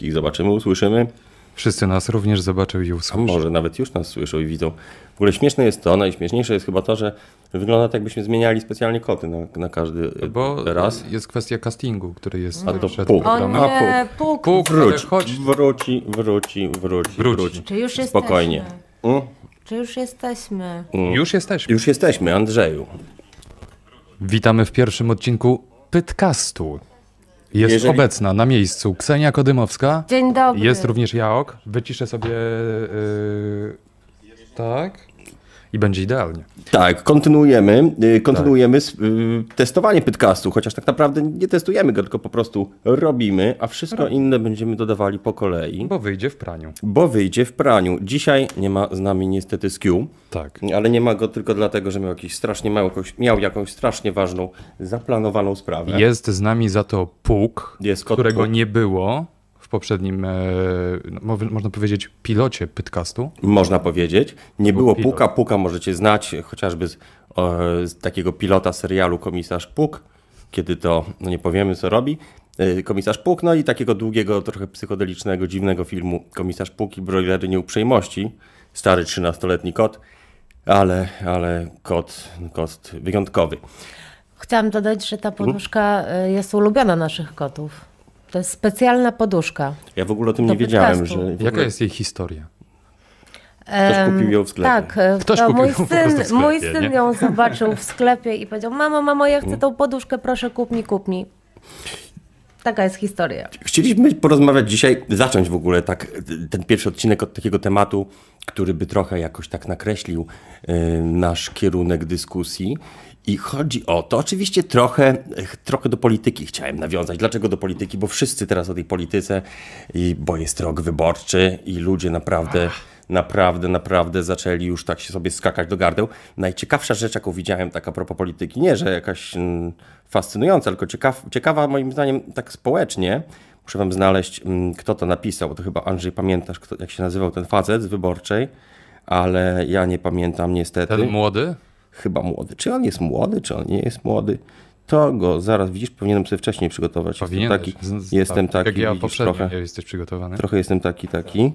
Ich zobaczymy, usłyszymy, Wszyscy nas również zobaczył i a usłyszał. może nawet już nas słyszą i widzą. W ogóle śmieszne jest to, najśmieszniejsze jest chyba to, że wygląda tak, jakbyśmy zmieniali specjalnie koty na, na każdy e, Bo raz. jest kwestia castingu, który jest A to przed puk. programem. Dobra, O no. nie, puk. Puk, ale Wróć, chodź. wróci, wróci, wróci, Wróci. wróci. Czy już jesteśmy? Spokojnie. Mm, Czy już jesteśmy? mm. Już jesteśmy. Już jesteśmy, Andrzeju. Witamy w pierwszym odcinku Pytcastu. Jest Jeżeli- obecna na miejscu Ksenia Kodymowska. Dzień dobry. Jest również Jaok. Wyciszę sobie... Yy, tak. I będzie idealnie. Tak, kontynuujemy, y, kontynuujemy s- y, testowanie podcastu, chociaż tak naprawdę nie testujemy go, tylko po prostu robimy, a wszystko inne będziemy dodawali po kolei, Bo wyjdzie w praniu. bo wyjdzie w praniu. Dzisiaj nie ma z nami niestety Skiu, Tak. ale nie ma go tylko dlatego, że miał, jakiś strasznie, miał, jakąś, miał jakąś strasznie ważną, zaplanowaną sprawę. Jest z nami za to Puk, Jest kot którego Puk. nie było w poprzednim, e, no, mo- można powiedzieć, pilocie Pytcastu. Można powiedzieć. Nie Był było pilot. Puka. Puka możecie znać chociażby z, o, z takiego pilota serialu Komisarz Puk, kiedy to, no nie powiemy co robi, y, Komisarz Puk, no i takiego długiego, trochę psychodelicznego, dziwnego filmu Komisarz Puk i Broilery Nieuprzejmości, stary 13-letni kot, ale, ale kot, kot wyjątkowy. Chciałam dodać, że ta poduszka y, jest ulubiona naszych kotów. To jest specjalna poduszka. Ja w ogóle o tym Do nie wiedziałem, podcastu. że w Jaka ogóle jest jej historia? Em, kupił ją w sklepie. Tak, y, Ktoś to kupił mój ją po syn, prostu w sklepie, mój syn nie? ją zobaczył w sklepie i powiedział: Mamo, mamo, ja Mm. chcę tą poduszkę, proszę kup mi, kup mi. Taka jest historia. Chcieliśmy porozmawiać dzisiaj, zacząć w ogóle tak ten pierwszy odcinek od takiego tematu, który by trochę jakoś tak nakreślił y, nasz kierunek dyskusji. I chodzi o to, oczywiście trochę, ch- trochę do polityki chciałem nawiązać. Dlaczego do polityki? Bo wszyscy teraz o tej polityce, i, bo jest rok wyborczy i ludzie naprawdę, naprawdę, naprawdę zaczęli już tak się sobie skakać do gardeł. Najciekawsza rzecz, jaką widziałem tak a propos polityki, nie, że jakaś mm, fascynująca, tylko ciekaw, ciekawa moim zdaniem tak społecznie, Muszę wam znaleźć, mm, kto to napisał, bo to chyba Andrzej, pamiętasz, kto, jak się nazywał ten facet z Wyborczej, ale ja nie pamiętam niestety. Ten młody? chyba młody. Czy on jest młody, czy on nie jest młody? To go zaraz, widzisz, powinienem sobie wcześniej przygotować. Powinien jestem taki, z- z- jestem tak, taki Jak ja widzisz, poprzednio trochę. nie jesteś przygotowany. Trochę jestem taki, taki,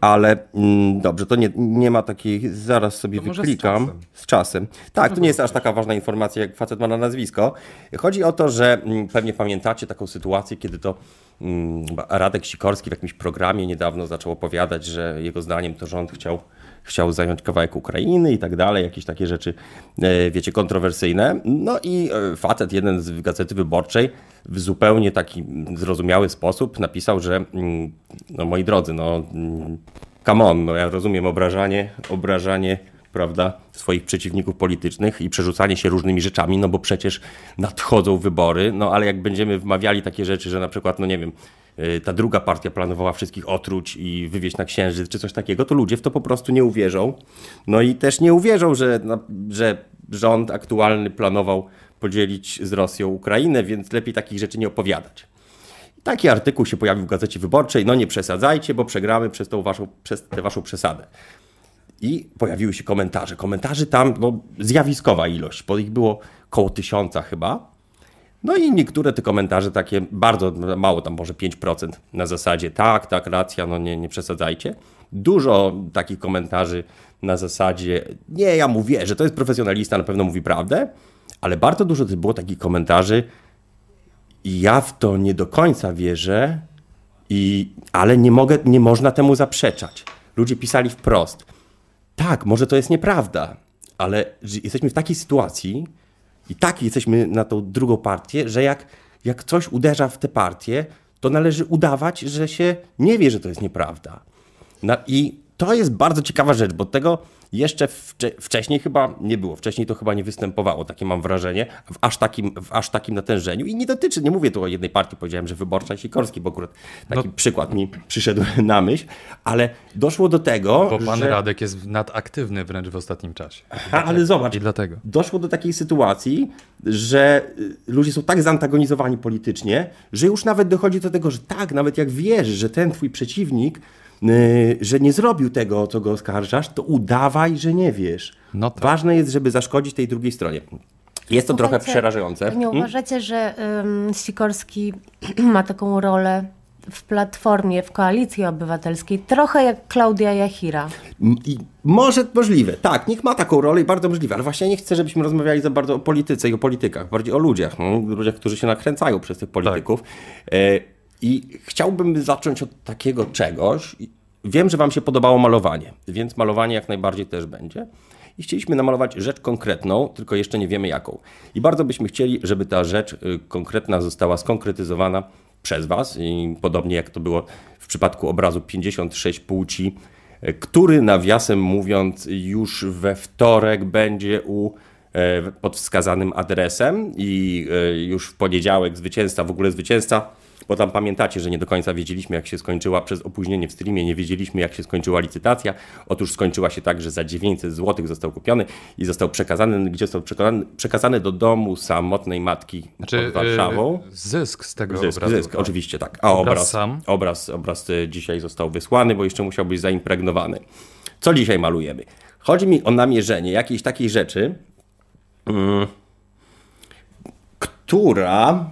ale mm, dobrze, to nie, nie ma takiej, zaraz sobie To No może z wyklikam. Z czasem. czasem. Tak, to nie jest aż taka ważna informacja, jak facet ma na nazwisko. Chodzi o to, że mm, pewnie pamiętacie taką sytuację, kiedy to mm, chyba Radek Sikorski w jakimś programie niedawno zaczął opowiadać, że jego zdaniem to rząd chciał, chciał zająć kawałek Ukrainy i tak dalej, jakieś takie rzeczy, e, wiecie, kontrowersyjne. No i e, facet, jeden z Gazety Wyborczej, w zupełnie taki mm, zrozumiały sposób napisał, że mm, no moi drodzy, no mm, Come on, no ja rozumiem obrażanie, obrażanie, prawda, swoich przeciwników politycznych i przerzucanie się różnymi rzeczami, no bo przecież nadchodzą wybory, no ale jak będziemy wmawiali takie rzeczy, że na przykład, no nie wiem, y, ta druga partia planowała wszystkich otruć i wywieźć na księżyc czy coś takiego, to ludzie w to po prostu nie uwierzą. No i też nie uwierzą, że, na- że rząd aktualny planował podzielić z Rosją Ukrainę, więc lepiej takich rzeczy nie opowiadać. Taki artykuł się pojawił w Gazecie Wyborczej. No nie przesadzajcie, bo przegramy przez, tą waszą, przez tę waszą przesadę. I pojawiły się komentarze. Komentarzy tam no, zjawiskowa ilość, bo ich było koło tysiąca chyba. No i niektóre te komentarze takie bardzo mało, tam może 5% na zasadzie tak, tak, racja, no nie, nie przesadzajcie. Dużo takich komentarzy na zasadzie nie, ja mu wierzę, to jest profesjonalista, na pewno mówi prawdę, ale bardzo dużo też było takich komentarzy ja w to nie do końca wierzę, i, ale nie, mogę, nie można temu zaprzeczać. Ludzie pisali wprost. Tak, może to jest nieprawda, ale ży- jesteśmy w takiej sytuacji i tak jesteśmy na tą drugą partię, że jak, jak coś uderza w tę partię, to należy udawać, że się nie wie, że to jest nieprawda. No i to jest bardzo ciekawa rzecz, bo tego jeszcze wcze- wcześniej chyba nie było. Wcześniej to chyba nie występowało, takie mam wrażenie, w aż takim, w aż takim natężeniu. I nie dotyczy, nie mówię tu o jednej partii, powiedziałem, że Wyborcza i Sikorski, bo akurat taki No. przykład mi przyszedł na myśl, ale doszło do tego, Bo pan że... Radek jest nadaktywny wręcz w ostatnim czasie. Aha, ale zobacz, I dlatego. doszło do takiej sytuacji, że y, ludzie są tak zantagonizowani politycznie, że już nawet dochodzi do tego, że tak, nawet jak wiesz, że ten twój przeciwnik, y, że nie zrobił tego, o co go oskarżasz, to udawaj, że nie wiesz. No tak. Ważne jest, żeby zaszkodzić tej drugiej stronie. Jest No to tak, trochę Mhm. Mm. Słuchajcie, przerażające. Nie Hmm? uważacie, że ym, Sikorski ma taką rolę w Platformie, w Koalicji Obywatelskiej, trochę jak Klaudia Jachira. M- I może możliwe, tak, nikt ma taką rolę i bardzo możliwe, ale właśnie ja nie chcę, żebyśmy rozmawiali za bardzo o polityce i o politykach, bardziej o ludziach, no, ludziach, którzy się nakręcają przez tych polityków. E, I chciałbym zacząć od takiego czegoś. I Wiem, że Wam się podobało malowanie, więc malowanie jak najbardziej też będzie. I chcieliśmy namalować rzecz konkretną, tylko jeszcze nie wiemy jaką. I bardzo byśmy chcieli, żeby ta rzecz y, konkretna została skonkretyzowana przez Was, i podobnie jak to było w przypadku obrazu 56 płci E, który nawiasem mówiąc już we wtorek będzie u e, pod wskazanym adresem i e, już w poniedziałek zwycięzca, w ogóle zwycięzca, bo tam pamiętacie, że nie do końca wiedzieliśmy jak się skończyła przez opóźnienie w streamie, nie wiedzieliśmy jak się skończyła licytacja. Otóż skończyła się tak, że za 900 zł został kupiony i został przekazany, gdzie został przekazany, przekazany do domu samotnej matki pod Warszawą. y, zysk z tego Zysk, obrazu. zysk, oczywiście tak. A Obraz obraz, sam? Obraz, obraz y, dzisiaj został wysłany, bo jeszcze musiał być zaimpregnowany. Co dzisiaj malujemy? Chodzi mi o namierzenie jakiejś takiej rzeczy, mm, która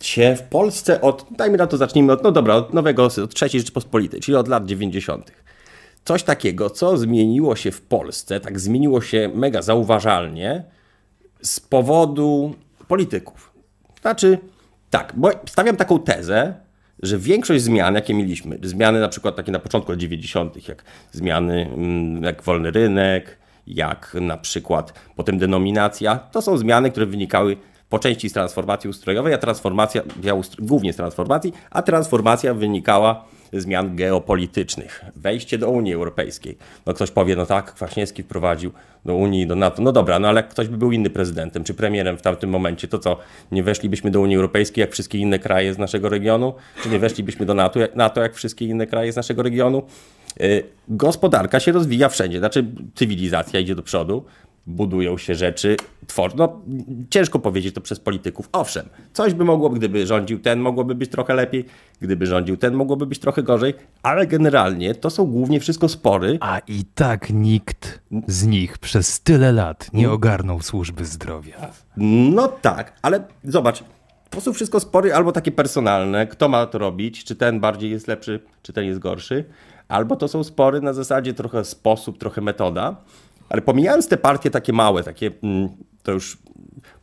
się w Polsce od, dajmy na to, zacznijmy od, no dobra, od nowego, od III Rzeczypospolitej, czyli od lat 90. Coś takiego, co zmieniło się w Polsce, tak zmieniło się mega zauważalnie, z powodu polityków. Znaczy, tak, bo stawiam taką tezę, że większość zmian, jakie mieliśmy, zmiany na przykład takie na początku lat 90., jak zmiany mm, jak wolny rynek, jak na przykład potem denominacja, to są zmiany, które wynikały po części z transformacji ustrojowej, a transformacja, ja ustr- głównie z transformacji, a transformacja wynikała ze zmian geopolitycznych. Wejście do Unii Europejskiej. No ktoś powie, no tak, Kwaśniewski wprowadził do Unii, do NATO. No dobra, no ale jak ktoś by był inny prezydentem czy premierem w tamtym momencie, to co, nie weszlibyśmy do Unii Europejskiej jak wszystkie inne kraje z naszego regionu? Czy nie weszlibyśmy do NATO, jak- NATO jak wszystkie inne kraje z naszego regionu? Y, Gospodarka się rozwija wszędzie, znaczy cywilizacja idzie do przodu, budują się rzeczy, twor... no ciężko powiedzieć to przez polityków. Owszem, coś by mogło, gdyby rządził ten, mogłoby być trochę lepiej, gdyby rządził ten, mogłoby być trochę gorzej, ale generalnie to są głównie wszystko spory, A i tak nikt z nich przez tyle lat nie Mm. ogarnął służby zdrowia. No tak, ale zobacz, to są wszystko spory albo takie personalne, kto ma to robić, czy ten bardziej jest lepszy, czy ten jest gorszy, albo to są spory na zasadzie trochę sposób, trochę metoda, ale pomijając te partie takie małe, takie, mm, to już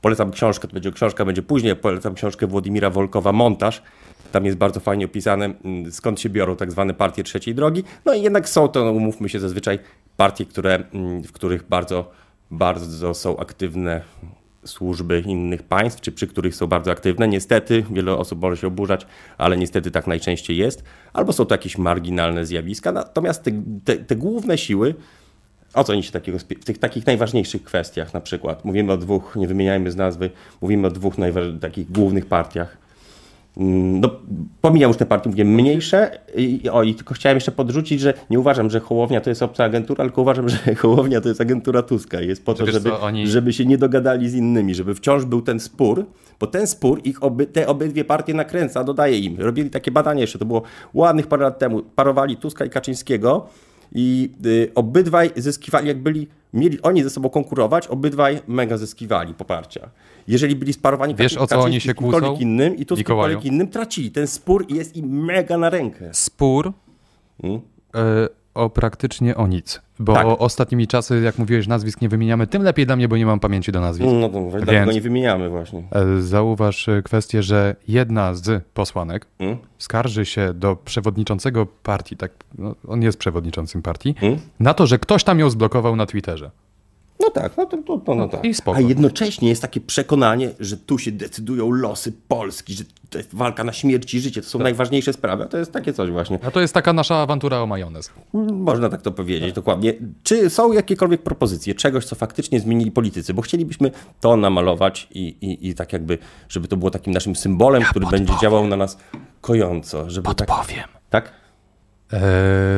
polecam książkę, to będzie książka, będzie później, polecam książkę Włodimira Wolkowa, Montaż, tam jest bardzo fajnie opisane, mm, skąd się biorą tak zwane partie trzeciej drogi, no i jednak są to, no, umówmy się, zazwyczaj partie, które, mm, w których bardzo, bardzo są aktywne służby innych państw, czy przy których są bardzo aktywne. Niestety, wiele osób może się oburzać, ale niestety tak najczęściej jest. Albo są to jakieś marginalne zjawiska, natomiast te, te, te główne siły, o co oni się takiego, spie- w tych takich najważniejszych kwestiach na przykład, mówimy o dwóch, nie wymieniajmy z nazwy, mówimy o dwóch najważ- takich głównych partiach, Mm, no, pomijam już te partie mówię, mniejsze. I, o, I tylko chciałem jeszcze podrzucić, że nie uważam, że Hołownia to jest obca agentura, tylko uważam, że Hołownia to jest agentura Tuska. i Jest po to, wiesz żeby, co, oni- żeby się nie dogadali z innymi, żeby wciąż był ten spór, bo ten spór ich oby, te obydwie partie nakręca, dodaje im. Robili takie badanie jeszcze, to było ładnych parę lat temu. Parowali Tuska i Kaczyńskiego i y, obydwaj zyskiwali, jak byli, mieli oni ze sobą konkurować, obydwaj mega zyskiwali poparcia. Jeżeli byli sparowani Wiesz, Kaczy- o co oni Kaczyński się z kimkolwiek kłócą? innym i Tusk Mikołaju. kimkolwiek innym tracili. Ten spór jest im mega na rękę. Spór y, o praktycznie o nic. Bo Mm. Tak. ostatnimi czasy, jak mówiłeś, nazwisk nie wymieniamy, tym lepiej dla mnie, bo nie mam pamięci do nazwisk. No to mówię, dlatego Więc- nie wymieniamy właśnie. E, Zauważ e, kwestię, że jedna z posłanek Mm. skarży się do przewodniczącego partii, tak, no, on jest przewodniczącym partii, Mm. na to, że ktoś tam ją zblokował na Twitterze. No tak, no to, to, to no tak. I spoko. A jednocześnie jest takie przekonanie, że tu się decydują losy Polski, że to jest walka na śmierć i życie, to Tak. są najważniejsze sprawy. A to jest takie coś właśnie. A to jest taka nasza awantura o majonez. Można tak to powiedzieć, dokładnie. Czy są jakiekolwiek propozycje czegoś, co faktycznie zmienili politycy? Bo chcielibyśmy to namalować i, i, i tak jakby, żeby to było takim naszym symbolem, który będzie działał na nas kojąco. Żeby Podpowiem. tak, tak?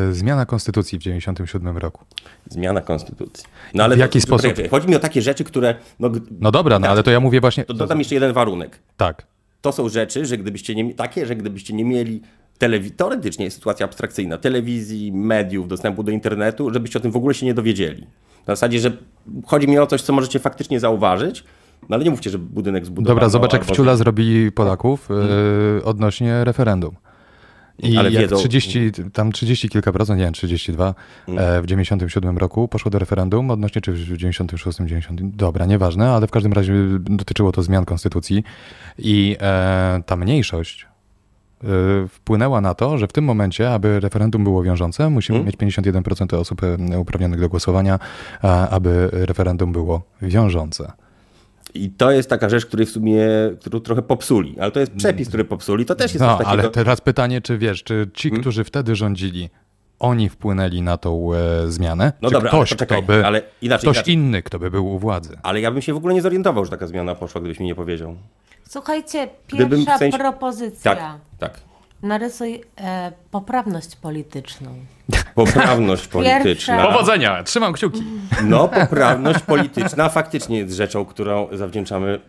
E, zmiana konstytucji w 97 roku. Zmiana konstytucji. No ale W jaki to- sposób? poczekaj, Chodzi mi o takie rzeczy, które. No, g- No dobra, no ale to ja mówię właśnie... to dodam jeszcze jeden warunek. Tak. To są rzeczy, że gdybyście nie, takie, że gdybyście nie mieli telewi- teoretycznie jest sytuacja abstrakcyjna, telewizji, mediów, dostępu do internetu, żebyście o tym w ogóle się nie dowiedzieli. Na zasadzie, że chodzi mi o coś, co możecie faktycznie zauważyć, no ale nie mówcie, że budynek zbudowano. Dobra, zobacz jak albo- wciula zrobili Polaków e, odnośnie referendum. y, I No. Ale jak wiedzą- 30, tam 30 kilka procent, nie wiem, 32 e, Mm. w 97 roku poszło do referendum odnośnie, czy w 96, 90, dobra, nieważne, ale w każdym razie dotyczyło to zmian konstytucji i e, ta mniejszość e, wpłynęła na to, że w tym momencie, aby referendum było wiążące, musimy Mm. mieć 51% osób e, uprawnionych do głosowania, a, aby referendum było wiążące. I to jest taka rzecz, której w sumie, którą trochę popsuli, ale to Mm. jest przepis, który popsuli, to też jest No, coś takiego. Hmm? ale teraz pytanie, czy wiesz, czy ci, którzy wtedy rządzili, oni wpłynęli na tą e, zmianę? No czy dobra, ale ktoś, poczekaj, kto by, ale inaczej, ktoś inaczej. inny, kto by był u władzy? Ale ja bym się w ogóle nie zorientował, że taka zmiana poszła, gdybyś mi nie powiedział. Słuchajcie, Gdybym w pierwsza sensie- propozycja. Tak, tak. Narysuj e, poprawność polityczną. Poprawność polityczna. Powodzenia! Trzymam kciuki. No, poprawność polityczna faktycznie jest rzeczą, którą zawdzięczamy.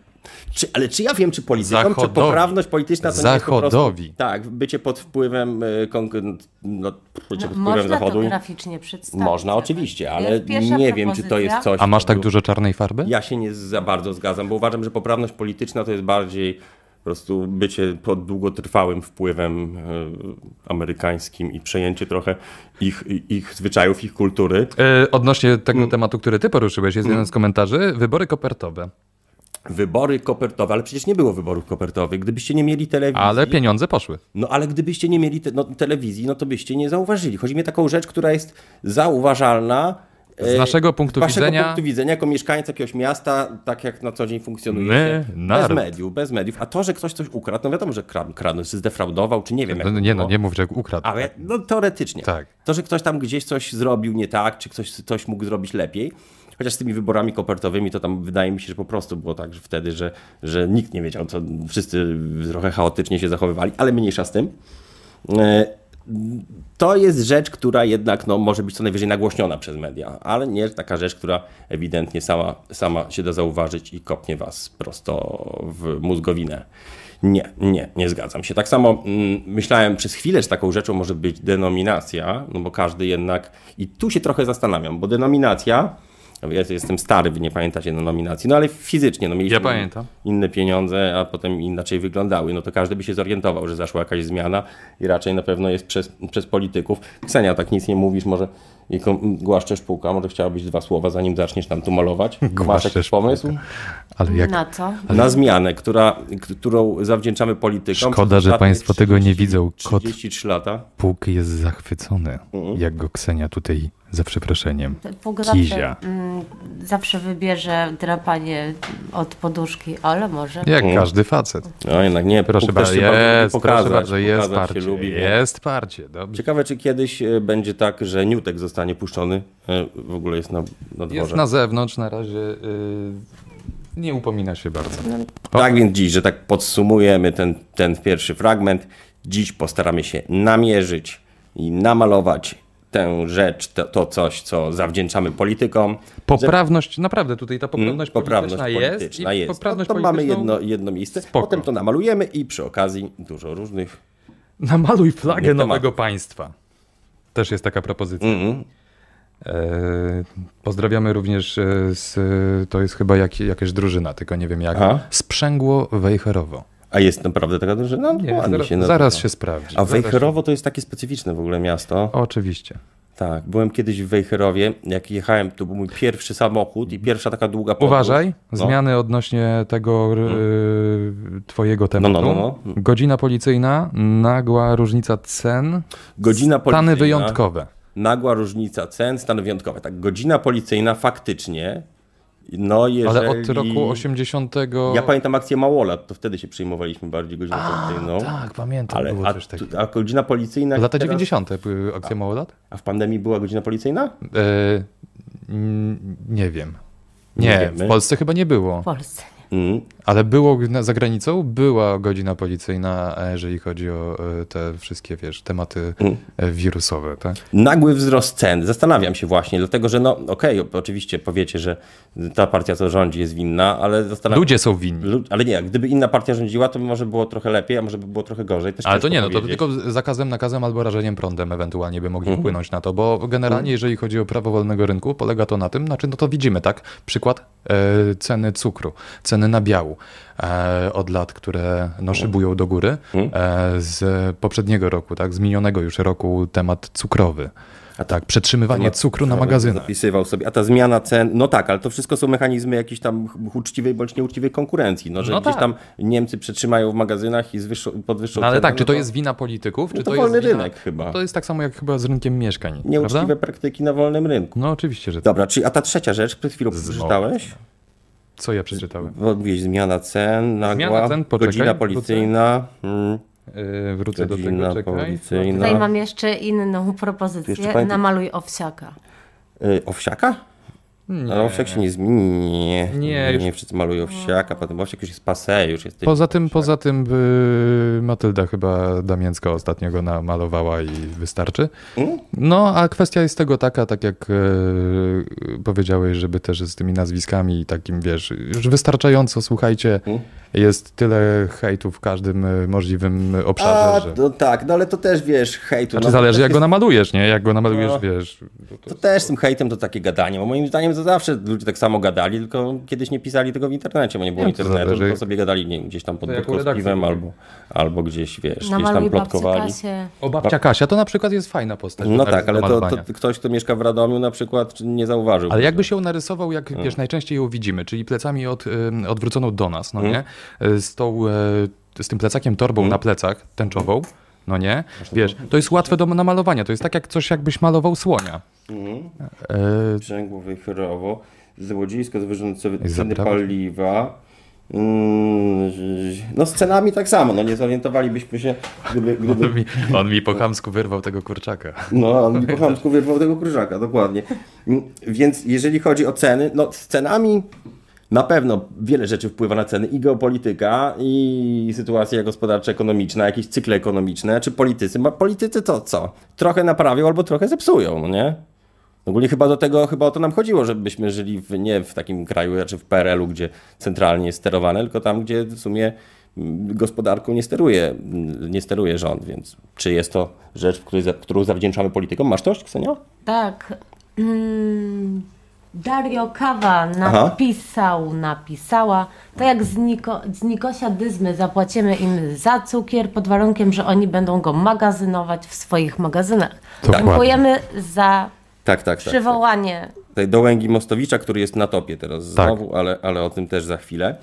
Czy, ale czy ja wiem, czy politykom, czy Zachodowi. poprawność polityczna to nie jest po Zachodowi. prostu, Tak, bycie pod wpływem, y, konk- no, bycie pod wpływem Można Zachodu. to graficznie przedstawić. Można, Zobacz. oczywiście, To jest ale pierwsza nie wiem, czy to jest propozycja. coś. A masz co tak by- dużo czarnej farby? Ja się nie za bardzo zgadzam, bo uważam, że poprawność polityczna to jest bardziej po prostu bycie pod długotrwałym wpływem e, amerykańskim i przejęcie trochę ich, i- ich zwyczajów, ich kultury. E, odnośnie tego Hmm. tematu, który ty poruszyłeś, jest jeden z komentarzy. Wybory kopertowe, Wybory kopertowe, ale przecież nie było wyborów kopertowych. Gdybyście nie mieli telewizji. ale pieniądze poszły. No ale gdybyście nie mieli te, no, telewizji, no to byście nie zauważyli. Chodzi mi o taką rzecz, która jest zauważalna. e, Z naszego punktu waszego widzenia punktu widzenia jako mieszkańca jakiegoś miasta, tak jak na co dzień funkcjonuje. My, bez naród. mediów, bez mediów. A to, że ktoś coś ukradł, no wiadomo, że kradł, kradł czy zdefraudował, czy nie wiem. Jak No, to nie no, było. nie mów, że ukradł. Ale no, teoretycznie. Tak. To, że ktoś tam gdzieś coś zrobił nie tak, czy ktoś coś mógł zrobić lepiej. Chociaż z tymi wyborami kopertowymi, to tam wydaje mi się, że po prostu było tak że wtedy, że, że nikt nie wiedział, co wszyscy trochę chaotycznie się zachowywali, ale mniejsza z tym. E, To jest rzecz, która jednak no, może być co najwyżej nagłośniona przez media, ale nie taka rzecz, która ewidentnie sama, sama się da zauważyć i kopnie was prosto w mózgowinę. Nie, nie, nie zgadzam się. Tak samo mm, myślałem przez chwilę, że taką rzeczą może być denominacja, no bo każdy jednak. I tu się trochę zastanawiam, bo denominacja. Ja jestem stary, wy nie pamiętacie denominacji, no ale fizycznie. No, mieliśmy Ja pamiętam. inne pieniądze, a potem inaczej wyglądały. No to każdy by się zorientował, że zaszła jakaś zmiana i raczej na pewno jest przez, przez polityków. Ksenia, tak nic nie mówisz, może i kom- głaszczesz półka, może chciałabyś dwa słowa, zanim zaczniesz nam tu malować. Masz jakiś Głaszczesz pomysł? Ale jak... Na co? Na zmianę, która, k- którą zawdzięczamy politykom. Szkoda, przez że ostatnie państwo tego nie widzą. Kot- 33 lata. Puk jest zachwycony, Mm. jak go Ksenia tutaj, za przeproszeniem, Puk kizia. zawsze, mm, zawsze wybierze drapanie od poduszki, ale może. Jak Hmm. każdy facet. No jednak nie, Proszę Bóg też bardzo, się lubi jest, proszę pokazać, bardzo, jest pokazać parcie, się lubi, bo- jest parcie, dobrze. Ciekawe, czy kiedyś e, będzie tak, że Niutek zostanie puszczony, e, w ogóle jest na, na dworze. Jest na zewnątrz, na razie y, nie upomina się bardzo. Tak więc dziś, że tak podsumujemy ten, ten pierwszy fragment, dziś postaramy się namierzyć i namalować tę rzecz, to, to coś, co zawdzięczamy politykom. Poprawność, naprawdę tutaj ta poprawność, Hmm? Poprawność polityczna, jest. polityczna i jest. Poprawność no, to mamy polityczną- jedno, jedno miejsce, Spoko. potem to namalujemy i przy okazji dużo różnych. Namaluj flagę Nie Hmm? nowego temat. państwa. Też jest taka propozycja. E, pozdrawiamy również e, z, e, to jest chyba jak, jakaś drużyna, tylko nie wiem jak. Aha. Sprzęgło Wejherowo. A jest naprawdę taka drużyna? No, Nie, ładnie zaraz, się nazywa. zaraz się sprawdzi. A Zaraz się- Wejherowo to jest takie specyficzne w ogóle miasto. Oczywiście. Tak, byłem kiedyś w Wejherowie, jak jechałem, to był mój pierwszy samochód i pierwsza taka długa podróż. Uważaj, No. zmiany odnośnie tego y, twojego tematu. No, no, no, no. Godzina policyjna, nagła różnica cen, Godzina policyjna. stany wyjątkowe. Nagła różnica cen, stan wyjątkowy. Tak, godzina policyjna faktycznie. No jeżeli... Ale od roku 80. Ja pamiętam akcję Małola, to wtedy się przyjmowaliśmy bardziej godziną policyjną. Tak, pamiętam, Ale było a, coś takiego. tu- a godzina policyjna... Lata teraz- 90. były akcja Małolat? A w pandemii była godzina policyjna? E, n- nie wiem. Nie Nie, wiemy. w Polsce chyba nie było. W Polsce. Mm. Ale było na- za granicą, była godzina policyjna, e, jeżeli chodzi o e, te wszystkie, wiesz, tematy Mm. e, wirusowe, tak? Nagły wzrost cen. Zastanawiam się właśnie, dlatego że no okej, oczywiście powiecie, że ta partia, co rządzi jest winna, ale zastanawiam Ludzie są winni. Lu- Ale nie, gdyby inna partia rządziła, to by może było trochę lepiej, a może by było trochę gorzej. Też Ale to ciężko nie, no to powiedzieć. Mhm. tylko z- zakazem, nakazem albo rażeniem prądem ewentualnie by mogli wpłynąć na to, bo generalnie jeżeli chodzi o prawo wolnego rynku, polega to na tym, znaczy no to widzimy, tak? Przykład e, ceny cukru. ceny nabiału e, od lat, które no, szybują do góry. Mhm. E, z poprzedniego roku, tak, z minionego już roku temat cukrowy. A tak, przetrzymywanie Temat cukru na magazynach. Zapisywał sobie. A ta zmiana cen, no tak, ale to wszystko są mechanizmy jakiejś tam ch- uczciwej bądź nieuczciwej konkurencji. No, że No gdzieś tak. tam Niemcy przetrzymają w magazynach i z wyższą, pod wyższą No ale cenę, tak, czy no to jest wina polityków, czy No to to jest wolny wina... rynek chyba. To jest tak samo jak chyba z rynkiem mieszkań, Nieuczciwe prawda? praktyki na wolnym rynku. No oczywiście, że tak. Dobra, czyli a ta trzecia rzecz, przed chwilą przeczytałeś? Co ja przeczytałem? Bo Mówiłeś zmiana cen, nagła, cen, poczekaj, godzina wrócę. policyjna. Mm. Yy, wrócę do Godzina tego, czekaj. No. policyjna. Tutaj mam jeszcze inną propozycję. No. Jeszcze pani- Namaluj owsiaka. Y, owsiaka? Ale owsiak się nie zmieni. Nie, Nie, już- nie wszyscy malują owsiaka, potem owsiak już jest pase, już jest... Poza tym, poza tym yy, Matylda chyba Damięcka ostatnio go namalowała i wystarczy. Hmm? No, a kwestia jest tego taka, tak jak yy, powiedziałeś, żeby też z tymi nazwiskami i takim, wiesz, już wystarczająco, słuchajcie, Hmm? jest tyle hejtu w każdym yy, możliwym A, obszarze, że... no tak, no ale to też wiesz, hejtu. Znaczy no, zależy to jak go namalujesz, nie? Jak go namalujesz, No. wiesz... To też z tym hejtem to takie gadanie, bo moim zdaniem to zawsze ludzie tak samo gadali, tylko kiedyś nie pisali tego w internecie, bo nie było Nie, to internetu, zależy. tylko sobie gadali nie, wiem, gdzieś tam pod To jaką budką z redakcję piwem robią. albo, albo gdzieś, wiesz, gdzieś tam Namaluj babcię plotkowali. Kasię. O babcia Kasia to na przykład jest fajna postać. No do tak, ale to, namalowania. to ktoś, kto mieszka w Radomiu na przykład czy nie zauważył. Ale jakby się ją narysował, jak wiesz, najczęściej ją widzimy, czyli plecami od, ym, odwróconą do nas, no Mhm. nie? Y, Z, tą, e, z tym plecakiem torbą na plecach, tęczową, no nie? Wiesz, to jest łatwe do namalowania, to jest tak jak coś, jakbyś malował słonia. Mhm. E, Brzęgu Wychrowo, złodziejsko zwierzęce ceny zaprawa. paliwa. Mm, No z cenami tak samo, no nie zorientowalibyśmy się, gdyby, gdyby on, mi, y, on mi po chamsku wyrwał tego kurczaka. No, on mi po chamsku wyrwał tego krzyżaka, dokładnie. Mm, Więc jeżeli chodzi o ceny, no z cenami na pewno wiele rzeczy wpływa na ceny i geopolityka, i sytuacja gospodarcza, ekonomiczna, jakieś cykle ekonomiczne, czy politycy. Ma- Politycy to co? Trochę naprawią albo trochę zepsują, no nie? Ogólnie chyba do tego, chyba o to nam chodziło, żebyśmy żyli w, nie w takim kraju, znaczy w PRL-u, gdzie centralnie jest sterowane, tylko tam, gdzie w sumie mm, gospodarką nie steruje, mm, nie steruje rząd, więc czy jest to rzecz, w której, za- którą zawdzięczamy politykom? Masz coś, Ksenia? Tak. Mm, Dario Kawa Aha. napisał, napisała, to jak z, Niko, z Nikosiadyzmy zapłacimy im za cukier pod warunkiem, że oni będą go magazynować w swoich magazynach. Dokładnie. Dziękujemy za Tak, tak, tak. przywołanie. Tutaj Dołęgi Mostowicza, który jest na topie teraz Tak. znowu, ale, ale o tym też za chwilę.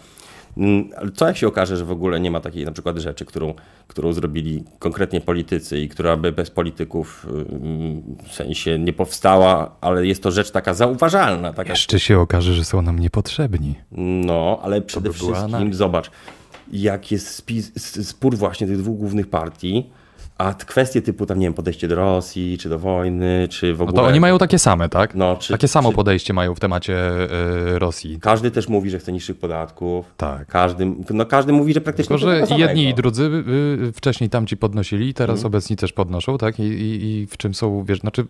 Mm, ale Co jak się okaże, że w ogóle nie ma takiej na przykład rzeczy, którą, którą zrobili konkretnie politycy i która by bez polityków ym, w sensie nie powstała, ale jest to rzecz taka zauważalna, taka Jeszcze się okaże, że są nam niepotrzebni. no, ale przede by była wszystkim anarchia. zobacz, jak jest spis, s- spór właśnie tych dwóch głównych partii, a t- kwestie typu tam, nie wiem, podejście do Rosji, czy do wojny, czy w ogóle... No To oni mają takie same, tak? No, czy- takie samo czy- podejście mają w temacie e, Rosji. Każdy też mówi, że chce niższych podatków. Tak. Każdy, no każdy mówi, że praktycznie Tylko, że tego No samego. Mhm. jedni i drudzy y, y, wcześniej tamci podnosili, teraz obecni też podnoszą, tak? I, i, I w czym są, wiesz, znaczy,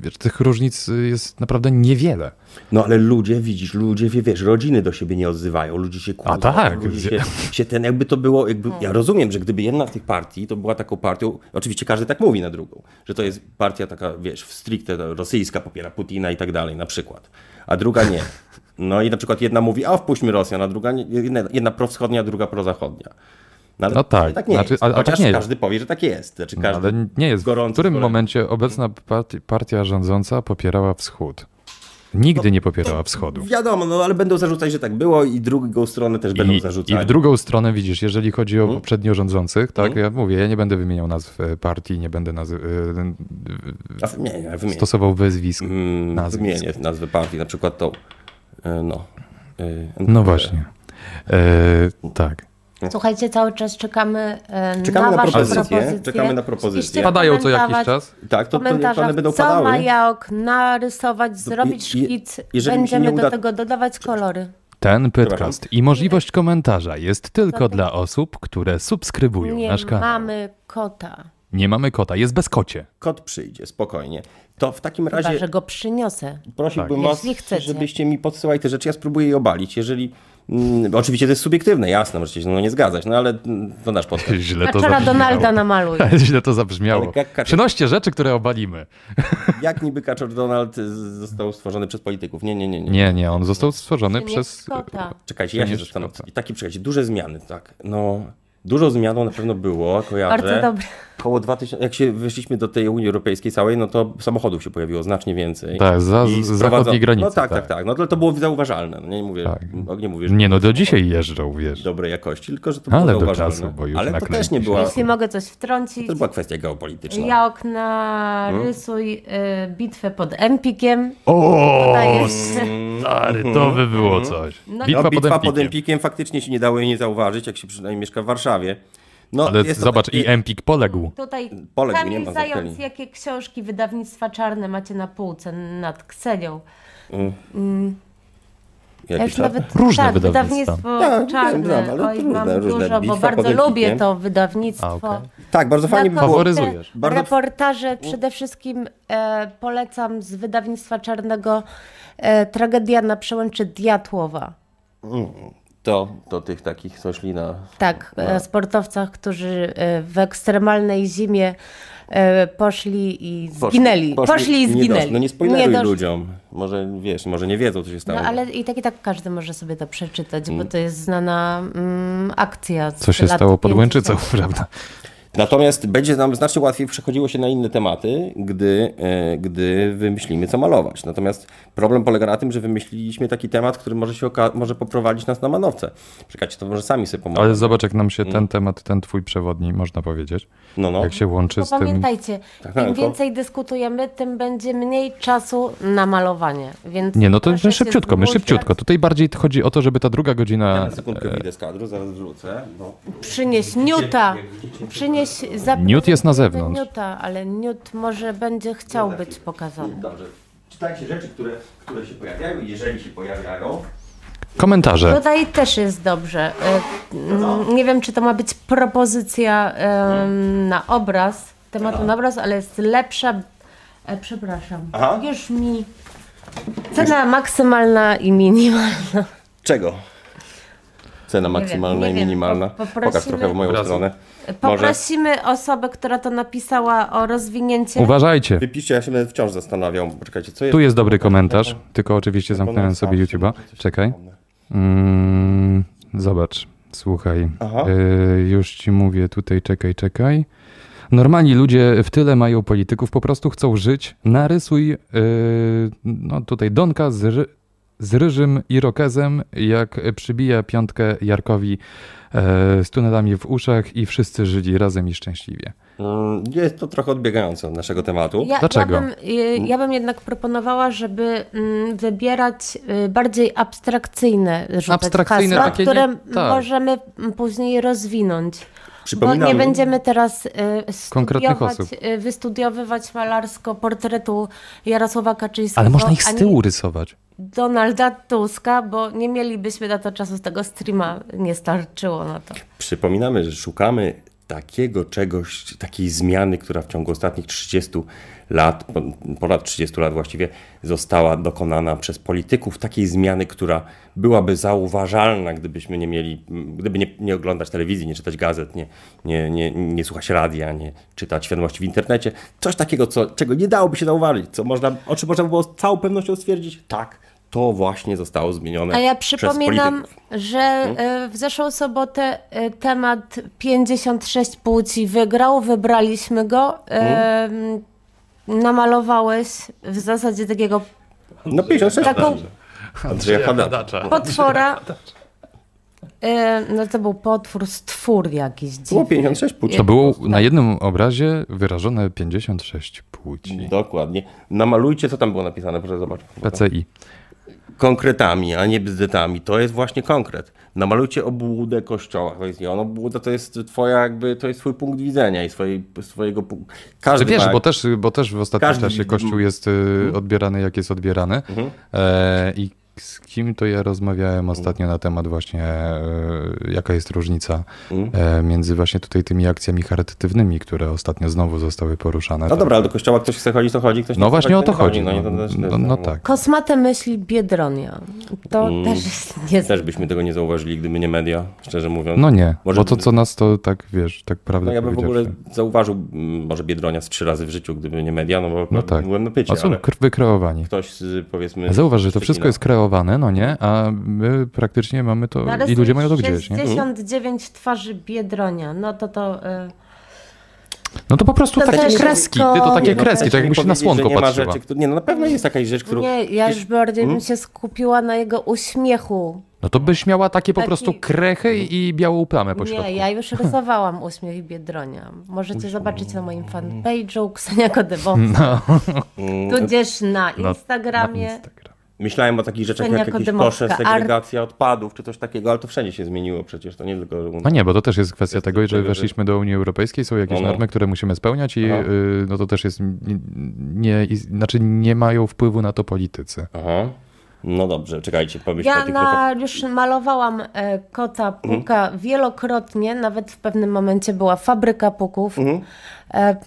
wiesz, tych różnic y, jest naprawdę niewiele. No ale ludzie, widzisz, ludzie, wie- wiesz, rodziny do siebie nie odzywają, ludzie się kłócą. A tak. Ludzie się, się ten, jakby to było, jakby, ja rozumiem, że gdyby jedna z tych partii, to była taką partią, oczywiście każdy tak mówi na drugą, że to jest partia taka, wiesz, w stricte to rosyjska, popiera Putina i tak dalej, na przykład, a druga nie. No i na przykład jedna mówi, a wpuśćmy Rosjan, a druga, nie, jedna, jedna prowschodnia, druga prozachodnia. ale No tak, tak nie znaczy, jest. a- a Chociaż tak nie jest. No, każdy powie, że tak jest. Znaczy, każdy Ale nie jest. gorący w którym kolego. momencie obecna Mhm. partia, partia rządząca popierała wschód? No, Nigdy nie popierała wschodu. Wiadomo, no ale będą zarzucać, że tak było i drugą stronę też będą Mhm. I, zarzucać. I w drugą stronę widzisz, jeżeli chodzi o poprzednio rządzących, tak, Mhm. ja mówię, ja nie będę wymieniał nazw e, partii, nie będę nazw, y, A wymienię, ja wymienię. stosował wyzwisk, Mm, nazwisk. Wymienię nazwy partii, na przykład tą. e, No. e, NPD. No właśnie. E, tak. Słuchajcie, cały czas czekamy, e, Czekamy na, na wasze propozycje, propozycje. czekamy na propozycje. Oczywiście Padają co jakiś komentować- czas. Tak, to, to one komentarzach, będą co ma padały. jałok narysować, zrobić je- szkic, jeżeli mi się będziemy nie uda- do tego dodawać kolory. Ten podcast i możliwość komentarza jest tylko dla osób, które subskrybują Nie nasz kanał. mamy kota, Nie mamy kota, jest bez kocie. Kot przyjdzie, spokojnie. To w takim chyba razie że go przyniosę. prosiłbym Tak. was, Jeśli chcecie. żebyście mi podsyłali te rzeczy. Ja spróbuję je obalić. Jeżeli Mm, oczywiście to jest subiektywne, jasne, możecie się ze mną nie zgadzać, no ale mm, to nasz podcast. Źle to Kaczora Donalda zabrzmiało. namaluj. Źle to zabrzmiało. Ale jak kaczor- Przynoście rzeczy, które obalimy. Jak niby Kaczor Donald z- został stworzony przez polityków? Nie, nie, nie. nie. Nie, nie, on został stworzony Nie No przez... Scotta. Czekajcie, ja się Nie zastanawiam. szkoda. I takie, czekajcie, duże zmiany, tak. No, dużo zmianą na pewno było, kojarzę. Bardzo dobre. Koło 2000, jak się wyszliśmy do tej Unii Europejskiej całej, no to samochodów się pojawiło znacznie więcej. Tak, za- I z sprowadza- zachodniej granicy, No tak, tak, tak. tak. No to, to było zauważalne. No, nie mówię, Tak. o, nie mówię, że Nie, no do samochody dzisiaj jeżdżą, wiesz. dobrej jakości, tylko że to Ale było do zauważalne. czasu, bo już Ale to też nakręci nie się. była, Jeśli mogę coś to wtrącić. była kwestia geopolityczna. Ja okna Hmm? rysuj y, bitwę pod Empikiem. O, Daję- Mm. stary, to by było coś. No No, Bitwa pod bitwa pod Empikiem. Empikiem faktycznie się nie dało jej nie zauważyć, jak się przynajmniej mieszka w Warszawie. No, Ale jest to zobacz, takie- i Empik poległ. Tutaj Poległ, nie ma Kamil Zając, zapelni. jakie książki wydawnictwa czarne macie na półce nad Ksenią? Jakie już czarne? Różne tak, wydawnictwo. wydawnictwo Tak, wiem, czarne. znam, ale Oj, różne, mam różne. dużo, bo Bitwa bardzo pod lubię Empikiem. to wydawnictwo. A, okej. Tak, bardzo fajnie by Na było. Faworyzuje. Faworyzujesz. Bardzo... Bardzo- Reportaże przede wszystkim e, polecam z wydawnictwa czarnego e, Tragedia na przełęczy Diatłowa. To do tych takich, co szli na... Tak, e, sportowcach, którzy e, w ekstremalnej zimie e, poszli i zginęli. Poszli, i nie zginęli. doszli. No nie spoileruj doszli. ludziom. Może wiesz, może nie wiedzą, co się stało. No ale i tak i tak każdy może sobie to przeczytać, Mm. bo to jest znana mm, akcja. z Co się lat stało pod 50. Łęczycą, prawda? Natomiast będzie nam znacznie łatwiej przechodziło się na inne tematy, gdy, e, gdy wymyślimy, co malować. Natomiast problem polega na tym, że wymyśliliśmy taki temat, który może się oka- może poprowadzić nas na manowce. Czekajcie, to może sami sobie pomożemy. Ale zobacz, jak nam się ten temat, ten twój przewodni, można powiedzieć, No, no. jak się łączy Bo z tym... pamiętajcie, im Tak, tylko- więcej dyskutujemy, tym będzie mniej czasu na malowanie. Więc Nie, no to proszę my się szybciutko, my zgłosić. szybciutko. Tutaj bardziej chodzi o to, żeby ta druga godzina... Na sekundkę wyjdę z kadru, zaraz wrócę. Bo... Przynieś Newta. Przynieś zapytaj- Newt jest na zewnątrz. Newta, ale Newt może będzie chciał być pokazany. Dobrze. Czytajcie rzeczy, które, które się pojawiają i jeżeli się pojawiają, no, Komentarze. Tutaj też jest dobrze. E, mm, Nie wiem, czy to ma być propozycja em, na obraz, Tak. tematu na obraz, ale jest lepsza. e, Przepraszam. Aha. Już mi. Cena maksymalna i minimalna. Czego? Cena maksymalna nie i wiem. minimalna. Po- Pokaż poprosimy- trochę w moją Obrazu. stronę. Może Poprosimy osobę, która to napisała, o rozwinięcie. Uważajcie. wypiszcie, ja się będę wciąż zastanawiam. Poczekajcie, co jest? Tu jest dobry komentarz, tylko oczywiście zamknąłem sobie YouTube'a. Czekaj. Mm, zobacz, słuchaj. Aha. Y, już ci mówię tutaj, czekaj, czekaj. Normalni ludzie w tyle mają polityków, po prostu chcą żyć. Narysuj, y, no tutaj Donka z, ry, z ryżym irokezem, jak przybija piątkę Jarkowi e, z tunelami w uszach i wszyscy żyli razem i szczęśliwie. Mm, Jest to trochę odbiegające od naszego tematu. Ja, Dlaczego? Ja bym, y, ja bym jednak proponowała, żeby mm, wybierać y, bardziej abstrakcyjne rzucać Abstrakcyjne hasła, takie, nie- które tak. możemy m, później rozwinąć. Bo Przypominam- nie będziemy teraz y, Konkretnych studiować, osób. y, wystudiowywać malarsko portretu Jarosława Kaczyńskiego. Ale można ich z ani tyłu rysować. Donalda Tuska, bo nie mielibyśmy na to czasu z tego streama, nie starczyło na to. Przypominamy, że szukamy takiego czegoś, takiej zmiany, która w ciągu ostatnich 30 lat, pon- ponad 30 lat właściwie, została dokonana przez polityków. Takiej zmiany, która byłaby zauważalna, gdybyśmy nie mieli, m, gdyby nie, nie oglądać telewizji, nie czytać gazet, nie, nie, nie, nie słuchać radia, nie czytać wiadomości w internecie. Coś takiego, co, czego nie dałoby się zauważyć, co można, o czym można było z całą pewnością stwierdzić, tak, to właśnie zostało zmienione A ja Tak, przez przypominam, polityków. Mhm. że e, w zeszłą sobotę e, temat 56 płci wygrał, wybraliśmy go. E, Mhm. Namalowałeś w zasadzie takiego No 56 taką Andrzeja Hadacza. potwora. Tak, E, No to był potwór, stwór jakiś Było dziwny. 56 płci. To było na jednym obrazie wyrażone 56 płci. Dokładnie. Namalujcie, co tam było napisane, proszę zobaczyć. PCI. Konkretami, a nie bzdetami. To jest właśnie konkret. Namalujcie obłudę kościoła. To jest nie on. Obłuda to jest twoja jakby, to jest twój punkt widzenia i swojej, swojego punktu. Że Każdy Znaczy, wiesz, ma- bo też, bo też w ostatnim tak. Każdy- Mhm. czasie Kościół jest y, odbierany, jak jest odbierany. E, I z kim to ja rozmawiałem ostatnio Mhm. na temat właśnie, e, jaka jest różnica Mhm. e, między właśnie tutaj tymi akcjami charytatywnymi, które ostatnio znowu zostały poruszane. tak? No dobra, ale do kościoła ktoś chce chodzić, to chodzi, ktoś nie No chce właśnie o chodzić, to chodzi. nie No, No, nie, to też- no, no tak. Kosmate myśli Biedronia. To Mm. też jest niezłe. Też byśmy tego nie zauważyli, gdyby nie media, szczerze mówiąc. No nie, Może- bo to co nas to tak, wiesz, tak prawdę No ja bym w ogóle powiedziawszy. zauważył mm, może Biedronia z trzy razy w życiu, gdyby nie media, no bo No tak. byłem na pycie, A są ale kr- wykreowani. ktoś z, powiedzmy... Zauważ, że to Szczecina. wszystko jest kreowane, no nie, a my praktycznie mamy to No ale i ludzie mają to są gdzieś, nie? Mhm. 69 twarzy Biedronia. No to to. y, No to po prostu To takie też kreski, ty to kresko- takie Nie, no kreski, też tak jakby mi się na powiedzieć, że słonko nie ma patrzyła. rzeczy, które- Nie, no na pewno jest jakaś rzecz, którą... Nie, ja już bardziej Mhm. bym się skupiła na jego uśmiechu. No to byś miała takie po Taki- prostu krechy i białą plamę po środku. Nie, ja już rysowałam uśmiech Biedronia. Możecie zobaczyć na moim fanpage'u Ksenia Kodebowska. No. Tudzież na Instagramie. Myślałem o takich rzeczach jak Szczeniako jakieś dymowska, kosze, segregacja odpadów, czy coś takiego, ale to wszędzie się zmieniło przecież, to nie tylko... No nie, bo to też jest kwestia tego, że tego, że- weszliśmy do Unii Europejskiej, są jakieś No, no. normy, które musimy spełniać i Aha. y, no to też jest, nie, nie, i- znaczy nie mają wpływu na to politycy. Aha. No dobrze, czekajcie, pomyślę o Ja tych... na, już malowałam e, kota puka wielokrotnie, nawet w pewnym momencie była fabryka puków. E,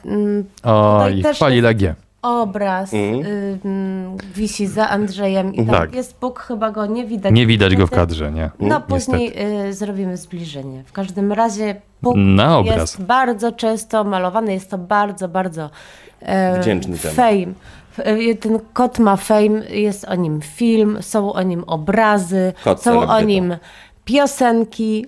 mm, No O, Tutaj i też chwali Legię. obraz y, mm, wisi za Andrzejem i tam Tak. jest puk, chyba go nie widać. Nie widać go w kadrze, nie. No Niestety. później y, zrobimy zbliżenie. W każdym razie puk Na obraz. jest bardzo często malowany, jest to bardzo, bardzo e, Wdzięczny temat. fame. F- e, Ten kot ma fame, jest o nim film, są o nim obrazy, Kot są celebryta. o nim piosenki.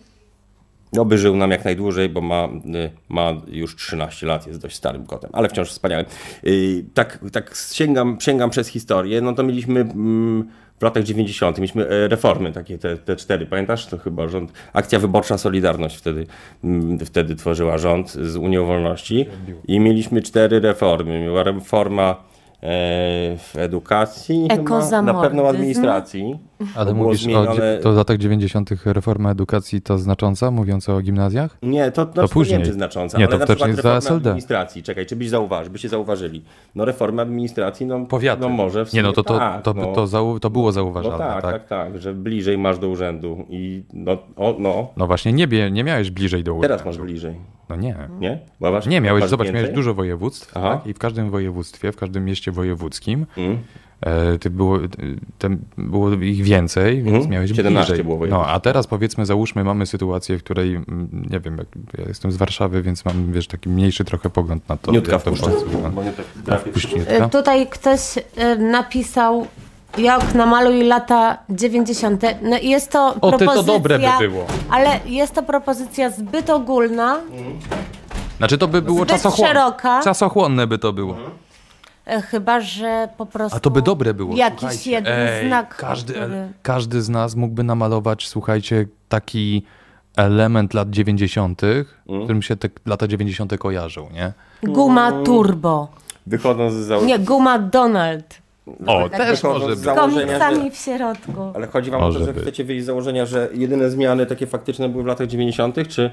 Oby No, żył nam jak najdłużej, bo ma, y, ma już 13 lat, jest dość starym kotem, ale wciąż wspaniałym. Y, Tak, tak sięgam, sięgam przez historię, no to mieliśmy mm, w latach 90. mieliśmy e, reformy takie, te, te cztery, pamiętasz? To chyba rząd, akcja wyborcza Solidarność wtedy, mm, wtedy tworzyła rząd z Unią Wolności i mieliśmy cztery reformy. Była reforma e, w edukacji, chyba, na Ekozamordyzm. pewno administracji. A To ty było mówisz o zmienione- dzie- to w latach 90. reforma edukacji ta znacząca, mówiąca o gimnazjach? Nie, to, znaczy, to później. później. nie wiem, czy znacząca, Nie, ale to na wtedy przykład jest za reforma SLD. administracji. Czekaj, czy byś zauważył, byście zauważyli. No reforma administracji, no, Powiaty. no może w sumie Nie no, to, to, tak, to, no, to, zau- to było no zauważalne, tak, tak? tak, tak, że bliżej masz do urzędu i no, o, no No właśnie, nie, bie- nie miałeś bliżej do teraz urzędu. masz bliżej, No nie. nie? Bo masz- Nie, miałeś, masz zobacz, więcej? miałeś dużo województw Aha. Mm. tak? i w każdym województwie, w każdym mieście wojewódzkim e, ty było, e, tam było ich więcej, więc Mhm. miałeś 17 bliżej. było no, województw. a teraz powiedzmy, załóżmy, mamy sytuację, w której, mm, nie wiem, jak, ja jestem z Warszawy, więc mam, wiesz, taki mniejszy trochę pogląd na to. Niutka jak to w wpuszczę. Polsce wygląda. Bo nie tak trafię. Y, Puśniutka. Tutaj ktoś y, napisał jak namaluj lata 90. No i jest to O, ty, to propozycja, dobre by było. Mm. ale jest to propozycja zbyt ogólna. Znaczy to by było Zbyt czasochłonne. szeroka. Czasochłonne by to było. E, Chyba, że po prostu. A to by dobre było. Jakiś słuchajcie. jeden Ej, znak. Każdy, który... E, każdy z nas mógłby namalować, słuchajcie, taki element lat 90., którym się te lata 90. kojarzą, nie? Guma Turbo. Wychodząc z, zał... Nie, guma Donald. O, Tak. też wychodząc może z być. założenia, że... Komiksami w środku. Ale chodzi wam o Może to, że być. chcecie wyjść z założenia, że jedyne zmiany takie faktyczne były w latach 90., czy...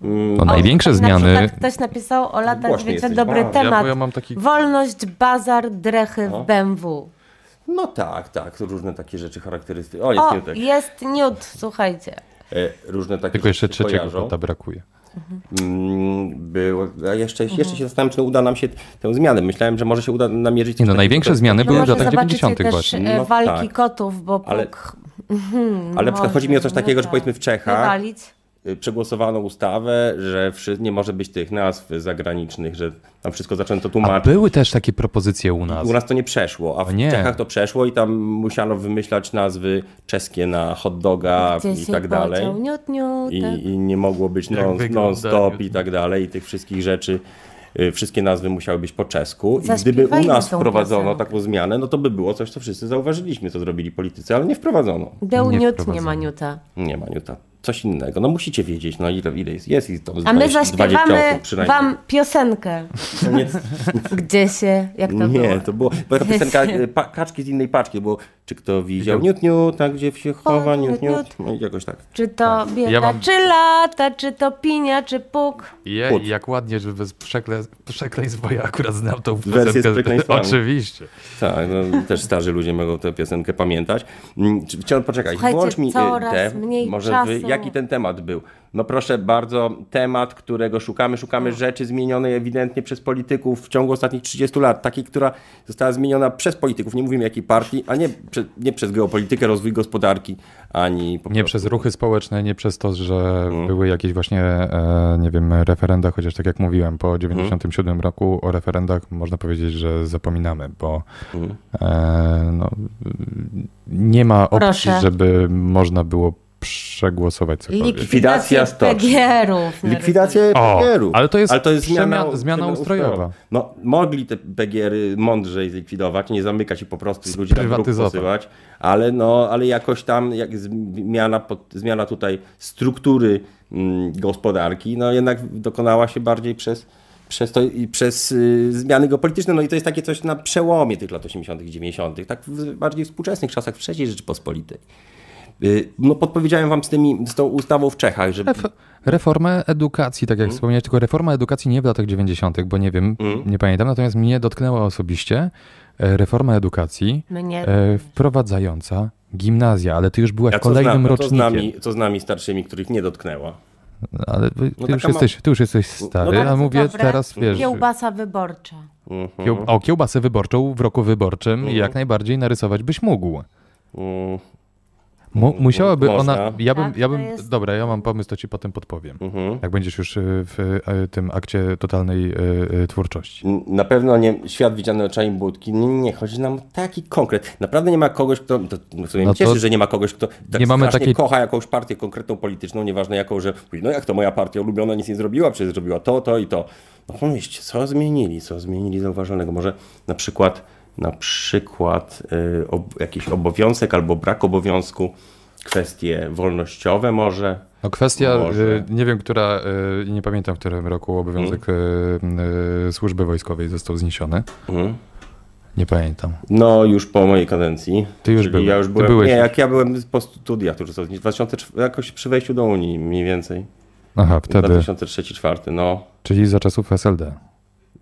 No, największe na zmiany. przykład ktoś napisał o latach Głośny 90. jesteś, Dobry bardzo. Ja, temat. bo ja mam taki. Wolność, bazar, drechy w BMW. No tak, tak, różne takie rzeczy charakterystyczne. O, jest O, Newtek. jest niut, słuchajcie. E, różne takie Tylko jeszcze rzeczy się trzeciego kojarzą. kota brakuje. Mm, Było, a jeszcze, Mhm. jeszcze się zastanawiam, czy uda nam się tę zmianę. Myślałem, że może się uda namierzyć... Nie no, coś największe takiego, zmiany No były w może latach zobaczycie 90. też właśnie. e, No walki tak. kotów, bo Ale- puk Ale na przykład chodzi mi o coś może, takiego, że no powiedzmy w Czechach wywalić. y, przegłosowano ustawę, że wszy- nie może być tych nazw zagranicznych, że tam wszystko zaczęto A tłumaczyć. były też takie propozycje u nas. U nas to nie przeszło, a w O nie. Czechach to przeszło i tam musiano wymyślać nazwy czeskie na hot doga Gdzie i się tak dalej. podział Niut, niut, i, tak. i nie mogło być non- wygląda- non-stop i tak dalej, i tych wszystkich rzeczy. y, Wszystkie nazwy musiały być po czesku. I gdyby u Zaśpiewajmy nas tą wprowadzono piosenkę. taką zmianę, no to by było coś, co wszyscy zauważyliśmy, co zrobili politycy, ale nie wprowadzono. Był Nie niut, nie wprowadzono. ma niuta. Nie ma Niuta. coś innego. No musicie wiedzieć, no ile, ile jest, jest i to A my 20 zaśpiewamy osób przynajmniej. wam piosenkę. To nie, Gdzie się, jak to nie, było? to było, była taka piosenka y, pa, kaczki z innej paczki, bo czy kto widział niut niut, tak gdzie się chowa niut niut, no i jakoś tak. Czy to bieda, Ja mam- czy lata, czy to pinia, czy puk? Je, Płód. jak ładnie, żeby bez przekle, przekleństw, bo ja akurat znam tą Wersję z piosenkę. przekleństwami. Oczywiście. Tak, no, też starzy ludzie mogą tę piosenkę pamiętać. Mm, czy- Chciałem poczekać, Słuchajcie, włącz mi y, coraz te, mniej może wy, czasu. jaki ten temat był? No proszę bardzo, temat, którego szukamy, szukamy rzeczy zmienionej ewidentnie przez polityków w ciągu ostatnich 30 lat, takiej, która została zmieniona przez polityków, nie mówimy jakiej partii, a nie, prze, nie przez geopolitykę, rozwój gospodarki, ani po Nie prostu- Mhm. przez ruchy społeczne, nie przez to, że były jakieś właśnie, e, nie wiem, referenda, chociaż tak jak mówiłem, Mhm. po 97 roku o referendach można powiedzieć, że zapominamy, bo Mhm. e, no, nie ma opcji, Proszę. żeby można było przegłosować cokolwiek. Likwidacja stoczni. PGR-ów. na Likwidację O, PGR-u. ale to jest przemian- zmiana ustrojowa. No, mogli te PGR-y mądrzej zlikwidować, nie zamykać i po prostu ludzi na bruk Sprywatyzować. posyłać, ale, no, ale jakoś tam jak zmiana, pod, zmiana tutaj struktury mm, gospodarki, no jednak dokonała się bardziej przez, przez, to, i przez y, zmiany geopolityczne. No i to jest takie coś na przełomie tych lat 80 i 90 tak w bardziej współczesnych czasach w III Rzeczypospolitej. Y, No podpowiedziałem wam z, tymi, z tą ustawą w Czechach, że Ref- Reformę edukacji, tak jak Mhm. wspomniałeś, tylko reforma edukacji nie w latach 90., bo nie wiem, nie pamiętam, natomiast mnie dotknęła osobiście e, reforma edukacji Mnie e, wprowadzająca gimnazja, ale ty już byłaś A co kolejnym zna- co z, rocznikiem. nami, co z nami starszymi, których nie dotknęła? Ale ty, No ty, już taka ma- No jesteś, ty już jesteś stary, bardzo a mówię dobre. teraz, wiesz, Kiełbasa wyborcza. kieł, o kiełbasę wyborczą w roku wyborczym Mhm. jak najbardziej narysować byś mógł. Mm, Mu, musiałaby Mhm. Można. ona, ja bym, Tak, ja to bym jest- dobra, ja mam pomysł, to ci potem podpowiem, mhm. jak będziesz już y, w y, tym akcie totalnej y, y, twórczości. Na pewno nie świat widziany oczami budki. Nie, nie, chodzi nam o taki konkret. Naprawdę nie ma kogoś, kto. To w sumie No mnie to cieszy, że nie ma kogoś, kto tak nie mamy strasznie takiej- kocha jakąś partię konkretną polityczną, nieważne jaką, że mówi, no jak to moja partia ulubiona nic nie zrobiła, przecież zrobiła to, to i to. No pomyślcie, co zmienili, co zmienili zauważalnego. Może na przykład na przykład y, ob, jakiś obowiązek albo brak obowiązku, kwestie wolnościowe może. No kwestia, Może. y, nie wiem, która, y, nie pamiętam w którym roku obowiązek y, y, służby wojskowej został zniesiony. Mhm. Nie pamiętam. No, już po mojej kadencji. Ty już Czyli byłeś. Ja już Ty byłem, byłeś nie, już. jak ja byłem po studiach, to już to 2004, jakoś przy wejściu do Unii mniej więcej. Aha, wtedy, 2003-2004, no. czyli za czasów SLD.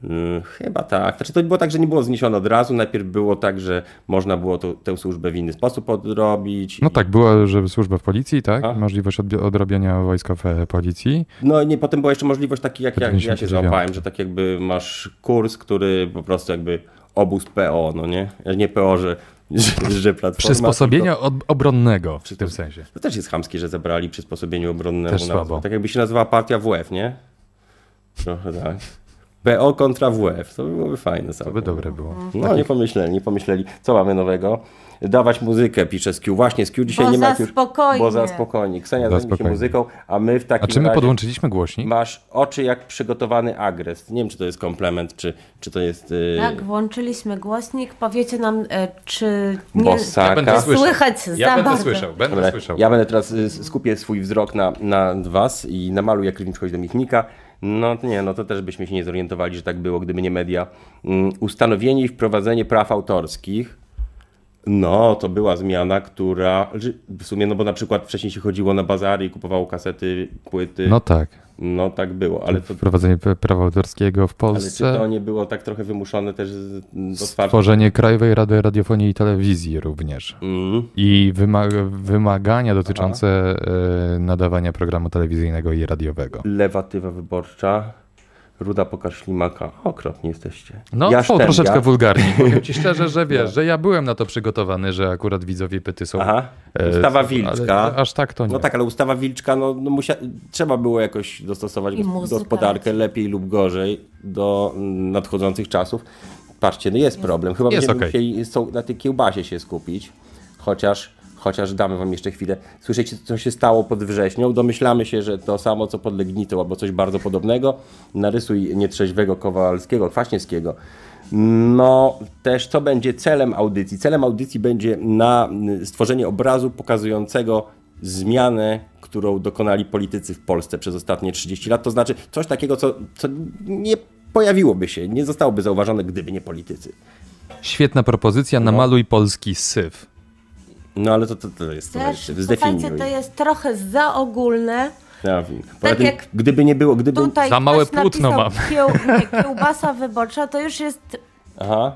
Mm, Chyba tak. Znaczy to było tak, że nie było zniesione od razu. Najpierw było tak, że można było to, tę służbę w inny sposób odrobić. No I- tak, była, że służba w policji, tak? A. Możliwość odbi- odrobienia wojska w e, policji. No i nie, potem była jeszcze możliwość taki, jak, jak ja się 99. złapałem, że tak jakby masz kurs, który po prostu jakby obóz PO, no nie? Nie PO, że, że, że platforma. tylko- Przysposobienia ob- obronnego w tym Przysposob- sensie. To też jest chamskie, że zabrali przysposobieniu obronnemu. Też nazwę. słabo. Tak jakby się nazywała partia WF, nie? Trochę tak. PO kontra WF. To by byłoby fajne. To by dobre było. No nie pomyśleli, nie pomyśleli. Co mamy nowego? Dawać muzykę, pisze Skiu. Właśnie, Skiu dzisiaj Bo nie ma... za jak już- spokojnie. Bo za spokojnie. Ksenia Za zajmie się spokojnie. muzyką, a my w takim A czy my razie podłączyliśmy głośnik? masz oczy jak przygotowany agres. Nie wiem, czy to jest komplement, czy, czy to jest... E. Yy... Tak, włączyliśmy głośnik. Powiecie nam, e, czy nie Bosaka. słychać za bardzo. będę Dobra, Ja będę teraz y, skupię swój wzrok na, na was i namaluję krywicz do Michnika. No to nie, no to też byśmy się nie zorientowali, że tak było, gdyby nie media. Mm, Ustanowienie i wprowadzenie praw autorskich. No, to była zmiana, która że w sumie, no bo na przykład wcześniej się chodziło na bazary i kupowało kasety, płyty. No No, tak. tak było, ale to, Wprowadzenie p- prawa autorskiego w ale czy to Polsce. nie było tak trochę wymuszone też z, z otwartym? Stworzenie Krajowej Rady Radiofonii i Telewizji również. Mm, I wyma- wymagania dotyczące e, nadawania programu telewizyjnego i radiowego. lewatywa wyborcza. Ruda pokaż ślimaka. Okropni jesteście. No, Ja o, Sztęga. troszeczkę wulgarnie. Powiem ci szczerze, że wiesz, że ja byłem na to przygotowany, że akurat widzowie pyty są. Aha. e, Ustawa ale Wilczka. Aż tak to nie. No tak, ale ustawa Wilczka, no, no musia... trzeba było jakoś dostosować I gos- muzyka. gospodarkę lepiej lub gorzej do mm, nadchodzących czasów. Patrzcie, no jest problem. Chyba Jest będziemy okej. musieli są- na tej kiełbasie się skupić, chociaż, chociaż damy wam jeszcze chwilę. Słyszycie, co się stało pod wrześnią? Domyślamy się, że to samo, co pod Legnicą, albo coś bardzo podobnego. Narysuj nietrzeźwego Kowalskiego, Kwaśniewskiego. No, też co będzie celem audycji? Celem audycji będzie na stworzenie obrazu y, pokazującego zmianę, którą dokonali politycy w Polsce przez ostatnie 30 lat. To znaczy coś takiego, co, co nie pojawiłoby się, nie zostałoby zauważone, gdyby nie politycy. Świetna propozycja, namaluj polski syf. No ale to, to, to jest Też, zdefiniuj. słuchajcie, to jest trochę za ogólne. Ja wiem. Poza Tak tym, jak gdyby nie było, gdyby... Tutaj No, Za małe ktoś płótno napisał Kieł, nie, kiełbasa wyborcza to już jest... Aha.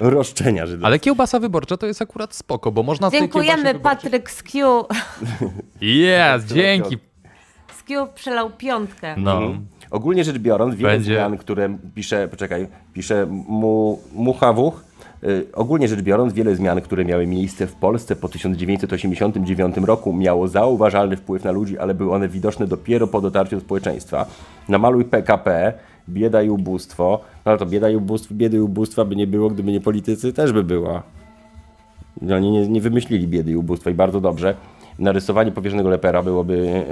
Roszczenia tak Żydowskie. Ale kiełbasa wyborcza to jest akurat spoko, bo można... w tej Dziękujemy kiełbasie wyborczej- Patryk z Q. Yes, dzięki. Z Q przelał piątkę. No. Ogólnie rzecz biorąc, wiele Będzie. zmian, które pisze, poczekaj, pisze mu, Muchawuch, y, ogólnie rzecz biorąc, wiele zmian, które miały miejsce w Polsce po 1989 roku, miało zauważalny wpływ na ludzi, ale były one widoczne dopiero po dotarciu społeczeństwa. Namaluj PKP, bieda i ubóstwo, no ale to bieda i ubóstwo, biedy i ubóstwa by nie było, gdyby nie politycy, też by była. No, Oni nie, nie wymyślili biedy i ubóstwa i bardzo dobrze. Narysowanie powierzonego lepera byłoby,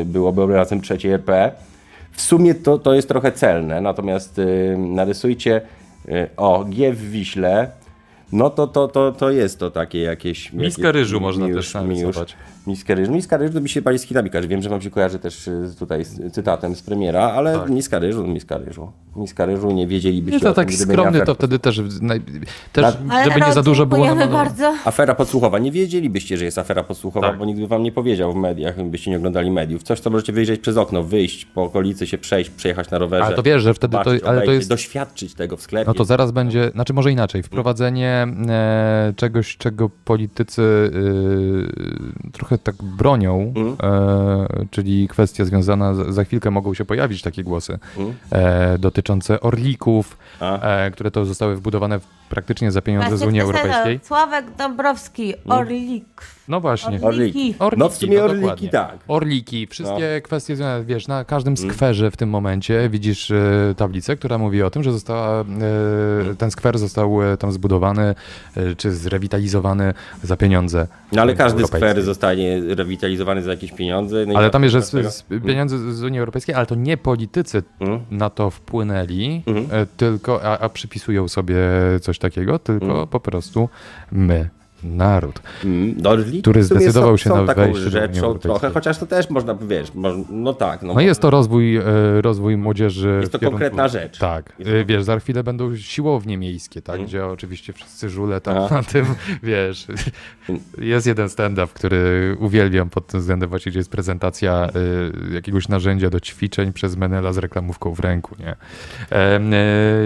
e, byłoby obrazem trzeciej RP. W sumie to, to jest trochę celne, natomiast e, narysujcie e, o G w Wiśle, no to, to, to, to jest to takie jakieś... Miskę jakieś- ryżu można mi też narysować. Miskę ryżu. Miska ryżu to mi się pali z Chinami kojarzy. Wiem, że wam się kojarzy też e, z- tutaj z cytatem z premiera, ale miska ryżu, miska ryżu. Miska ryżu nie wiedzielibyście Tak. Nie, o to tym, taki gdyby nie skromny, afera to wtedy też, naj... też Ale żeby nie za dużo było dziękujemy namalowane. bardzo. Afera podsłuchowa. Nie wiedzielibyście, że jest afera podsłuchowa, Tak. bo nikt by wam nie powiedział w mediach, byście nie oglądali mediów. Coś, co możecie wyjrzeć przez okno, wyjść po okolicy, się przejść, przejechać na rowerze. Ale to wiesz, że wtedy to- zobaczyć, ale to obejrzeć, jest- Doświadczyć tego w sklepie. No to zaraz będzie, znaczy może inaczej, wprowadzenie e, czegoś, czego politycy e, trochę tak bronią, e, czyli kwestia związana, z, za chwilkę mogą się pojawić takie głosy e, dotyczące orlików, A. e, które to zostały wbudowane w, praktycznie za pieniądze z Właśnie Unii ktoś napisał, Europejskiej. Sławek Dąbrowski, Orlik. No właśnie. Orliki. Orliki. No w sumie orliki, dokładnie. tak. No. Mhm. Orliki, wszystkie kwestie związane, wiesz, na każdym skwerze w tym momencie widzisz e, tablicę, która mówi o tym, że została, e, Mhm. ten skwer został e, tam zbudowany e, czy zrewitalizowany za pieniądze. No ale każdy europejskie. skwer zostanie rewitalizowany za jakieś pieniądze. No i Ale tam jest, że dlatego- z, z pieniądze z Unii Europejskiej, ale to nie politycy Mhm. na to wpłynęli, e, tylko, a, a przypisują sobie coś takiego, tylko Mhm. po prostu my, naród. Mm, do orlików Który w sumie zdecydował się są, na są taką wejście do Unii rzeczą Europejskiej. trochę, chociaż to też można, wiesz, moż- no tak. No, No jest to rozwój, e, rozwój młodzieży. Jest to w kierunku- konkretna rzecz. Tak. Jest Mhm. E, Wiesz, za chwilę będą siłownie miejskie, tak? Gdzie oczywiście wszyscy żule tam Aha. na tym, wiesz. Jest jeden stand-up, który uwielbiam pod tym względem właśnie, gdzie jest prezentacja e, jakiegoś narzędzia do ćwiczeń przez Menela z reklamówką w ręku, nie? E,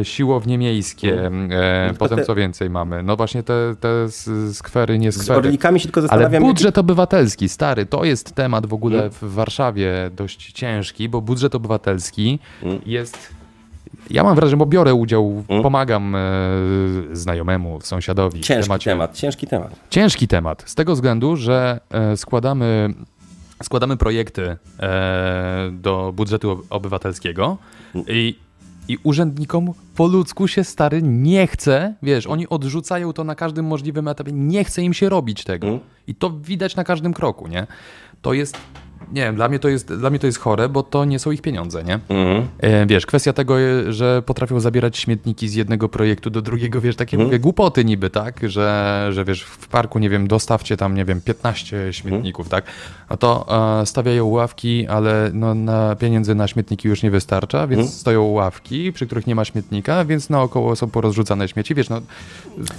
e, Siłownie miejskie, e, potem Mhm. te- co więcej mamy? No właśnie te, te s- skwery, nie Z skwery. orlikami się Mm. tylko Ale zastanawiam, jaki budżet obywatelski, stary, to jest temat w ogóle w Warszawie dość ciężki, bo budżet obywatelski Mm. jest. Ja mam wrażenie, bo biorę udział, pomagam e, znajomemu, sąsiadowi. w ciężki temacie. temat, ciężki temat. Ciężki temat. Z tego względu, że e, składamy, składamy projekty e, do budżetu ob- obywatelskiego i, i urzędnikom po ludzku się stary nie chce, wiesz, oni odrzucają to na każdym możliwym etapie, nie chce im się robić tego. I to widać na każdym kroku, nie? To jest, nie wiem, dla mnie to jest, dla mnie to jest chore, bo to nie są ich pieniądze, nie? Mhm. E, Wiesz, kwestia tego, e, że potrafią zabierać śmietniki z jednego projektu do drugiego, wiesz, takie mówię, głupoty niby, tak? Że, że wiesz, w parku, nie wiem, dostawcie tam, nie wiem, 15 śmietników, tak? A to e, stawiają ławki, ale no, na pieniędzy na śmietniki już nie wystarcza, więc stoją ławki, przy których nie ma śmietnika, więc naokoło są porozrzucane śmieci, wiesz, no.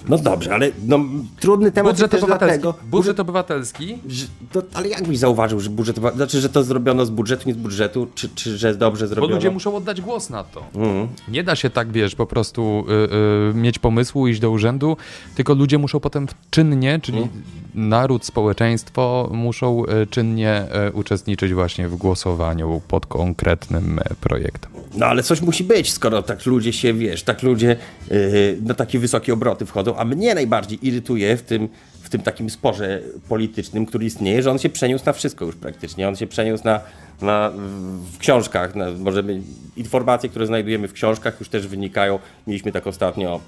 No dobrze, ale no, trudny temat Budżet jest też obywatelski, dlatego, budżet obywatelski że, to, ale jak byś zauważył, że budżet, obywa- znaczy, że to zrobiono z budżetu, nie z budżetu, czy, czy że dobrze Bo zrobiono? ludzie muszą oddać głos na to. Mhm. Nie da się tak, wiesz, po prostu y, y, mieć pomysłu, iść do urzędu, tylko ludzie muszą potem czynnie, czyli Mhm. naród, społeczeństwo muszą y, czynnie y, uczestniczyć właśnie w głosowaniu pod konkretnym e, projektem. No ale coś musi być, skoro tak ludzie się, wiesz, tak ludzie yy, na takie wysokie obroty wchodzą, a mnie najbardziej irytuje w tym, w tym takim sporze politycznym, który istnieje, że on się przeniósł na wszystko już praktycznie. On się przeniósł na, na, w- w książkach. Na, możemy, informacje, które znajdujemy w książkach już też wynikają. Mieliśmy tak ostatnio,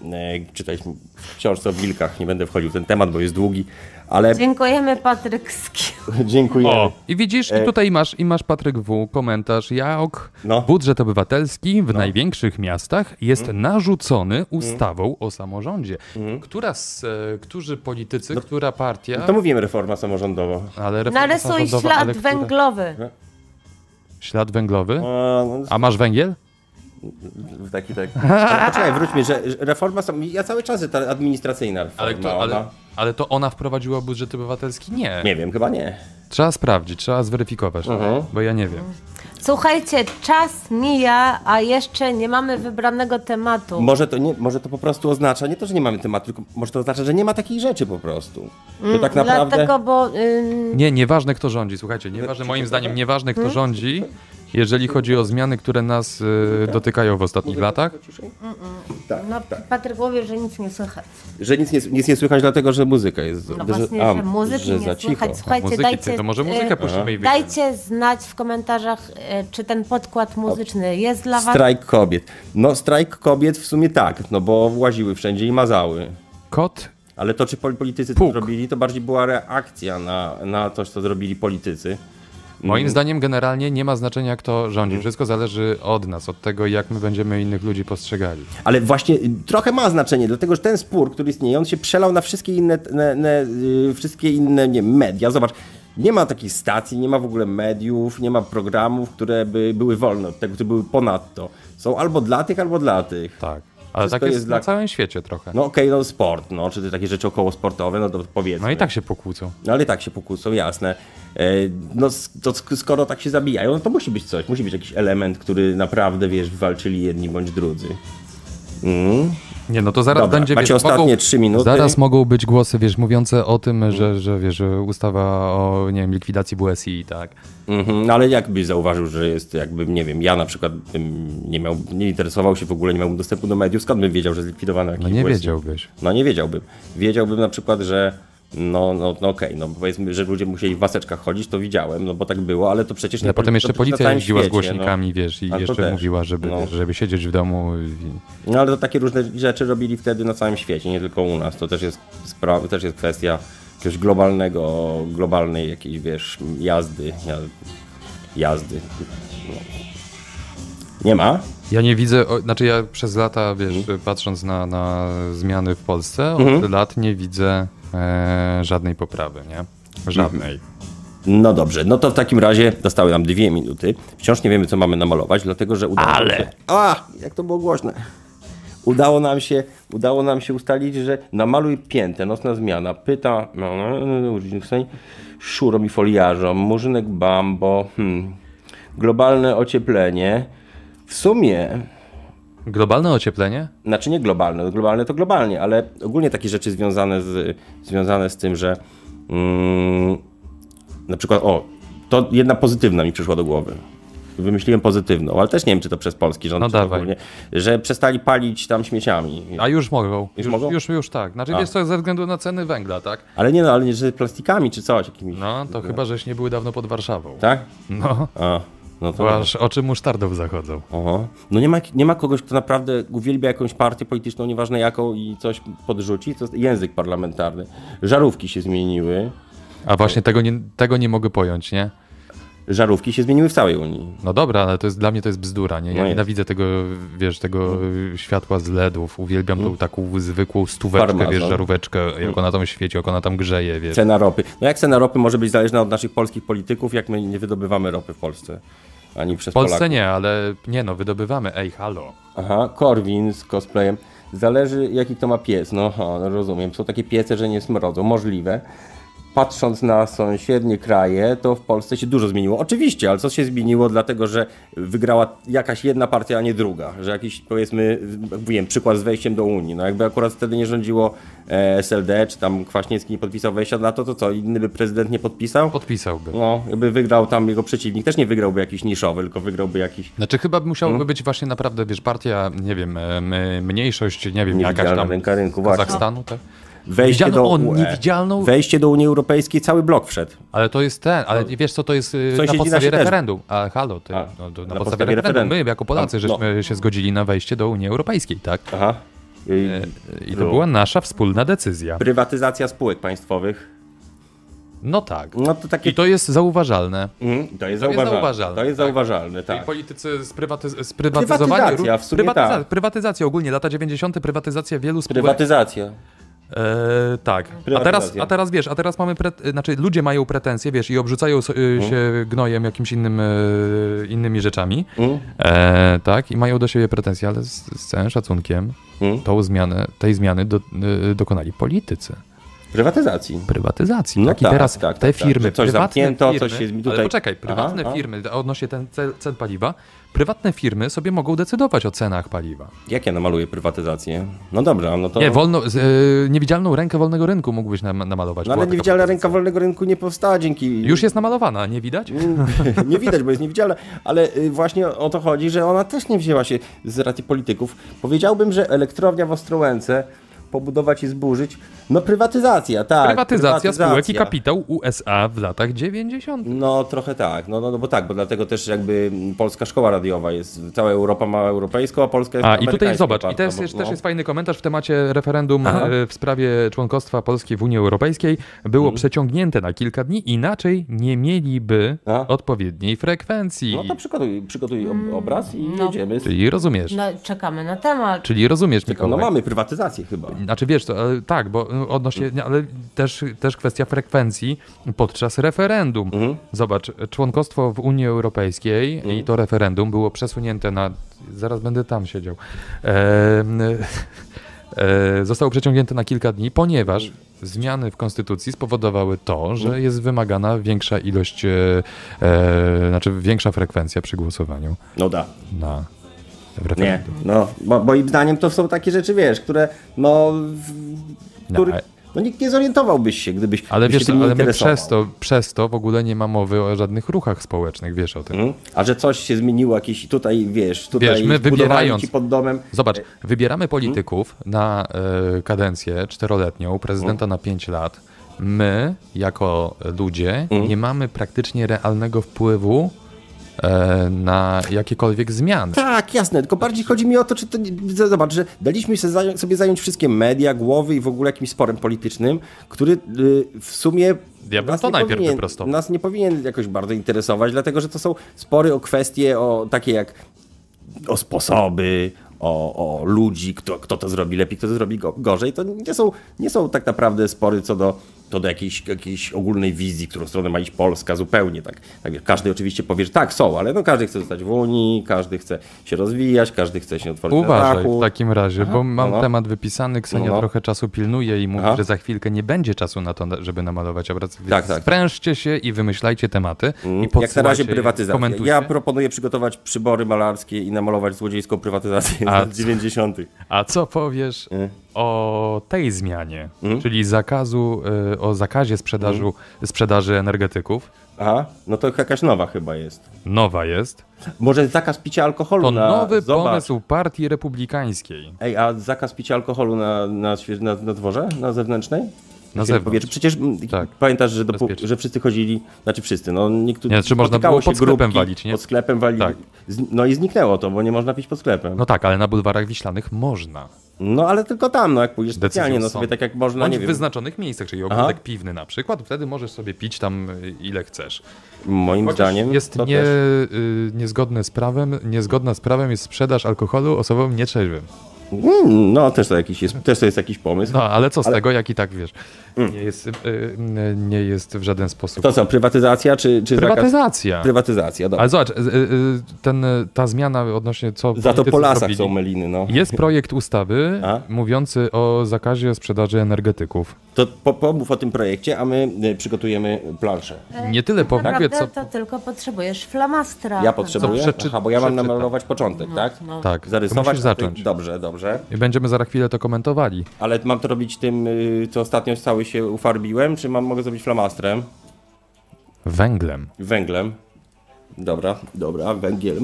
e, czytaliśmy w książce o wilkach, nie będę wchodził w ten temat, bo jest długi, ale Dziękujemy Patrykski. dziękuję. I widzisz, i tutaj masz, i masz Patryk W. komentarz, jak E- No. Mhm. budżet obywatelski w największych miastach jest narzucony ustawą o samorządzie. Która z, e, którzy politycy, która partia, No To mówiłem reforma samorządowa. ale reforma Narysuj samorządowa, ale ślad która- węglowy. Ślad węglowy? A, no, A masz węgiel? taki tak. Ale Poczekaj, wróćmy, że że reforma sam... Ja cały czas ta administracyjna reforma. Ale, kto, ale, ona- ale to ona wprowadziła budżet obywatelski? Nie. No, Nie wiem, chyba nie. Trzeba sprawdzić, trzeba zweryfikować, bo ja nie wiem. Słuchajcie, czas mija, a jeszcze nie mamy wybranego tematu. Może to, nie, może to po prostu oznacza, nie to, że nie mamy tematu, tylko może to oznacza, że nie ma takich rzeczy po prostu. To tak naprawdę... Mm, Dlatego, bo ym, Nie, nieważne kto rządzi, słuchajcie, nieważne, moim zdaniem nieważne kto rządzi, jeżeli chodzi o zmiany, które nas y, dotykają w ostatnich latach. Tak, no, tak. Patryk mówi, że nic nie słychać. Że nic nie, nic nie słychać, dlatego że muzyka jest... No że, właśnie, a, że muzyki że za nie cicho. słychać. Słuchajcie, Muzyki, dajcie... ty, to może y, muzykę puścimy i wyjdziemy. Dajcie znać w komentarzach, y, czy ten podkład muzyczny jest dla was. Strajk kobiet. No strajk kobiet w sumie tak, no bo łaziły wszędzie i mazały. Kot, Ale to, czy pol- politycy Puk. to zrobili, to bardziej była reakcja na, na coś, co zrobili politycy. moim zdaniem generalnie nie ma znaczenia kto rządzi, wszystko zależy od nas, od tego jak my będziemy innych ludzi postrzegali. Ale właśnie y, trochę ma znaczenie, dlatego że ten spór, który istnieje, on się przelał na wszystkie inne, t- ne, ne, y, wszystkie inne nie, media. Zobacz, nie ma takich stacji, nie ma w ogóle mediów, nie ma programów, które by były wolne od tego, które były ponadto. Są albo dla tych, albo dla tych. Tak. Ale tak Wszystko jest, jest na dla- całym świecie trochę. No, No okej, no sport, no, czy te takie rzeczy okołosportowe, no to powiedzmy. i tak się pokłócą. No ale tak się pokłócą, jasne. E, No s- to sk- skoro tak się zabijają, no to musi być coś, musi być jakiś element, który naprawdę, wiesz, walczyli jedni bądź drudzy. Nie, no to zaraz Dobra, będzie... macie wiesz, ostatnie mogą- trzy minuty. Zaraz mogą być głosy, wiesz, mówiące o tym, że, że wiesz, że ustawa o, nie wiem, likwidacji WSI i tak. Mhm, no ale jak byś zauważył, że jest jakby, nie wiem, ja na przykład bym nie miał, nie interesował się w ogóle, nie miałbym dostępu do mediów, skąd bym wiedział, że zlikwidowano jakiś No nie błysny? wiedziałbyś. No nie wiedziałbym. Wiedziałbym na przykład, że no, no, no okej, no powiedzmy, że ludzie musieli w maseczkach chodzić, to widziałem, no bo tak było, ale to przecież... Ale nie potem to jeszcze przecież na policja całym jeździła z świecie, no. głośnikami, wiesz, i A to jeszcze też. mówiła, żeby, No. żeby siedzieć w domu. i- No ale to takie różne rzeczy robili wtedy na całym świecie, nie tylko u nas. To też jest, spra- też jest kwestia jakiegoś globalnego, globalnej jakiejś, wiesz, jazdy. Ja- Jazdy. No. Nie ma? Ja nie widzę, o, znaczy ja przez lata, wiesz, Mhm. patrząc na, na zmiany w Polsce, od lat nie widzę e, żadnej poprawy, nie? Żadnej. No dobrze, no to w takim razie dostały nam dwie minuty. Wciąż nie wiemy, co mamy namalować, dlatego że udało Ale. się... A, jak to było głośne. Udało nam się, udało nam się ustalić, że namaluj piętę, nocna zmiana, pyta, no, no, no, no, szurom i foliarzom, murzynek bambo, hmm, globalne ocieplenie. W sumie Mhm. Globalne ocieplenie? znaczy nie globalne, no globalne to globalnie, ale ogólnie takie rzeczy związane z, związane z tym, że mm, na przykład, o, to jedna pozytywna mi przyszła do głowy. Wymyśliłem pozytywną, ale też nie wiem, czy to przez polski rząd, No czy to dawaj. ogólnie, że przestali palić tam śmieciami. A już mogą. Już mogą? Już, już tak. Znaczy A. wiesz co, ze względu na ceny węgla, tak? Ale nie no, ale nie, że plastikami czy coś jakimiś. No, to chyba, żeś nie były dawno pod Warszawą. Tak? No, A, no to... to aż oczy musztardów zachodzą. Oho. No nie ma, nie ma kogoś, kto naprawdę uwielbia jakąś partię polityczną, nieważne jaką, i coś podrzuci. To jest język parlamentarny. Żarówki się zmieniły. A właśnie tego nie, tego nie mogę pojąć, nie? Żarówki się zmieniły w całej Unii. No dobra, ale to jest, dla mnie to jest bzdura, nie? Ja No jest. No. nienawidzę tego, wiesz, tego y, światła z LEDów. Uwielbiam tą taką zwykłą stóweczkę, Farmazon. No. wiesz, żaróweczkę, jak ona tam świeci, jak ona tam grzeje, wiesz. Cena ropy. No jak cena ropy może być zależna od naszych polskich polityków, jak my nie wydobywamy ropy w Polsce? Ani przez W Polsce Polaków. nie, ale nie no, wydobywamy. Ej, halo. Aha, Korwin z cosplayem. Zależy jaki to ma pies. No aha, no rozumiem. Są takie piece, że nie smrodzą. Możliwe. Patrząc na sąsiednie kraje, to w Polsce się dużo zmieniło. Oczywiście, ale co się zmieniło? Dlatego, że wygrała jakaś jedna partia, a nie druga. Że jakiś, powiedzmy, jak wiem, przykład z wejściem do Unii. No jakby akurat wtedy nie rządziło e, SLD, czy tam Kwaśniewski nie podpisał wejścia na to, to co? Inny by prezydent nie podpisał? Podpisałby. No, jakby wygrał tam jego przeciwnik, też nie wygrałby jakiś niszowy, tylko wygrałby jakiś Znaczy chyba musiałoby No. być właśnie naprawdę, wiesz, partia, nie wiem, e, m- mniejszość, nie wiem, jakaś niewidzialny tam ręka rynku. z Właśnie. Kazachstanu, tak? Wejście Widziano do, on, UE, niewidzialną- wejście do Unii Europejskiej, cały blok wszedł. Ale to jest ten, No. ale wiesz co to jest y, na Sąsiedzi podstawie nasi też. referendum. A halo, ty, A, no, to na, podstawie, referendum. My jako Polacy A, no. żeśmy się zgodzili na wejście do Unii Europejskiej, tak? Aha. I I to była nasza wspólna decyzja. Prywatyzacja spółek państwowych. No tak. No to takie... I to jest zauważalne. Mm, to jest zauważalne. zauważalne, To jest tak. zauważalne, Czyli tak. politycy sprywaty- sprywatyzowali... Prywatyzacja, w sumie tak. Prywatyzacja ogólnie, lata 90. prywatyzacja wielu spółek. Prywatyzacja. E, tak. A teraz, Prywatyzacja. a teraz wiesz, a teraz mamy, pre... znaczy ludzie mają pretensje, wiesz, i obrzucają so, y, Mhm. się gnojem jakimś innym, y, innymi rzeczami, Mhm. e, tak, i mają do siebie pretensje, ale z, z całym szacunkiem Mm. tą zmianę, tej zmiany do, y, dokonali politycy Prywatyzacji. prywatyzacji. No tak, tak, I teraz tak, te tak, tak. firmy, Że coś prywatne zamknięto, firmy, coś się tutaj- ale poczekaj, Aha, prywatne a. firmy odnośnie ten cel, cen paliwa, prywatne firmy sobie mogą decydować o cenach paliwa. Jak ja namaluję prywatyzację? No dobra, no to... Nie, wolno, z, e, niewidzialną rękę wolnego rynku mógłbyś nam, namalować. no Była ale taka niewidzialna propozycja. ręka wolnego rynku nie powstała dzięki... Już jest namalowana, nie widać? Mm, nie widać, bo jest niewidzialna, ale y, właśnie o to chodzi, że ona też nie wzięła się z racji polityków. Powiedziałbym, że elektrownia w Ostrołęce pobudować i zburzyć, no prywatyzacja, tak. Prywatyzacja spółek i prywatyzacja. kapitał USA w latach 90. No trochę tak, no, no, no bo tak, bo dlatego też jakby mm, polska szkoła radiowa jest, cała Europa ma europejską, a Polska jest A i tutaj amerykańską zobacz, i bardzo, też, bo- jest, no. też jest fajny komentarz w temacie referendum e, w sprawie członkostwa Polski w Unii Europejskiej. Było przeciągnięte na kilka dni, inaczej nie mieliby A? odpowiedniej frekwencji. No to przygotuj, przygotuj ob- obraz i jedziemy. Z... Czyli rozumiesz. No, czekamy na temat. Czyli rozumiesz, Mikołaj. No mamy prywatyzację chyba. Znaczy wiesz, to, ale tak, bo y, odnośnie, nie, ale też, też kwestia frekwencji podczas referendum. Zobacz, członkostwo w Unii Europejskiej i to referendum było przesunięte na. Zaraz będę tam siedział. Em, e, zostało przeciągnięte na kilka dni, ponieważ zmiany w konstytucji spowodowały to, że jest wymagana większa ilość, e, e, znaczy większa frekwencja przy głosowaniu No da. na w Nie, referendum. no, bo, moim zdaniem to są takie rzeczy, wiesz, które, no, w, który, ale- no nikt nie zorientowałbyś się, gdybyś Ale byś wiesz, się tym nie ale my interesował. przez to, przez to w ogóle nie ma mowy o żadnych ruchach społecznych, wiesz o tym. Mm? A że coś się zmieniło, jakieś tutaj, wiesz, tutaj Wiesz, my zbudowali wybierając- ci pod domem. Zobacz, wybieramy mhm. polityków na e, kadencję czteroletnią, prezydenta Mhm. na pięć lat. My, jako ludzie, Mhm. nie mamy praktycznie realnego wpływu e, na jakiekolwiek zmiany. Tak, jasne, tylko bardziej chodzi mi o to, czy to, nie- z- zobacz, że daliśmy się zająć- sobie zająć wszystkie media, głowy i w ogóle jakimś sporem politycznym, który y, w sumie Ja bym nas to nie najpierw powinien, wyprostował. Nas nie powinien jakoś bardzo interesować, dlatego że to są spory o kwestie o takie jak o sposoby, o, o ludzi, kto, kto to zrobi lepiej, kto to zrobi go, gorzej. To nie są, nie są tak naprawdę spory co do, co do jakiejś, jakiejś ogólnej wizji, którą stronę ma iść Polska zupełnie. Tak, tak, wiesz, każdy oczywiście powie, że tak są, ale no każdy chce zostać w Unii, każdy chce się rozwijać, każdy chce się otworzyć na Uważaj tak zachód. w takim razie, bo mam no. temat wypisany, Ksenia No, no. trochę czasu pilnuje i mówi, Aha. że za chwilkę nie będzie czasu na to, żeby namalować obraz. Więc Tak, tak. Sprężcie się i wymyślajcie tematy Jak i na razie podsyłajcie je, prywatyzacja. komentujcie. Ja proponuję przygotować przybory malarskie i namalować złodziejską prywatyzację z A lat co? 90. A co powiesz E? o tej zmianie, Mm? czyli zakazu, y, o zakazie sprzedaży, sprzedaży energetyków? Aha, no to jakaś nowa chyba jest. Nowa jest. Może zakaz picia alkoholu To na... nowy Zobacz. pomysł partii republikańskiej. Ej, a zakaz picia alkoholu na, na, świe- na, na dworze, na zewnętrznej? Na świeżym zewnątrz. powietrzu? Przecież mm, Tak. pamiętasz, że, dopó- Bezpiecznie. że wszyscy chodzili, znaczy wszyscy, no nikt tu Nie, czy można spotykało było się pod sklepem grupki, walić, nie? Pod sklepem walić. Tak. Z- No i zniknęło to, bo nie można pić pod sklepem. No No, tak, ale na bulwarach wiślanych można. ale tylko tam, no jak pójdziesz Decyzją specjalnie, no sądu. sobie tak jak można, Bądź nie w wiem. wyznaczonych miejscach, czyli ogródek piwny na przykład, wtedy możesz sobie pić tam y, ile chcesz. Moim zdaniem Jest Mm, to nie, też... y, niezgodne z prawem, niezgodna z prawem jest sprzedaż alkoholu osobom nietrzeźwym. Mm, no też to, jakiś jest, też to jest jakiś pomysł. No, ale co z tego, jak i tak wiesz, nie, jest, y, y, nie jest w żaden sposób. Mm. To co, prywatyzacja czy, czy zakaz? Prywatyzacja. Prywatyzacja, dobra. Ale zobacz, y, y, y, ten, y, ta zmiana odnośnie co. Za to politycy po lasach zrobili. są meliny, no. Jest projekt ustawy A? mówiący o zakazie sprzedaży energetyków. To po, pomów o tym projekcie, a my y, przygotujemy planszę. Nie tyle po nagle, tak Naprawdę co. to tylko potrzebujesz flamastra. Ja potrzebuję? przeczy- Aha, bo ja mam przeczytam. namalować początek, tak? No, Tak, Zarysować? to musisz a ty- zacząć. Dobrze, dobrze. I będziemy za chwilę to komentowali. Ale mam to robić tym, y, co ostatnio cały się ufarbiłem, czy mam, mogę zrobić flamastrem? Węglem. Węglem. Dobra, dobra, węgiel.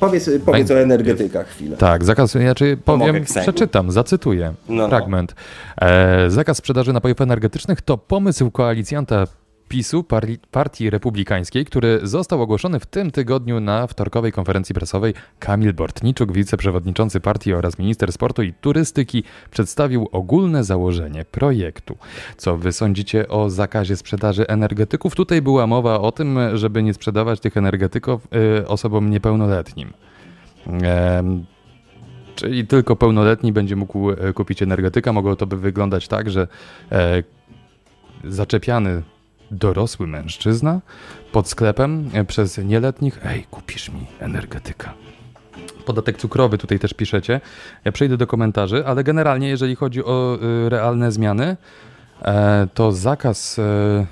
Powiedz, y, powiedz o energetykach chwilę. Tak, zakaz, ja czy powiem, w sensie. przeczytam, zacytuję No, no. fragment. E, zakaz sprzedaży napojów energetycznych to pomysł koalicjanta PiSu, Parli- Partii Republikańskiej, który został ogłoszony w tym tygodniu na wtorkowej konferencji prasowej. Kamil Bortniczuk, wiceprzewodniczący partii oraz minister sportu i turystyki, przedstawił ogólne założenie projektu. Co wy sądzicie o zakazie sprzedaży energetyków? Tutaj była mowa o tym, żeby nie sprzedawać tych energetyków y, osobom niepełnoletnim. E, Em, Czyli tylko pełnoletni będzie mógł e, kupić energetyka. Mogło to by wyglądać tak, że e, zaczepiany dorosły mężczyzna pod sklepem e, przez nieletnich, ej, kupisz mi energetyka. Podatek cukrowy tutaj też piszecie. Ja przejdę do komentarzy, ale generalnie jeżeli chodzi o y, realne zmiany, e, to zakaz e,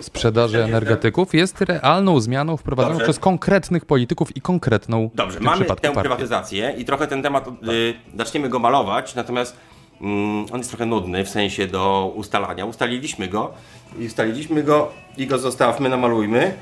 sprzedaży energetyków jest realną zmianą wprowadzoną Dobrze. przez konkretnych polityków i konkretną w Dobrze, tym mamy tę przypadku Tak. partię. prywatyzację i trochę ten temat y, zaczniemy go malować, natomiast mm, on jest trochę nudny w sensie do ustalania. Ustaliliśmy go i ustaliliśmy go i go zostawmy, namalujmy.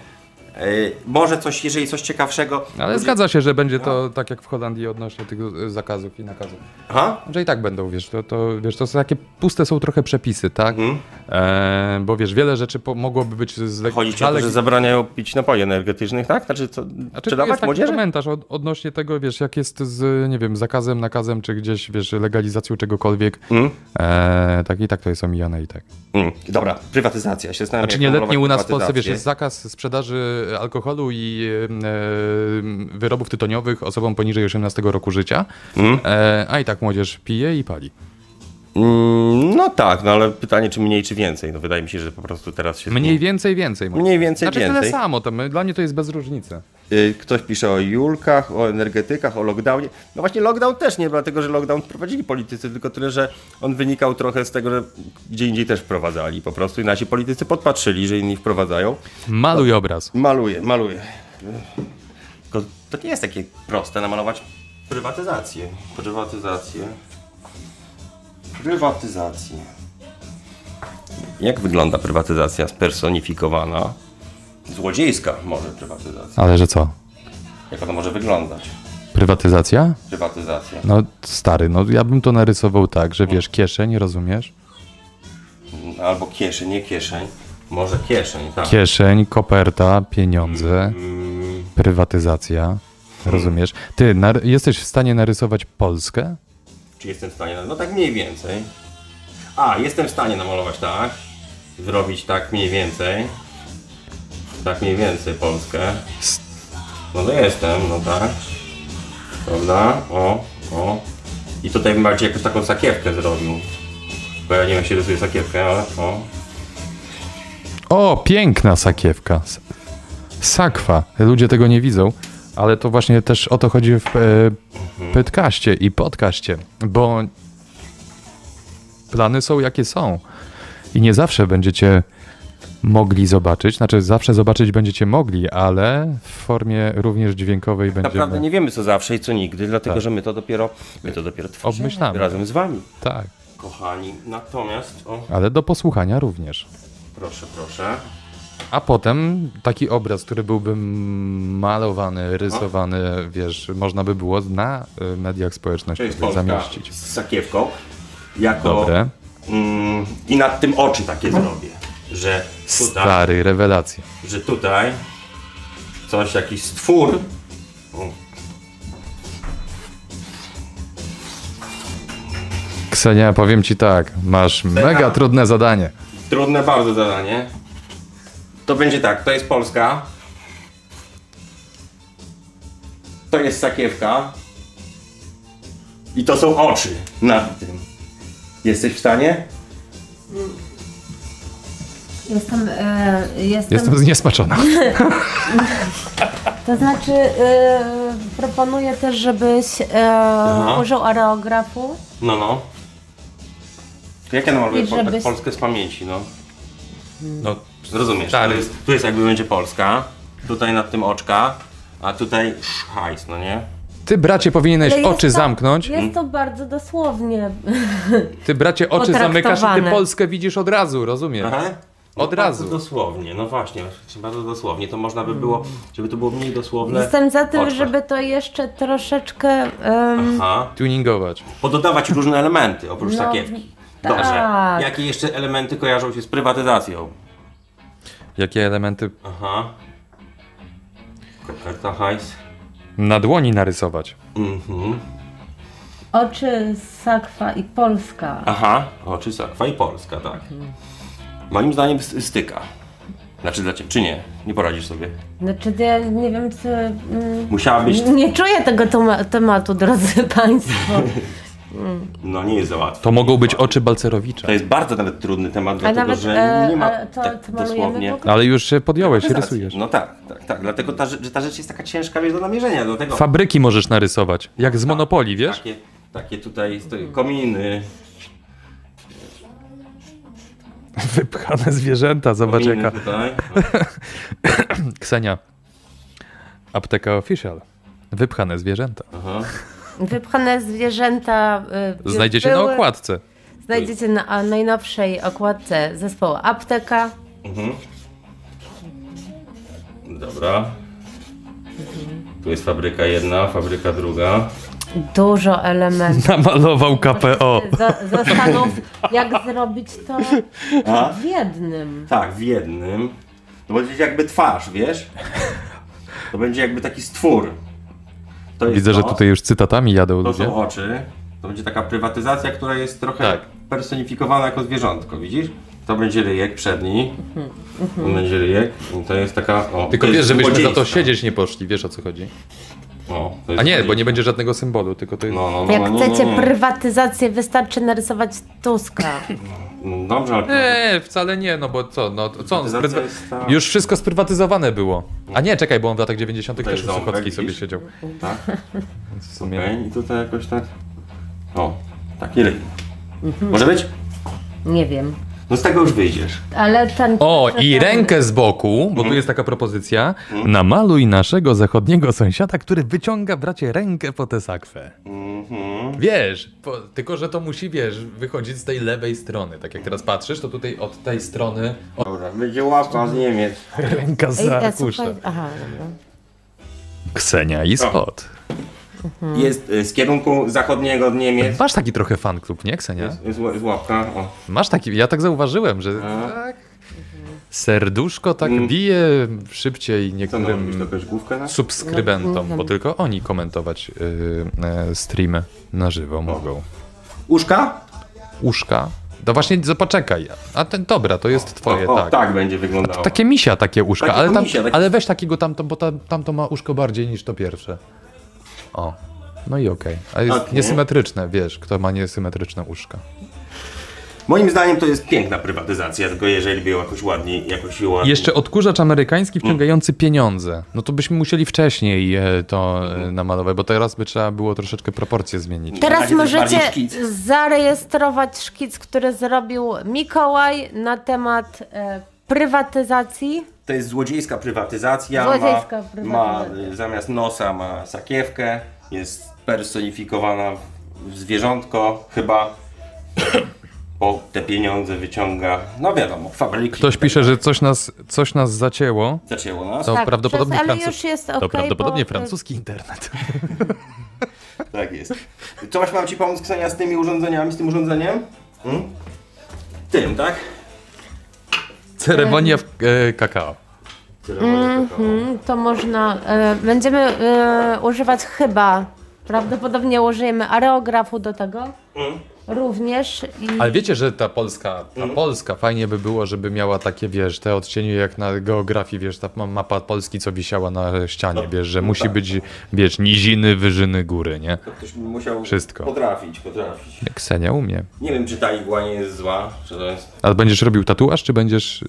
Y, może coś, jeżeli coś ciekawszego. Ale zgadza się, że będzie No. to tak jak w Holandii odnośnie tych e, zakazów i nakazów. Aha? Że i tak będą, wiesz, to, to, wiesz, to są takie puste są trochę przepisy, tak? Mhm. E, bo wiesz, wiele rzeczy po, mogłoby być z leg- Chodzi ci o to, zaleg- że zabraniają pić napoi energetycznych, tak? Znaczy, co, Znaczy, czy tu dawać jest taki młodzieży? komentarz od, odnośnie tego, wiesz, jak jest z, nie wiem, zakazem, nakazem, czy gdzieś, wiesz, legalizacją czegokolwiek. Mhm. E, tak i tak to jest omijane i tak. Mm, dobra, prywatyzacja. Się znaczy, Czy nieletni u nas w Polsce, wiesz, jest zakaz sprzedaży alkoholu i e, wyrobów tytoniowych osobom poniżej 18 roku życia, Hmm? e, a i tak młodzież pije i pali. Mm, no tak, no ale pytanie, czy mniej, czy więcej. No wydaje mi się, że po prostu teraz się. Mniej więcej, więcej. może. Mniej więcej, znaczy, więcej. tyle samo, to my, dla mnie to jest bez różnicy. Y, Ktoś pisze o Julkach, o energetykach, o lockdownie. No właśnie lockdown też nie, dlatego że lockdown wprowadzili politycy, tylko tyle, że on wynikał trochę z tego, że gdzie indziej też wprowadzali po prostu i nasi politycy podpatrzyli, że inni wprowadzają. Maluj obraz. Maluję, maluję. Tylko to nie jest takie proste namalować prywatyzację. Prywatyzację. Prywatyzację. Jak wygląda prywatyzacja spersonifikowana? Złodziejska może prywatyzacja. Ale że co? Jak ona może wyglądać? Prywatyzacja? Prywatyzacja. No stary, no ja bym to narysował tak, że wiesz, kieszeń, rozumiesz? Albo kieszeń, nie kieszeń. Może kieszeń, tak. Kieszeń, koperta, pieniądze, prywatyzacja, rozumiesz? Ty nar- jesteś w stanie narysować Polskę? Czy jestem w stanie? No tak mniej więcej. A, jestem w stanie namalować tak. Zrobić tak mniej więcej. Tak mniej więcej Polskę. No to jestem, no tak. Prawda? O, o. I tutaj bym bardziej jakąś taką sakiewkę zrobił. Bo ja nie wiem, jak się rysuje sakiewkę, ale o. O, piękna sakiewka. S- Sakwa. Ludzie tego nie widzą, ale to właśnie też o to chodzi w Mhm. e, pytkaście i podcaście, bo plany są jakie są i nie zawsze będziecie mogli zobaczyć, znaczy zawsze zobaczyć będziecie mogli, ale w formie również dźwiękowej Naprawdę będziemy nie wiemy co zawsze i co nigdy, dlatego że my to dopiero, my to dopiero tworzymy obmyślamy. razem z wami, Tak, kochani. Natomiast, o, ale do posłuchania również. proszę, proszę. A potem taki obraz, który byłby malowany, rysowany, wiesz, można by było na y, mediach To jest społecznościowych Polska zamieścić. z sakiewką. Jako, Dobre. Mm, I nad tym oczy takie zrobię, że tutaj, Stary, rewelacja. że tutaj coś, jakiś stwór. O, Ksenia, powiem ci tak, masz mega trudne zadanie. Trudne bardzo zadanie. To będzie tak, to jest Polska. To jest sakiewka. I to są oczy nad tym. Jesteś w stanie? Jestem, y, e, jestem, Jestem zniesmaczona. To znaczy, e, proponuję też, żebyś e, użył areografu. No, no. To Jak ja namaluję I po, tak żeby- Polskę z pamięci, no? No, rozumiesz, tu jest, tu jest jakby będzie Polska, tutaj nad tym oczka, a tutaj hajs, no nie? Ty, bracie, powinieneś Ale jest tak, oczy to- zamknąć. Mm. Jest to bardzo dosłownie. Ty, bracie, oczy zamykasz i ty Potraktowane. Polskę widzisz od razu, rozumiesz? Aha. Od No, bardzo razu. dosłownie, no właśnie, bardzo dosłownie. To można by było, żeby to było mniej dosłowne. Jestem za tym, Oczko. żeby to jeszcze troszeczkę. em, Aha. Tuningować. Pododawać różne elementy oprócz No, sakiewki. Dobrze. tak. Jakie jeszcze elementy kojarzą się z prywatyzacją? Jakie elementy Aha. Koperta, hajs. na dłoni narysować. Mhm. Oczy, sakwa i Polska. Aha. Oczy, sakwa i Polska, tak. Moim zdaniem s- styka. Znaczy dla Ciebie, czy nie? Nie poradzisz sobie. Znaczy, ja nie wiem, czy. mm, Musiałabyś... Nie czuję tego toma- tematu, drodzy Państwo. No nie jest za łatwo. To mogą być oczy balcerowicza. To jest bardzo nawet trudny temat, dlatego nawet, że e, nie ma ale to- tak to malujemy dosłownie... w ogóle? Ale już się podjąłeś, się Rację. rysujesz. No tak, tak, tak. Dlatego ta, rzecz- że ta rzecz jest taka ciężka, wiesz, do namierzenia, dlatego... Fabryki możesz narysować. Jak Tak. z Monopoli, wiesz? Takie, takie tutaj stoi- kominy, Wypchane zwierzęta, zobacz kominy jaka. tutaj. Ksenia. Apteka official. Wypchane zwierzęta. Aha. Wypchane zwierzęta. y, już Znajdziecie na były. okładce. Znajdziecie na a, najnowszej okładce zespołu Apteka. Mhm. No, Dobra. Tu jest fabryka jedna, fabryka druga. Dużo elementów. Namalował KPO. Za- Zastanów, jak zrobić to A? w jednym. Tak, w jednym. No To będzie jakby twarz, wiesz? To będzie jakby taki stwór. To jest Widzę, że to. tutaj już cytatami jadą No To ludzie. są oczy. To będzie taka prywatyzacja, która jest trochę Tak. personifikowana jako zwierzątko, widzisz? To będzie ryjek przedni. To będzie ryjek. I to jest taka. O, Tylko to wiesz, jest żebyśmy za to złodziejstwo. siedzieć nie poszli, wiesz o co chodzi. O, to jest A nie, bo nie złodziejstwo. będzie żadnego symbolu, tylko to jest... No, no, no, Jak no, no, chcecie no. prywatyzację, wystarczy narysować Tuska. No, Dobrze, ale. Nie, wcale nie, no bo co, no to co on Prywatyzacja sprywa... jest ta- Już wszystko sprywatyzowane było. A nie, czekaj, bo on w latach 90 Tutaj też u ząbek, Suchockiej sobie widzisz? siedział. Eee. Tak. Więc w sumie... Okej, i tutaj jakoś tak. O, taki ryj. Może być? Nie wiem. No z tego już wyjdziesz. Ale ten. O, i rękę z boku, Mhm. bo tu jest taka propozycja. Namaluj naszego zachodniego sąsiada, który wyciąga, bracie, rękę po tę sakwę. Mhm. Wiesz, po, tylko że to musi, wiesz, wychodzić z tej lewej strony. Tak jak teraz patrzysz, to tutaj od tej strony od Dobra, będzie łapa z Niemiec. ręka Ej, za ja arkusza. słuchaj, aha, dobra. Ksenia i Scott. Hmm. Jest y, z kierunku zachodniego od Niemiec. Masz taki trochę fan klub, nie, Ksenia? Jest ł- jest łapka. O. Masz taki, ja tak zauważyłem, że tak, serduszko tak bije szybciej Mm. Co no, robisz, niektórym to też główkę na? subskrybentom, bo tylko oni komentować yy, e, streamy na żywo mogą. Uszka? Uszka. No właśnie, z- poczekaj. A ten, dobra, to jest twoje, o, tak. tak będzie wyglądało. Takie misia, takie uszka, Takie ale, tam, misia, takie- ale weź takiego tamto, bo tam, tamto ma uszko bardziej niż to pierwsze. O, no i okej. A jest Okej. niesymetryczne, wiesz, kto ma niesymetryczne uszka. Moim zdaniem to jest piękna prywatyzacja, tylko jeżeli by ją jakoś ładniej, jakoś ją ładniej. Jeszcze odkurzacz amerykański Mm. wciągający pieniądze. No to byśmy musieli wcześniej e, to e, namalować, bo teraz by trzeba było troszeczkę proporcje zmienić. Teraz razie to jest możecie bardziej szkic. zarejestrować szkic, który zrobił Mikołaj na temat e, prywatyzacji. To jest złodziejska prywatyzacja. Złodziejska ma, prywatyzacja. Ma, y, zamiast nosa ma sakiewkę, jest personifikowana w, w zwierzątko, chyba. Bo te pieniądze wyciąga, no wiadomo, fabryki. Ktoś pisze, że coś nas, coś nas zacięło. Zaczęło nas. To Tak, prawdopodobnie przez- ale francus- już jest To okej, prawdopodobnie bo- francuski internet. Tak jest. Coś mam ci pomóc, Ksenia, z tymi urządzeniami, z tym urządzeniem? Hmm? Tym, tak? Ceremonia w, e, kakao. Mm, To można, e, będziemy e, używać chyba, prawdopodobnie użyjemy areografu do tego również. I Ale wiecie, że ta Polska, ta Mm. Polska fajnie by było, żeby miała takie, wiesz, te odcienie jak na geografii, wiesz, ta ma- mapa Polski, co wisiała na No, ścianie, wiesz, że musi tak. być, wiesz, niziny, wyżyny, góry, nie? Ktoś by musiał Wszystko. potrafić, potrafić. Ksenia umie. Nie wiem, czy ta igła nie jest zła, czy to jest... A będziesz robił tatuaż, czy będziesz... y,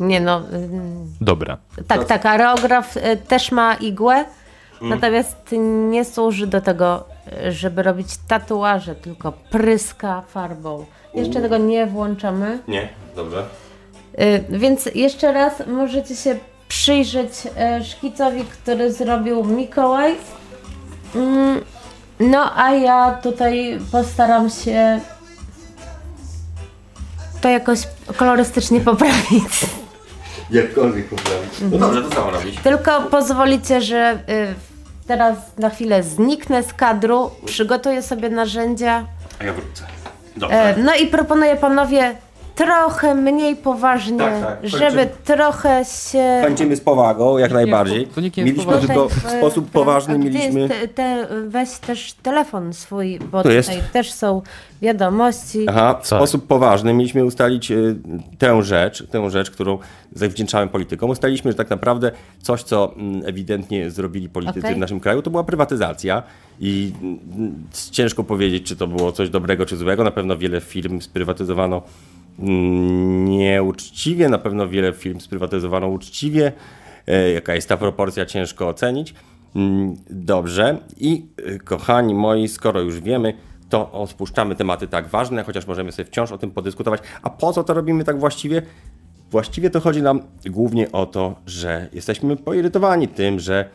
nie no, ym, Dobra. tak, tak, areograf e, też ma igłę, natomiast nie służy do tego, e, żeby robić tatuaże, tylko pryska farbą. Jeszcze tego nie włączamy. Nie, dobrze. Y, Więc jeszcze raz możecie się przyjrzeć y, e, szkicowi, który zrobił Mikołaj. Mm, No a ja tutaj postaram się to jakoś kolorystycznie poprawić. Jakkolwiek poprawić. No dobrze, to samo robić. Tylko pozwolicie, że y, teraz na chwilę zniknę z kadru, przygotuję sobie narzędzia. A ja wrócę. E, Dobrze. No i proponuję panowie trochę mniej poważnie, Tak, tak, żeby kończymy. trochę się. Kończymy z powagą, jak najbardziej. to nikt nie jest Mieliśmy poważny. tylko w e, sposób teraz- poważny, a gdzie jest mieliśmy... Te, te, weź też telefon swój, bo Tu tutaj jest. też są wiadomości. Aha, w sposób poważny mieliśmy ustalić y, tę rzecz, tę rzecz, którą zawdzięczamy politykom. Ustaliśmy, że tak naprawdę coś, co mm, ewidentnie zrobili politycy Okej. w naszym kraju, to była prywatyzacja i mm, ciężko powiedzieć, czy to było coś dobrego, czy złego. Na pewno wiele firm sprywatyzowano mm, nieuczciwie, na pewno wiele firm sprywatyzowano uczciwie. E, Jaka jest ta proporcja, ciężko ocenić. Mm, Dobrze. I y, kochani moi, skoro już wiemy, to odpuszczamy tematy tak ważne, chociaż możemy sobie wciąż o tym podyskutować. A po co to robimy tak właściwie? Właściwie to chodzi nam głównie o to, że jesteśmy poirytowani tym, że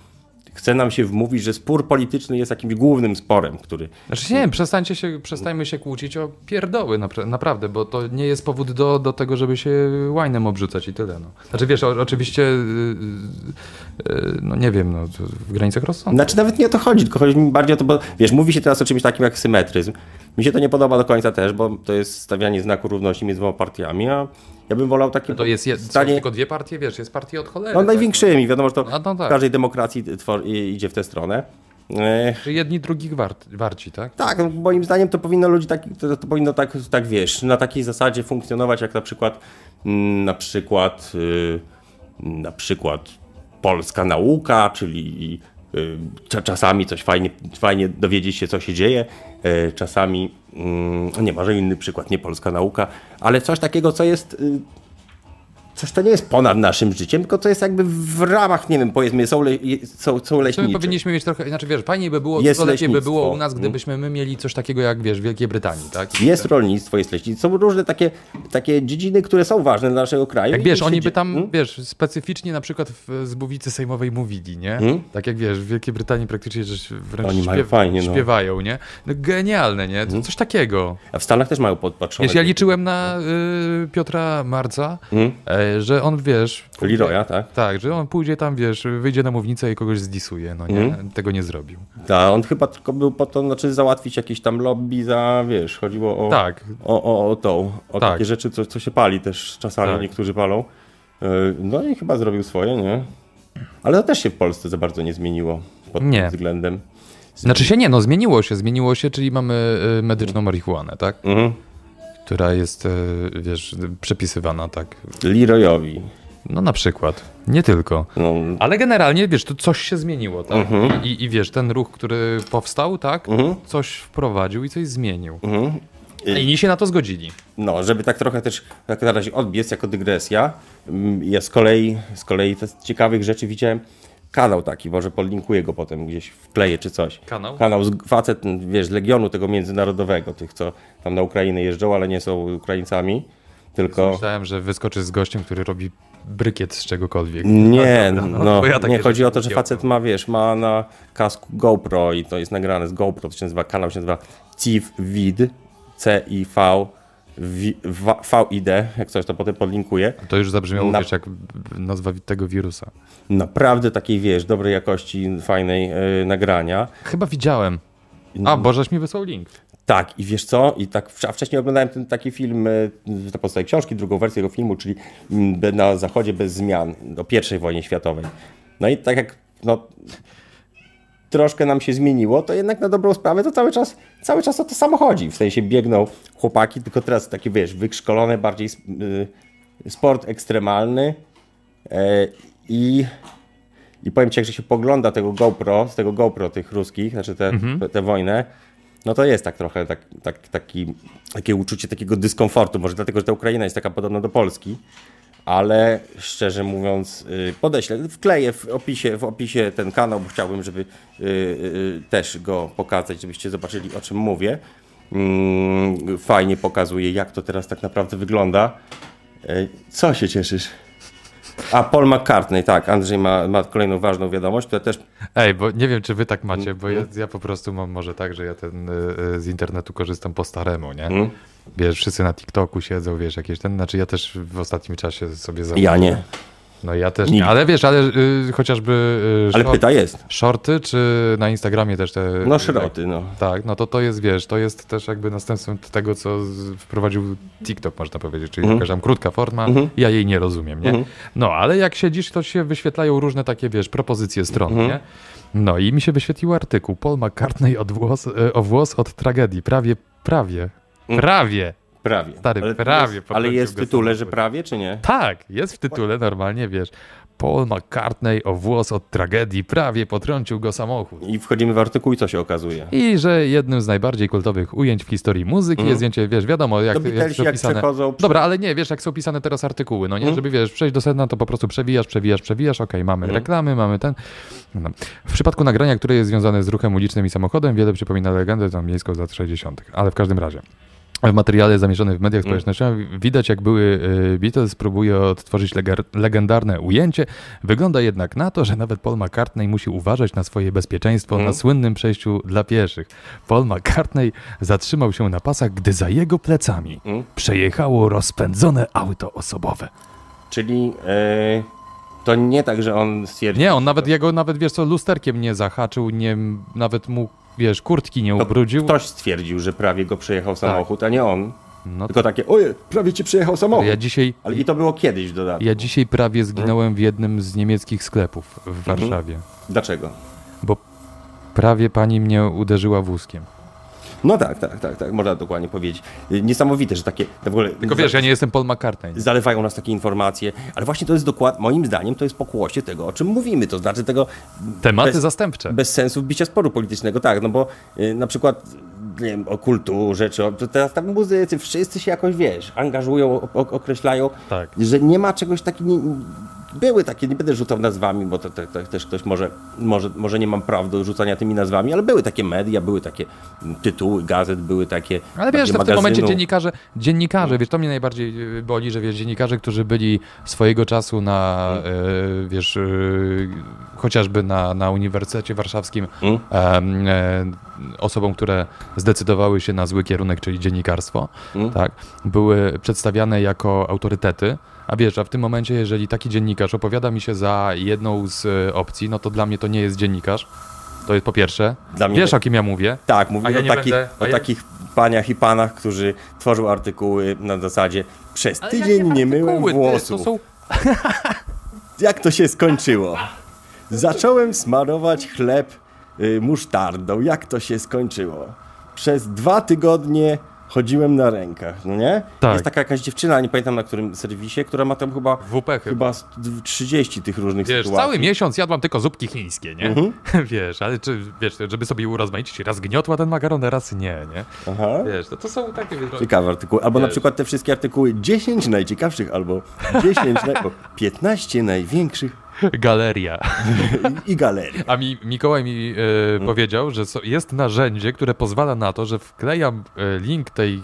chce nam się wmówić, że spór polityczny jest jakimś głównym sporem, który Znaczy nie, przestańcie się, przestańmy się kłócić o pierdoły, napra- naprawdę, bo to nie jest powód do, do tego, żeby się łajnem obrzucać i tyle. No. Znaczy wiesz, o, oczywiście, yy, yy, no nie wiem, no, to w granicach rozsądku. Znaczy nawet nie o to chodzi, tylko chodzi mi bardziej o to, bo wiesz, mówi się teraz o czymś takim jak symetryzm. Mi się to nie podoba do końca też, bo to jest stawianie znaku równości między dwoma partiami, a ja bym wolał takie No To jest, jest są stanie- tylko dwie partie, wiesz, jest partii od cholery. no, tak? największymi, wiadomo, że to No to tak. w każdej demokracji twor- i- idzie w tę stronę. E, Że jedni drugich wart, warci, tak? tak, no, moim zdaniem to powinno ludzi tak, to, to powinno tak, tak wiesz, na takiej zasadzie funkcjonować, jak na przykład mm, na przykład y, na przykład polska nauka, czyli y, cza- czasami coś fajnie, fajnie dowiedzieć się, co się dzieje, y, czasami mm, nie może inny przykład, nie polska nauka, ale coś takiego, co jest y, coś, to nie jest ponad naszym życiem, tylko to jest jakby w ramach, nie wiem, powiedzmy, są, le, są, są Czy my leśniczy. powinniśmy mieć trochę, znaczy wiesz, fajniej by było, Jest dużo lepiej by leśnictwo. było u nas, Mm. gdybyśmy my mieli coś takiego jak, wiesz, w Wielkiej Brytanii, tak? I- Jest rolnictwo, jest leśnictwo. Są różne takie, takie dziedziny, które są ważne dla naszego kraju. Jak I wiesz, się oni dzie- by tam, Hmm? wiesz, specyficznie na przykład w Zbówicy Sejmowej mówili, nie? Tak jak wiesz, w Wielkiej Brytanii praktycznie że się wręcz Hmm? Oni mają śpiew- fajnie, no. Hmm? śpiewają, nie? No, genialne, nie? To Coś takiego. A w Stanach też mają podpatrzone. Wiesz, ja liczyłem na y, Piotra Marca, e, że on, wiesz... pójdzie- Hmm? Leroya, tak? Tak, że on pójdzie tam, wiesz, wyjdzie na mównicę i kogoś zdisuje, no nie? Hmm? Tego nie zrobił. Ta, on chyba tylko był po to, znaczy załatwić jakieś tam lobby za, wiesz, chodziło o, Tak. o, o, o tą, o Tak. takie rzeczy, co, co się pali też czasami, Tak. niektórzy palą. Yy, No i chyba zrobił swoje, nie? Ale to też się w Polsce za bardzo nie zmieniło pod Nie. tym względem. Znaczy się nie, no zmieniło się, zmieniło się, czyli mamy y, Hmm. medyczną marihuanę, tak? Mhm. Która jest, y, wiesz, przepisywana, tak? Leroyowi. No na przykład. Nie tylko. No, Ale generalnie, wiesz, to coś się zmieniło, tak? Mhm. I, I wiesz, ten ruch, który powstał, tak? Coś wprowadził i coś zmienił. Mhm. I inni się na to zgodzili. No, żeby tak trochę też tak na razie odbiec jako dygresja. mm, Ja z kolei, z kolei te z ciekawych rzeczy widziałem kanał taki, może podlinkuję go potem gdzieś wkleję czy coś. Kanał? Kanał z facet, m, wiesz, z Legionu tego międzynarodowego, tych co tam na Ukrainę jeżdżą, ale nie są Ukraińcami, tylko... Myślałem, że wyskoczy z gościem, który robi brykiet z czegokolwiek. Nie, no, bo ja takie nie chodzi o to, rzeczy że facet ma, wiesz, ma na kasku GoPro i to jest nagrane z GoPro, to się nazywa, kanał się nazywa Civ Vid, C-I-V, wi- wa- V-I-D, jak coś to potem podlinkuję. To już zabrzmiało, Na- wiesz, jak nazwa wi- tego wirusa. naprawdę takiej, wiesz, dobrej jakości, fajnej yy, nagrania. Chyba widziałem. A, bo żeś mi wysłał link. Tak, i wiesz co? I tak, a wcześniej oglądałem ten taki film y, na podstawie książki, drugą wersję jego filmu, czyli mm, Be- Na Zachodzie bez zmian do I wojnie światowej. No i tak jak no, troszkę nam się zmieniło, to jednak na dobrą sprawę to cały czas, cały czas o to samo chodzi. W sensie biegną chłopaki, tylko teraz takie, wiesz, wykształcone, bardziej y, sport ekstremalny e, i i powiem ci, jak że się pogląda tego GoPro, z tego GoPro tych ruskich, znaczy te, te, te wojnę, no to jest tak trochę tak, tak, taki, takie uczucie takiego dyskomfortu. Może dlatego, że ta Ukraina jest taka podobna do Polski, ale szczerze mówiąc, y, podeślę, wkleję w opisie, w opisie ten kanał, bo chciałbym, żeby y, y, też go pokazać, żebyście zobaczyli, o czym mówię. Mm, Fajnie pokazuje, jak to teraz tak naprawdę wygląda. Y, Co się cieszysz? A Paul McCartney, tak, Andrzej ma, ma kolejną ważną wiadomość, która też Ej, bo nie wiem, czy wy Mhm. tak macie, bo ja, ja po prostu mam może tak, że ja ten y, y, z internetu korzystam po staremu, nie? Wiesz, wszyscy na TikToku siedzą, wiesz, jakieś ten. Znaczy ja też w ostatnim czasie sobie za. Ja nie. No ja też Nigdy. nie. Ale wiesz, ale y, chociażby. Y, Ale short- pyta jest. Shorty, czy na Instagramie też te. No szroty, no. Tak, no to to jest, wiesz, to jest też jakby następstwem tego, co z- wprowadził TikTok, można powiedzieć, Mhm. czyli jakaś tam krótka forma, ja jej nie rozumiem, nie? No, ale jak siedzisz, to się wyświetlają różne takie, wiesz, propozycje stron, Mhm. nie? No i mi się wyświetlił artykuł Paul McCartney od włos, e, o włos od tragedii, prawie, prawie, Mhm. prawie. Prawie. Stary, ale prawie Jest, ale potrącił jest w go tytule, samochód. że prawie, czy nie? Tak, jest w tytule normalnie, wiesz, Paul McCartney o włos od tragedii, prawie potrącił go samochód. I wchodzimy w artykuł i co się okazuje? I że jednym z najbardziej kultowych ujęć w historii muzyki jest zdjęcie, wiesz, wiadomo, jak, Mhm. To jak Beatlesi są jak pisane. przechodzą przy- Mhm. Dobra, ale nie, wiesz, jak są pisane teraz artykuły, no nie, żeby wiesz, przejść do sedna, to po prostu przewijasz, przewijasz, przewijasz, okej, mamy reklamy, mamy ten. No. W przypadku nagrania, które jest związane z ruchem ulicznym i samochodem, wiele przypomina legendę tam miejską z lat 60., ale w każdym razie. W materiale zamieszczonym w Mm. mediach społecznościowych widać, jak były y, Beatles próbuje odtworzyć legar- legendarne ujęcie. Wygląda jednak na to, że nawet Paul McCartney musi uważać na swoje bezpieczeństwo Mm. na słynnym przejściu dla pieszych. Paul McCartney zatrzymał się na pasach, gdy za jego plecami Mm. przejechało rozpędzone auto osobowe. Czyli e, to nie tak, że on stwierdził. Nie, on nawet jego, nawet wiesz co, lusterkiem nie zahaczył, nie, nawet mu, wiesz, kurtki nie No, to ubrudził. Ktoś stwierdził, że prawie go przejechał samochód, a nie on. Tak. No Tylko takie, oje, prawie cię przejechał samochód. ja dzisiaj Ale i to było kiedyś w dodatku. Ja dzisiaj prawie zginąłem w jednym z niemieckich sklepów w Warszawie, Dlaczego? bo prawie pani mnie uderzyła wózkiem. No tak, tak, tak, tak, można dokładnie powiedzieć. Y, Niesamowite, że takie w ogóle Tylko wiesz, ja nie jestem Paul McCartney. zalewają nas takie informacje, ale właśnie to jest dokładnie, moim zdaniem, to jest pokłosie tego, o czym mówimy, to znaczy tego Tematy bez- zastępcze. bez sensu wbicia sporu politycznego, tak, no bo y, na przykład nie wiem, o kulturze, czy o, to teraz tam muzycy, wszyscy się jakoś, wiesz, angażują, o, o, określają, Tak. że nie ma czegoś takiego, nie, były takie, nie będę rzucał nazwami, bo to, to, to też ktoś może, może, może nie mam praw do rzucania tymi nazwami, ale były takie media, były takie m, tytuły gazet, były takie Ale wiesz, takie że w tym momencie magazynu. No. dziennikarze, dziennikarze, wiesz, to mnie najbardziej y, boli, że wiesz, dziennikarze, którzy byli swojego czasu na, Mm. y, wiesz, y, chociażby na, na Uniwersytecie Warszawskim Mm. em, e, osobom, które zdecydowały się na zły kierunek, czyli dziennikarstwo, Mm. tak, były przedstawiane jako autorytety, a wiesz, a w tym momencie, jeżeli taki dziennikarz opowiada mi się za jedną z y, opcji, no to dla mnie to nie jest dziennikarz, to jest po pierwsze. Dla mnie wiesz, tak. o kim ja mówię. Tak, mówimy ja o, nie takich, będę- a o ja- takich paniach i panach, którzy tworzą artykuły na zasadzie przez tydzień nie myłem Artykuły, ty, włosów. To są Jak to się skończyło? Zacząłem smarować chleb y, musztardą. Jak to się skończyło? Przez dwa tygodnie chodziłem na rękach, no nie? Tak. Jest taka jakaś dziewczyna, nie pamiętam na którym serwisie, która ma tam chyba WP chyba. chyba st- 30 tych różnych Wiesz, sytuacji. Mhm. cały miesiąc jadłam tylko zupki chińskie, nie? Wiesz, ale czy, wiesz, żeby sobie urozmaicić, raz gniotła ten makaron, raz nie, nie? Aha. Wiesz, no to, to są takie... Wiesz, Ciekawe artykuły. Albo na Wiesz. przykład te wszystkie artykuły 10 najciekawszych, albo 10 naj... o, 15 największych galeria. i galerii. A mi, Mikołaj mi e, Mhm. powiedział, że so, jest narzędzie, które pozwala na to, że wklejam e, link tej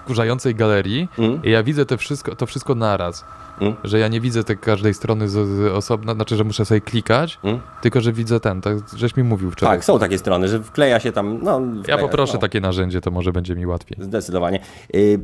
wkurzającej galerii Mhm. i ja widzę te wszystko, to wszystko naraz. Że ja nie widzę tej każdej strony z, z osobna, znaczy, że muszę sobie klikać, tylko że widzę ten, tak, żeś mi mówił wczoraj. Mhm. Tak, są takie strony, że wkleja się tam. No, ja wkleja, poproszę no. takie narzędzie, to może będzie mi łatwiej. Zdecydowanie. Y,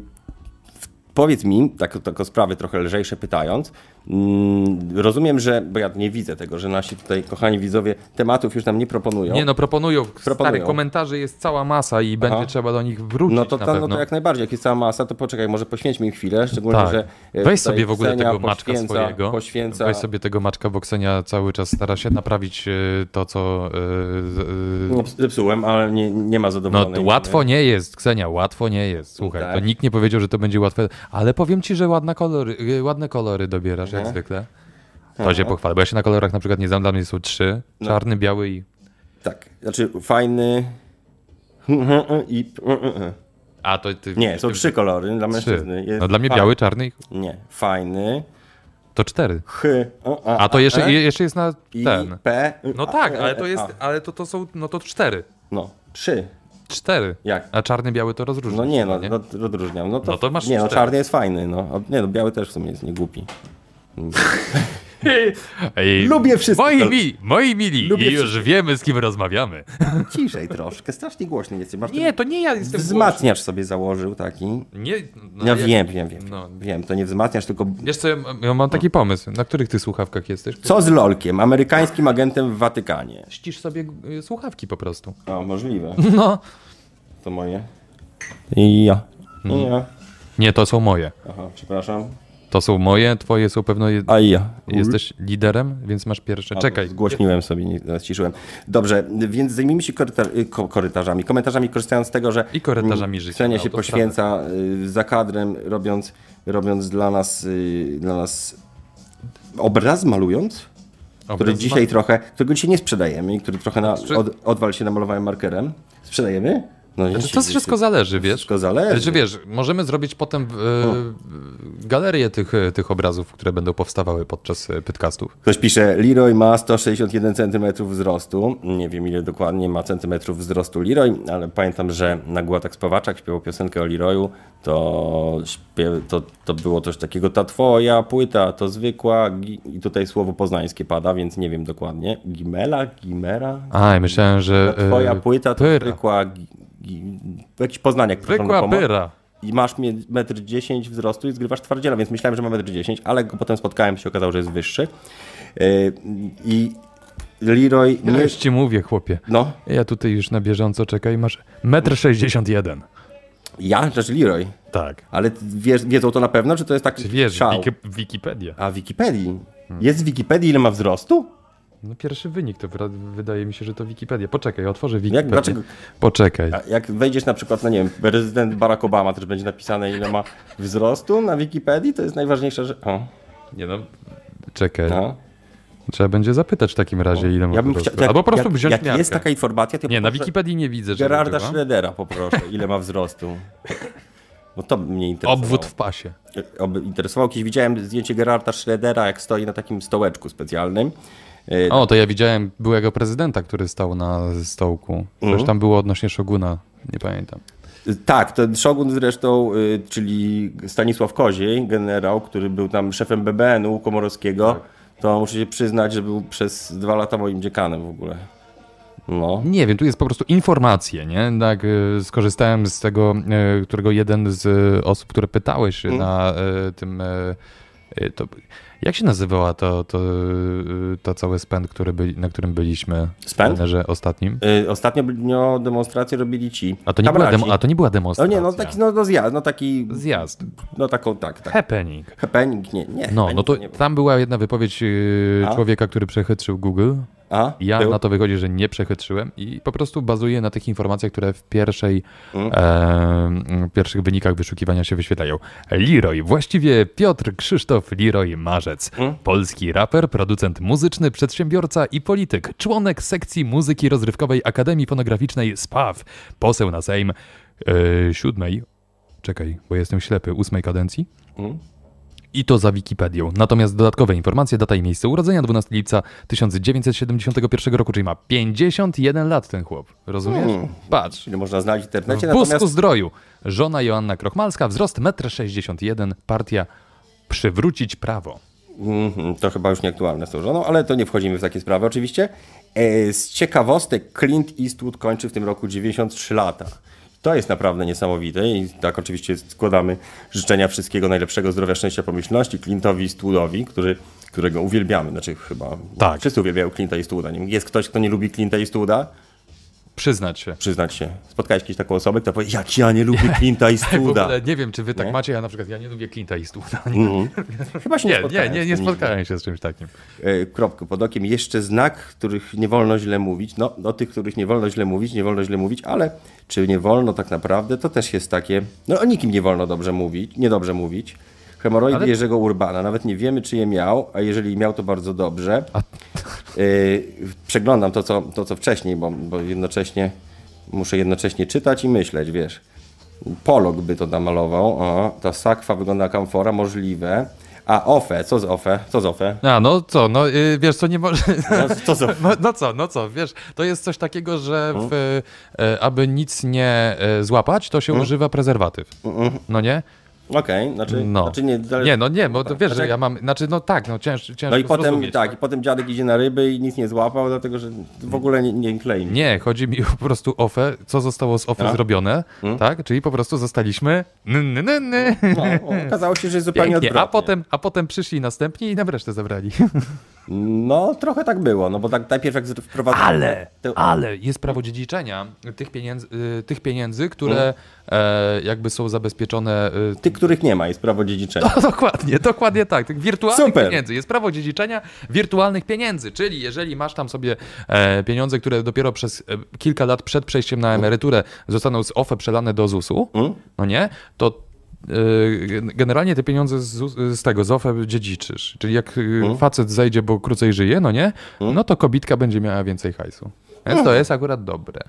w- Powiedz mi, tak, tak o sprawy trochę lżejsze pytając, mm, rozumiem, że, bo ja nie widzę tego, że nasi tutaj kochani widzowie tematów już nam nie proponują. Nie no, proponują, proponują. Proponują. stary, komentarzy jest cała masa i będzie trzeba do nich wrócić No to, na ta, no pewno. to jak najbardziej, jak jest cała masa, to poczekaj, może poświęćmy im chwilę, szczególnie, Tak. że... e, tutaj Weź sobie w ogóle Ksenia tego maczka poświęca- swojego. Poświęca... Weź sobie tego maczka Boksenia cały czas stara się naprawić y, to, co. y, z- y, No, zepsułem, ale nie, nie ma No zadowolonej. łatwo nie jest, Ksenia, łatwo nie jest. Słuchaj, Tak. to nikt nie powiedział, że to będzie łatwe, ale powiem ci, że ładne kolory, y, ładne kolory dobierasz, jak zwykle. To się pochwalę, bo ja się na kolorach na przykład nie znam, dla mnie są trzy. No. Czarny, biały i... Tak, znaczy fajny... I... A, to ty... Nie, są ty- trzy kolory dla mężczyzny. Jest No dla mnie fa- biały, czarny i... Nie, fajny, To cztery. H, o, A to e, jeszcze, jeszcze jest na I, ten. P. No a, tak, e, ale to e, jest, a. ale to, to są, no to cztery. No, trzy. Cztery. Jak? A czarny, biały to rozróżnia. No nie, no, no odróżniam. No to, No to masz nie, no cztery. czarny jest fajny, no. A Nie, no biały też w sumie jest nie głupi. Ej, Lubię wszystkich, Moi, ale- mili, moi mili, Lubię i już wiemy, z kim rozmawiamy. Ciszej troszkę, strasznie głośny jesteś. Masz Nie, ten to nie ja jestem wzmacniacz sobie założył taki. głośny. Nie, no, ja jak- wiem, wiem, wiem. No. Wiem, to nie wzmacniacz, tylko... Wiesz co, ja mam- ja mam taki pomysł. Na których ty słuchawkach jesteś? Co z Lolkiem, amerykańskim agentem w Watykanie? Ścisz sobie y, słuchawki po prostu. O, możliwe. No. To moje. I ja. I ja. Nie, to są moje. Aha, przepraszam. To są moje, twoje są pewno... Je... A i ja. Jesteś liderem, więc masz pierwsze. A, Czekaj. Zgłośniłem sobie, nie ściszyłem. Dobrze, więc zajmijmy się korytar- y, ko- korytarzami, komentarzami, korzystając z tego, że I korytarzami życia no, Ksenia na się autostradę. poświęca y, za kadrem, robiąc, robiąc dla, nas, y, dla nas obraz, malując, który Obraz- dzisiaj trochę, którego dzisiaj nie sprzedajemy i który trochę na, Sprze- od, odwal się namalowałem markerem. Sprzedajemy? No nie, Znaczy, to oczywiście. wszystko zależy, wiesz? Wszystko zależy. Znaczy, wiesz, możemy zrobić potem e, galerię tych, e, tych obrazów, które będą powstawały podczas e, podcastów. Ktoś pisze, Leroy ma 161 cm wzrostu. Nie wiem ile dokładnie ma centymetrów wzrostu Leroy, ale pamiętam, że na Głatak Spawaczak śpiewał piosenkę o Leroyu. To, śpiew, to, to było coś takiego, ta twoja płyta to zwykła. gi- I tutaj słowo poznańskie pada, więc nie wiem dokładnie. Gimela, Gimera? A, ja myślałem, Ta że. e, twoja płyta to pyra. zwykła... Gi, gi, jakiś poznaniak. przepraszam, Zwykła na pomo- pyra. i masz 1,10 m wzrostu i zgrywasz twardziela, więc myślałem, że ma 1,10 m, ale go potem spotkałem, się okazało, że jest wyższy. Yy, I Leroy Ja nie... już ci mówię, chłopie. No, Ja tutaj już na bieżąco czekaj, masz 1,61 m. ja, znaczy Leroy. Tak. Ale wiesz, wiedzą to na pewno, czy to jest tak Czy wiesz, szał? Wiki- Wikipedia. A w Wikipedii? Jest w Wikipedii ile ma wzrostu? No pierwszy wynik to wra- wydaje mi się, że to Wikipedia. Poczekaj, otworzę Jak, Wikipedię. dlaczego? Poczekaj. A Jak wejdziesz na przykład, no nie wiem, prezydent Barack Obama, też będzie napisane ile ma wzrostu na Wikipedii, to jest najważniejsza rzecz. O, Nie no. Czekaj. no. Trzeba będzie zapytać w takim razie, ile ma Ja bym wzrostu. chciał, jak, Albo po prostu jak, wziąć jak miarkę. jest taka informacja, to ja Nie, na poproszę- Wikipedii nie widzę, że Gerarda była. Schrödera poproszę, ile ma wzrostu. Bo to mnie interesowało. Obwód w pasie. Ob- Interesowało, kiedyś widziałem zdjęcie Gerarda Schrödera, jak stoi na takim stołeczku specjalnym. E, O, to ja widziałem byłego prezydenta, który stał na stołku. Zresztą tam było odnośnie Szoguna, nie pamiętam. Tak, ten szogun zresztą, y, czyli Stanisław Koziej, generał, który był tam szefem BBN-u Tak. Komorowskiego, to muszę się przyznać, że był przez dwa lata moim dziekanem w ogóle. No. Nie wiem, tu jest po prostu informacje, nie? Tak, y, skorzystałem z tego, y, którego jeden z y, osób, które pytałeś na y, tym... y, y, To, jak się nazywała to, to, y, to cały spęd, który byli, na którym byliśmy? Spęd? Że ostatnim. Y, Ostatnio dnio demonstrację robili ci. A to, nie była kabraci. demo, a to nie była No demonstracja. nie, no taki, no, no zjazd, no taki, Zjazd. no taką, tak, tak. Happening. Happening? Nie, nie. No, happening no to nie był. tam była jedna wypowiedź yy, A? człowieka, który przechytrzył Google. A? Ja Był? na to wychodzi, że nie przechytrzyłem i po prostu bazuję na tych informacjach, które w pierwszej, Mm. em, pierwszych wynikach wyszukiwania się wyświetlają. Leroy, właściwie Piotr Krzysztof Leroy Marzec. Hmm? Polski raper, producent muzyczny, przedsiębiorca i polityk. Członek sekcji muzyki rozrywkowej Akademii Fonograficznej SPAW. Poseł na Sejm e, siódmej, czekaj, bo jestem ślepy, ósmej kadencji. I to za Wikipedią. Natomiast dodatkowe informacje, data i miejsce urodzenia 12 lipca 1971 roku, czyli ma 51 lat ten chłop. Rozumiesz? Patrz. Czyli można znaleźć w internecie, W Busku natomiast Zdroju. Żona Joanna Krochmalska, wzrost 1,61 m, partia Przywrócić Prawo. Mhm, to chyba już nieaktualne są żoną, ale to nie wchodzimy w takie sprawy oczywiście. E, z ciekawostek Clint Eastwood kończy w tym roku 93 lata. To jest naprawdę niesamowite i tak oczywiście składamy życzenia wszystkiego najlepszego zdrowia, szczęścia, pomyślności Clintowi Eastwoodowi, który, którego uwielbiamy, znaczy chyba Tak. wszyscy uwielbiają Clinta Eastwooda. Nie- Jest ktoś, kto nie lubi Clinta Eastwooda? Przyznać się. Przyznać się. Spotkałeś kiedyś taką osobę, która powie, jak ja nie lubię Clinta W Eastwooda. ogóle nie wiem, czy wy tak Nie? macie, ja na przykład ja nie lubię Clint'a i Stuna. Chyba się nie Nie, nie, spotkałem z nie, nie tym nigdy. spotkałem się z czymś takim. E, kropkę pod okiem, jeszcze znak, których nie wolno źle mówić. No, o tych, których nie wolno źle mówić, nie wolno źle mówić, ale czy nie wolno tak naprawdę, to też jest takie, no o nikim nie wolno dobrze mówić, niedobrze mówić. Hemoroid Ale- Jerzego Urbana, nawet nie wiemy, czy je miał, a jeżeli miał, to bardzo dobrze. A- E, przeglądam to co, to, co wcześniej, bo, bo jednocześnie muszę jednocześnie czytać i myśleć, wiesz. Polog by to namalował. O, ta sakwa wygląda jak kamfora, możliwe. A OFE, co z OFE? Co z OFE? A, no co, no y, wiesz co, nie może... No, co z OFE? No, no co, no co, wiesz, to jest coś takiego, że Mhm. y, w, e, aby nic nie e, złapać, to się używa prezerwatyw. No nie? Okej, znaczy, No. Mhm. znaczy nie, dalej- Nie, no nie, bo to wiesz, że Znaczy- ja mam, znaczy no tak, no cięż, ciężko No i potem zrozumieć. tak, i potem dziadek idzie na ryby i nic nie złapał, dlatego że w ogóle nie, nie klei. mi. Nie, chodzi mi po prostu o OFE, co zostało z OFE No. zrobione, tak? Czyli po prostu zostaliśmy n, n, n, n. No, okazało się, że jest zupełnie Pięknie. odwrotnie. A potem, a potem przyszli następni i nam resztę zabrali. No, trochę tak było, no bo tak najpierw jak wprowadzono... Ale, te- ale jest prawo dziedziczenia tych pieniędzy, y, tych pieniędzy które e, jakby są zabezpieczone. y, Tych, których nie ma, jest prawo dziedziczenia. No, dokładnie, dokładnie tak. Tych wirtualnych Super. pieniędzy. Jest prawo dziedziczenia wirtualnych pieniędzy, czyli jeżeli masz tam sobie e, pieniądze, które dopiero przez e, kilka lat przed przejściem na emeryturę zostaną z OFE przelane do ZUS-u, Mm. no nie, to e, generalnie te pieniądze z, ZUS z tego, z OFE dziedziczysz. Czyli jak e, Mm. facet zajdzie, bo krócej żyje, no nie, no to kobitka będzie miała więcej hajsu. Więc Mm. to jest akurat dobre.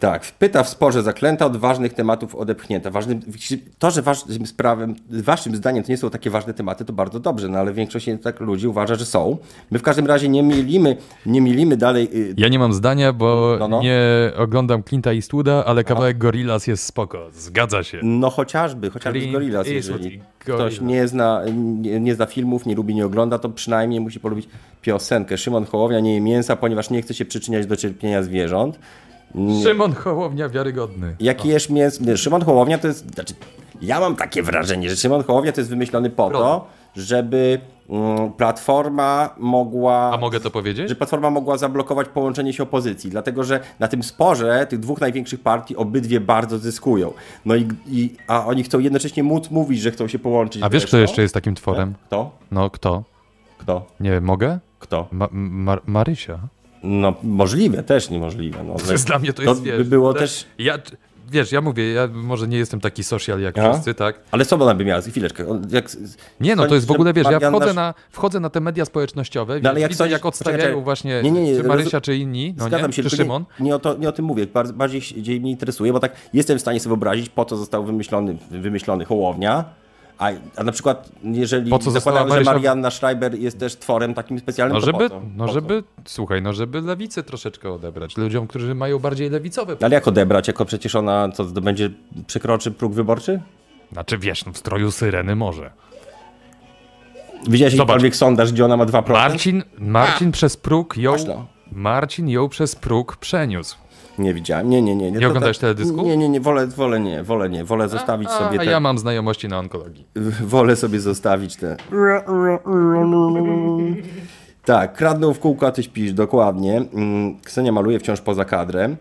Tak, pyta w sporze zaklęta, od ważnych tematów odepchnięta. Ważnym, to, że waszym, sprawem, waszym zdaniem to nie są takie ważne tematy, to bardzo dobrze, no ale większość tak ludzi uważa, że są. My w każdym razie nie mielimy, nie mielimy dalej y, Ja nie mam zdania, bo No, no. nie oglądam Clint'a i Studa, ale kawałek Gorillaz jest spoko. Zgadza się. No chociażby, chociażby z Clint Gorillaz, Eastwood jeżeli i ktoś Gorillaz. nie zna, nie, nie zna filmów, nie lubi, nie ogląda, to przynajmniej musi polubić piosenkę. Szymon Hołownia nie je mięsa, ponieważ nie chce się przyczyniać do cierpienia zwierząt. Szymon Hołownia wiarygodny. Jak jesz mięs... nie, Szymon Hołownia to jest... Znaczy, ja mam takie wrażenie, że Szymon Hołownia to jest wymyślony po to, żeby mm, Platforma mogła... A mogę to powiedzieć? Że Platforma mogła zablokować połączenie się opozycji, dlatego że na tym sporze tych dwóch największych partii obydwie bardzo zyskują. No i, i a oni chcą jednocześnie móc mówić, że chcą się połączyć. A wiesz, zresztą. kto jeszcze jest takim tworem? Kto? No kto? Kto? Nie wiem, mogę? Kto? Ma- Mar- Marysia. No możliwe, też niemożliwe. No, To jest dla mnie to jest, to wiesz, by było te- też... Ja, wiesz, ja mówię, ja może nie jestem taki social jak Aha. wszyscy, tak? Ale co ona by miała? Chwileczkę. on- Jak... Nie no, to jest w ogóle, wiesz, ja Marian wchodzę nasz- na, wchodzę na te media społecznościowe, No, ale jak jak widzę sądzisz- jak odstawiają czekaj, czekaj. właśnie Nie, nie, nie, czy roz- Marysia, czy inni, no Zgadzam nie? się, czy tylko Szymon. Nie, nie, o to, nie o tym mówię. Bar- Bardziej się- dzieje mnie interesuje, bo tak jestem w stanie sobie wyobrazić, po co został wymyślony, wymyślony Hołownia. A, a na przykład, jeżeli Po co została zakładamy, że Marysia- Marianna Schreiber jest też tworem takim specjalnym, No to żeby, po co? no Po żeby, słuchaj, no żeby lewicę troszeczkę odebrać ludziom, którzy mają bardziej lewicowe co? Ale jak odebrać, jako przecież ona co, zdobędzie, przekroczy próg wyborczy? Znaczy wiesz, no w stroju syreny może. Widziałeś Zobacz. jakikolwiek sondaż, gdzie ona ma 2%? Marcin, Marcin przez próg ją. Masz to. Marcin ją przez próg przeniósł. Nie widziałem. Nie, nie, nie. Nie, To oglądasz teledysku? Nie, nie, nie, wolę, wolę nie, wolę nie, wolę zostawić A, sobie a te, ja mam znajomości na onkologii. wolę sobie zostawić te. Tak, kradną w kółko, a ty śpisz, dokładnie. Mm, Ksenia maluje wciąż poza kadrem.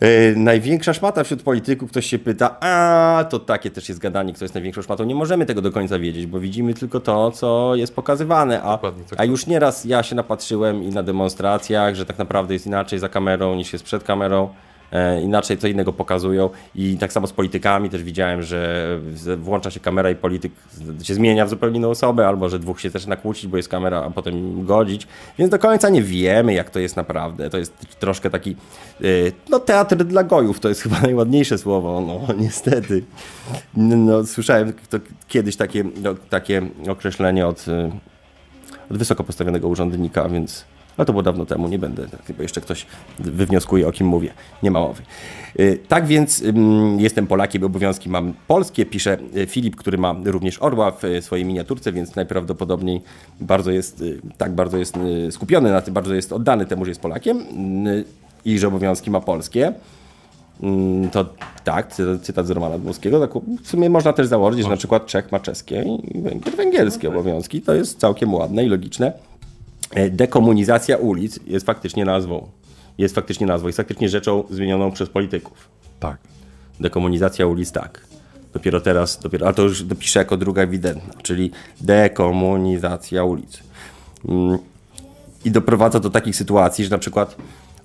E, największa szmata wśród polityków, ktoś się pyta, a to takie też jest gadanie, kto jest największą szmatą. Nie możemy tego do końca wiedzieć, bo widzimy tylko to, co jest pokazywane. A, Dokładnie, co a już nieraz ja się napatrzyłem i na demonstracjach, że tak naprawdę jest inaczej za kamerą niż jest przed kamerą. E, Inaczej co innego pokazują i tak samo z politykami też widziałem, że z- włącza się kamera i polityk z- się zmienia w zupełnie inną osobę, albo że dwóch się też nakłócić, bo jest kamera, a potem godzić. Więc do końca nie wiemy, jak to jest naprawdę. To jest troszkę taki e, no, teatr dla gojów, to jest chyba najładniejsze słowo, no niestety. No, słyszałem to kiedyś takie, no, takie określenie od e, od wysoko postawionego urzędnika, więc. Ale to było dawno temu, nie będę, tak, bo jeszcze ktoś wywnioskuje, o kim mówię. Nie ma mowy. Y, Tak więc ym, jestem Polakiem, obowiązki mam polskie, pisze y, Filip, który ma również orła w y, swojej miniaturce, więc najprawdopodobniej bardzo jest, y, tak bardzo jest y, skupiony na tym, bardzo jest oddany temu, że jest Polakiem y, i że obowiązki ma polskie. Mm, To tak, cy- cytat z Romana Dmowskiego. Tak, w sumie można też założyć, że na przykład Czech ma czeskie i Węgier węgierskie obowiązki. To jest całkiem ładne i logiczne. E, Dekomunizacja ulic jest faktycznie nazwą. Jest faktycznie nazwą. Jest faktycznie rzeczą zmienioną przez polityków. Tak. Dekomunizacja ulic tak. Dopiero teraz, dopiero, ale to już dopiszę jako druga ewidentna, czyli dekomunizacja ulic. Mm, I doprowadza do takich sytuacji, że na przykład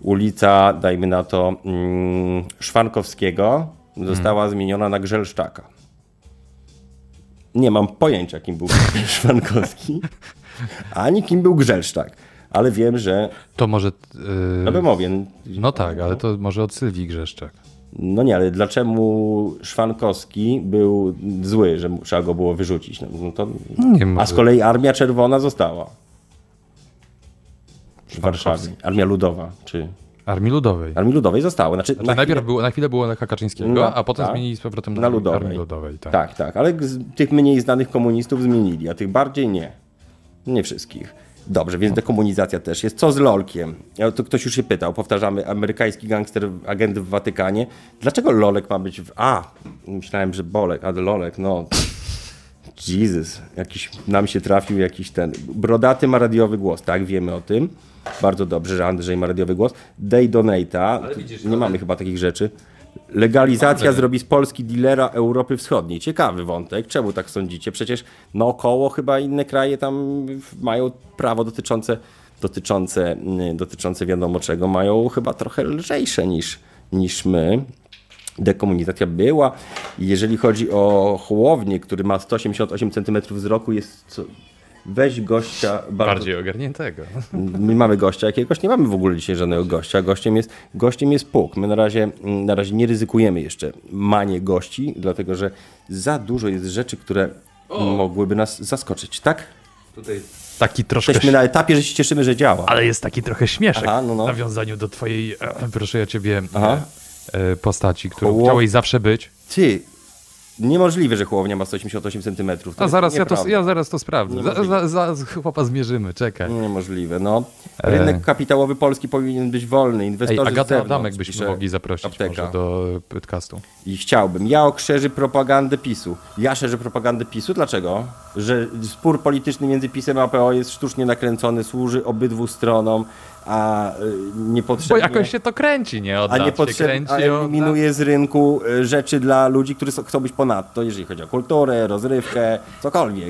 ulica, dajmy na to, mm, Szwankowskiego została Mhm. zmieniona na Grzelszczaka. Nie mam pojęcia, kim był Szwankowski, ani kim był Grzelszczak, ale wiem, że To może. Yy, na Bemowie, no tak, ale to może od Sylwii Grzeszczak. No nie, ale dlaczemu Szwankowski był zły, że mu- trzeba go było wyrzucić? No, no to... Nie A może. z kolei Armia Czerwona została. W Warszawie. Armia Ludowa, czy Armii Ludowej. Armii Ludowej zostały. Znaczy, Znaczy, na najpierw chwilę- było, na chwilę było Lecha Kaczyńskiego, No, a potem tak. zmienili z powrotem Na Ludowej. Armii Ludowej tak. tak, tak, ale z, tych mniej znanych komunistów zmienili, a tych bardziej nie. Nie wszystkich. Dobrze, więc dekomunizacja też jest. Co z Lolkiem? Ja, to ktoś już się pytał, powtarzamy, amerykański gangster, agent w Watykanie. Dlaczego Lolek ma być w... A, myślałem, że Bolek, ale Lolek, no... Jesus, jakiś nam się trafił jakiś ten. Brodaty ma radiowy głos, tak, wiemy o tym. Bardzo dobrze, że Andrzej ma radiowy głos. Day Donata, widzisz, nie ale- mamy chyba takich rzeczy. Legalizacja Mamy. zrobi z Polski dilera Europy Wschodniej. Ciekawy wątek, czemu tak sądzicie? Przecież naokoło chyba inne kraje tam w- mają prawo dotyczące, dotyczące, mm, dotyczące wiadomo czego, mają chyba trochę lżejsze niż, niż my dekomunizacja była. Jeżeli chodzi o chłownię, który ma 188 cm wzroku, jest. Co... Weź gościa bardzo. Bardziej ogarniętego. My mamy gościa jakiegoś, nie mamy w ogóle dzisiaj żadnego gościa. Gościem jest, gościem jest Puk. My na razie, mm, na razie nie ryzykujemy jeszcze manie gości, dlatego że za dużo jest rzeczy, które mogłyby nas zaskoczyć, tak? Taki troszkę... Jesteśmy na etapie, że się cieszymy, że działa. Ale jest taki trochę śmieszek Aha, no, no. w nawiązaniu do twojej, e, proszę ja ciebie, Aha. e, e, postaci, którą Koło- chciałeś zawsze być. Ty, niemożliwe, że chłownia ma 188 cm. A zaraz ja, to, ja zaraz to sprawdzę. Za, Niemożliwe. za, za, chłopa zmierzymy, czekaj. Niemożliwe, no. Rynek E. kapitałowy polski powinien być wolny. Ej, Inwestorzy z Agatę zewnątrz, Adamek byśmy pisze mogli zaprosić apteka. może do podcastu. I chciałbym. Ja okrzeży propagandę PiSu. Ja szerzę propagandę PiSu. Dlaczego? Że spór polityczny między PiSem a PO jest sztucznie nakręcony, służy obydwu stronom, a y, Bo niepotrzebnie... jakoś się to kręci, nie? Od a lat się niepotrzebnie kręci, a od lat. eliminuje z rynku y, rzeczy dla ludzi, którzy są- chcą być ponadto, jeżeli chodzi o kulturę, rozrywkę, cokolwiek.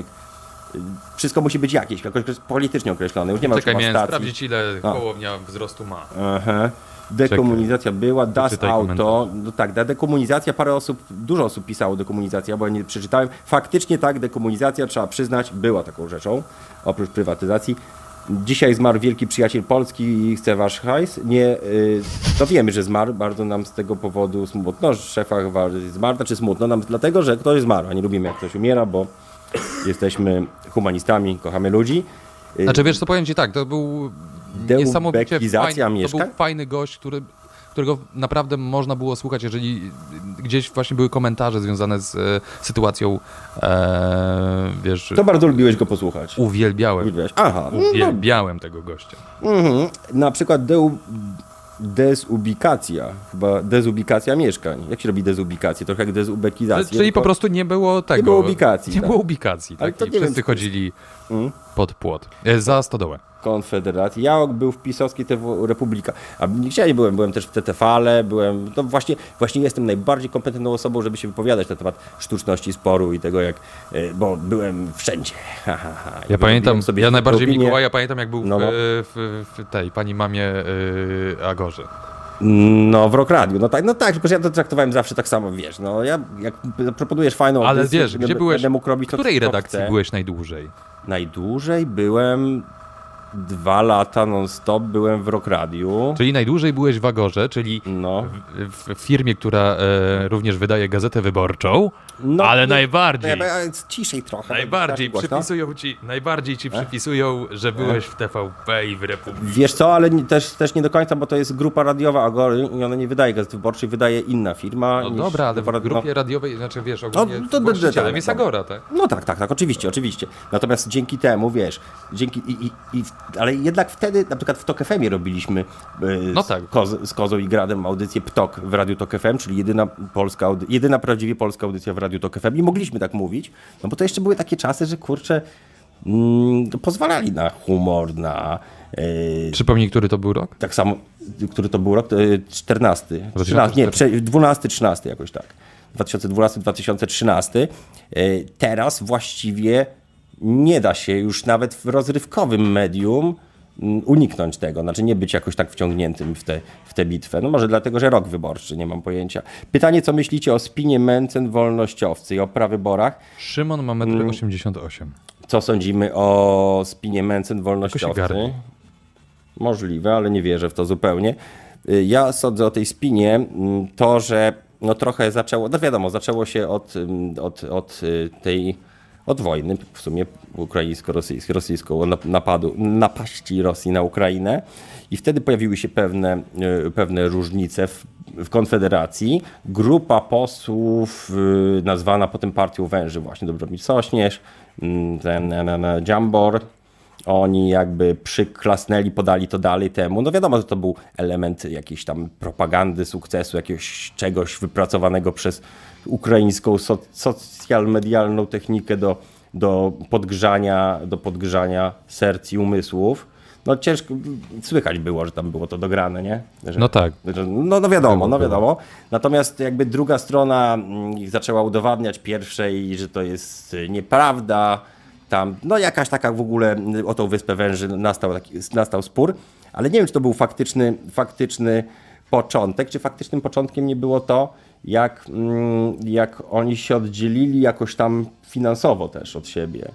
Y, Wszystko musi być jakieś, jakoś politycznie określone. Już nie ma Czekaj, już chyba miałem stacji. sprawdzić, ile A. kołownia wzrostu ma. Aha. Dekomunizacja była, Das Przeczytaj Auto. komentarz. No tak, da- dekomunizacja, parę osób, dużo osób pisało dekomunizacja, bo ja nie przeczytałem. Faktycznie tak, dekomunizacja, trzeba przyznać, była taką rzeczą, oprócz prywatyzacji. Dzisiaj zmarł wielki przyjaciel Polski i chce wasz hajs. Nie, y, to wiemy, że zmarł, bardzo nam z tego powodu smutno, że szefa wa- zmarł, znaczy smutno nam dlatego, że ktoś zmarł, a nie lubimy jak ktoś umiera, bo jesteśmy humanistami, kochamy ludzi. Y, Znaczy wiesz co, powiem ci tak, to był Deubekizacja niesamowicie fajny, to był mieszkań? fajny gość, który, którego naprawdę można było słuchać, jeżeli gdzieś właśnie były komentarze związane z e, sytuacją, e, wiesz, To bardzo lubiłeś go posłuchać. uwielbiałem, Uwielbiałeś. Aha, no uwielbiałem tego gościa. Mhm. Na przykład deu, desubikacja, chyba dezubikacja mieszkań. Jak się robi dezubikację? Trochę jak dezubekizacja. Czyli po tylko- prostu nie było tego. było ubikacji, Nie tak. było ubikacji, Ale tak? to Hmm? I nie wiem, wszyscy czy- chodzili pod płot, e, za stodołę. Konfederacji. Ja był w pisowskiej TV Republika. A nigdzie nie byłem, byłem też w TTFale, byłem, no właśnie, właśnie jestem najbardziej kompetentną osobą, żeby się wypowiadać na temat sztuczności sporu i tego jak, e, bo byłem wszędzie. Ha, ha, ha. I Ja pamiętam, wyrobiłem sobie ja najbardziej opinię. Mikołaja pamiętam, jak był w, e, No, no. w, w tej pani mamie y, Agorze. No w Rock Radio, no tak, no tak, tylko że ja to traktowałem zawsze tak samo, wiesz, no ja, jak proponujesz fajną Ale audycję, wiesz, gdzie No, będę- byłeś, będę mógł w robić to, której co redakcji chcę. byłeś najdłużej? Najdłużej byłem dwa lata non-stop, byłem w Rock Radiu. Czyli najdłużej byłeś w Agorze, czyli No. w, w firmie, która e, również wydaje gazetę wyborczą, No, ale nie- najbardziej, Nie, ciszej trochę. najbardziej tak głośno. przypisują ci, najbardziej E? ci przypisują, że byłeś w TVP i w Republice. Wiesz co, ale nie- też, też nie do końca, bo to jest grupa radiowa Agory i ona nie wydaje gazet wyborczej, wydaje inna firma. No niż dobra, ale grupa w radio- grupie radiowej, znaczy wiesz, ogólnie to- to- to- właścicielem tak, jest tak. Agora, tak? No tak, tak, tak, oczywiście, oczywiście. Natomiast dzięki temu, wiesz, dzięki i, i, i ale jednak wtedy, na przykład w Tok FM-ie robiliśmy e, No z, tak. Koz, z Kozą i Gradem audycję PTOK w Radiu Tok FM, czyli jedyna polska, audy- jedyna prawdziwie polska audycja w Radiu Tok FM i mogliśmy tak mówić, no bo to jeszcze były takie czasy, że kurczę, mm, to pozwalali na humor, na e, Przypomnij, który to był rok? tak samo, który to był rok, to, e, 14, 2014. 13, nie, prze- 12, 13 jakoś tak. 2012, 2013. E, Teraz właściwie nie da się już nawet w rozrywkowym medium mm, uniknąć tego, znaczy nie być jakoś tak wciągniętym w tę w tę bitwę. No może dlatego, że rok wyborczy, nie mam pojęcia. Pytanie, co myślicie o spinie Mencen wolnościowcy i o prawyborach? Szymon ma Mm. 1,88 m. Co sądzimy o spinie Mencen wolnościowcy? Tylko się garnie. Możliwe, ale nie wierzę w to zupełnie. Y, Ja sądzę o tej spinie mm, to, że no trochę zaczęło, no wiadomo, zaczęło się od, ym, od, od mm, y, tej od wojny w sumie ukraińsko-rosyjskiej, rosyjskiego napadu, napaści Rosji na Ukrainę. I wtedy pojawiły się pewne, y, pewne różnice w, w Konfederacji. Grupa posłów y, nazwana potem Partią Węży, właśnie Dobromir Sośnierz, mm, ten em, em, Dziambor, oni jakby przyklasnęli, podali to dalej temu. No wiadomo, że to był element jakiejś tam propagandy sukcesu, jakiegoś czegoś wypracowanego przez ukraińską so socjalmedialną technikę do, do, podgrzania, do podgrzania serc i umysłów. No ciężko, słychać było, że tam było to dograne, nie? Że, No tak. że- No, no wiadomo, no wiadomo. Natomiast jakby druga strona mm, zaczęła udowadniać pierwszej, że to jest y, nieprawda. Tam, no jakaś taka w ogóle mm, o tą Wyspę Węży nastał, taki, nastał spór, ale nie wiem, czy to był faktyczny, faktyczny początek, czy faktycznym początkiem nie było to, jak, mm, jak oni się oddzielili jakoś tam finansowo też od siebie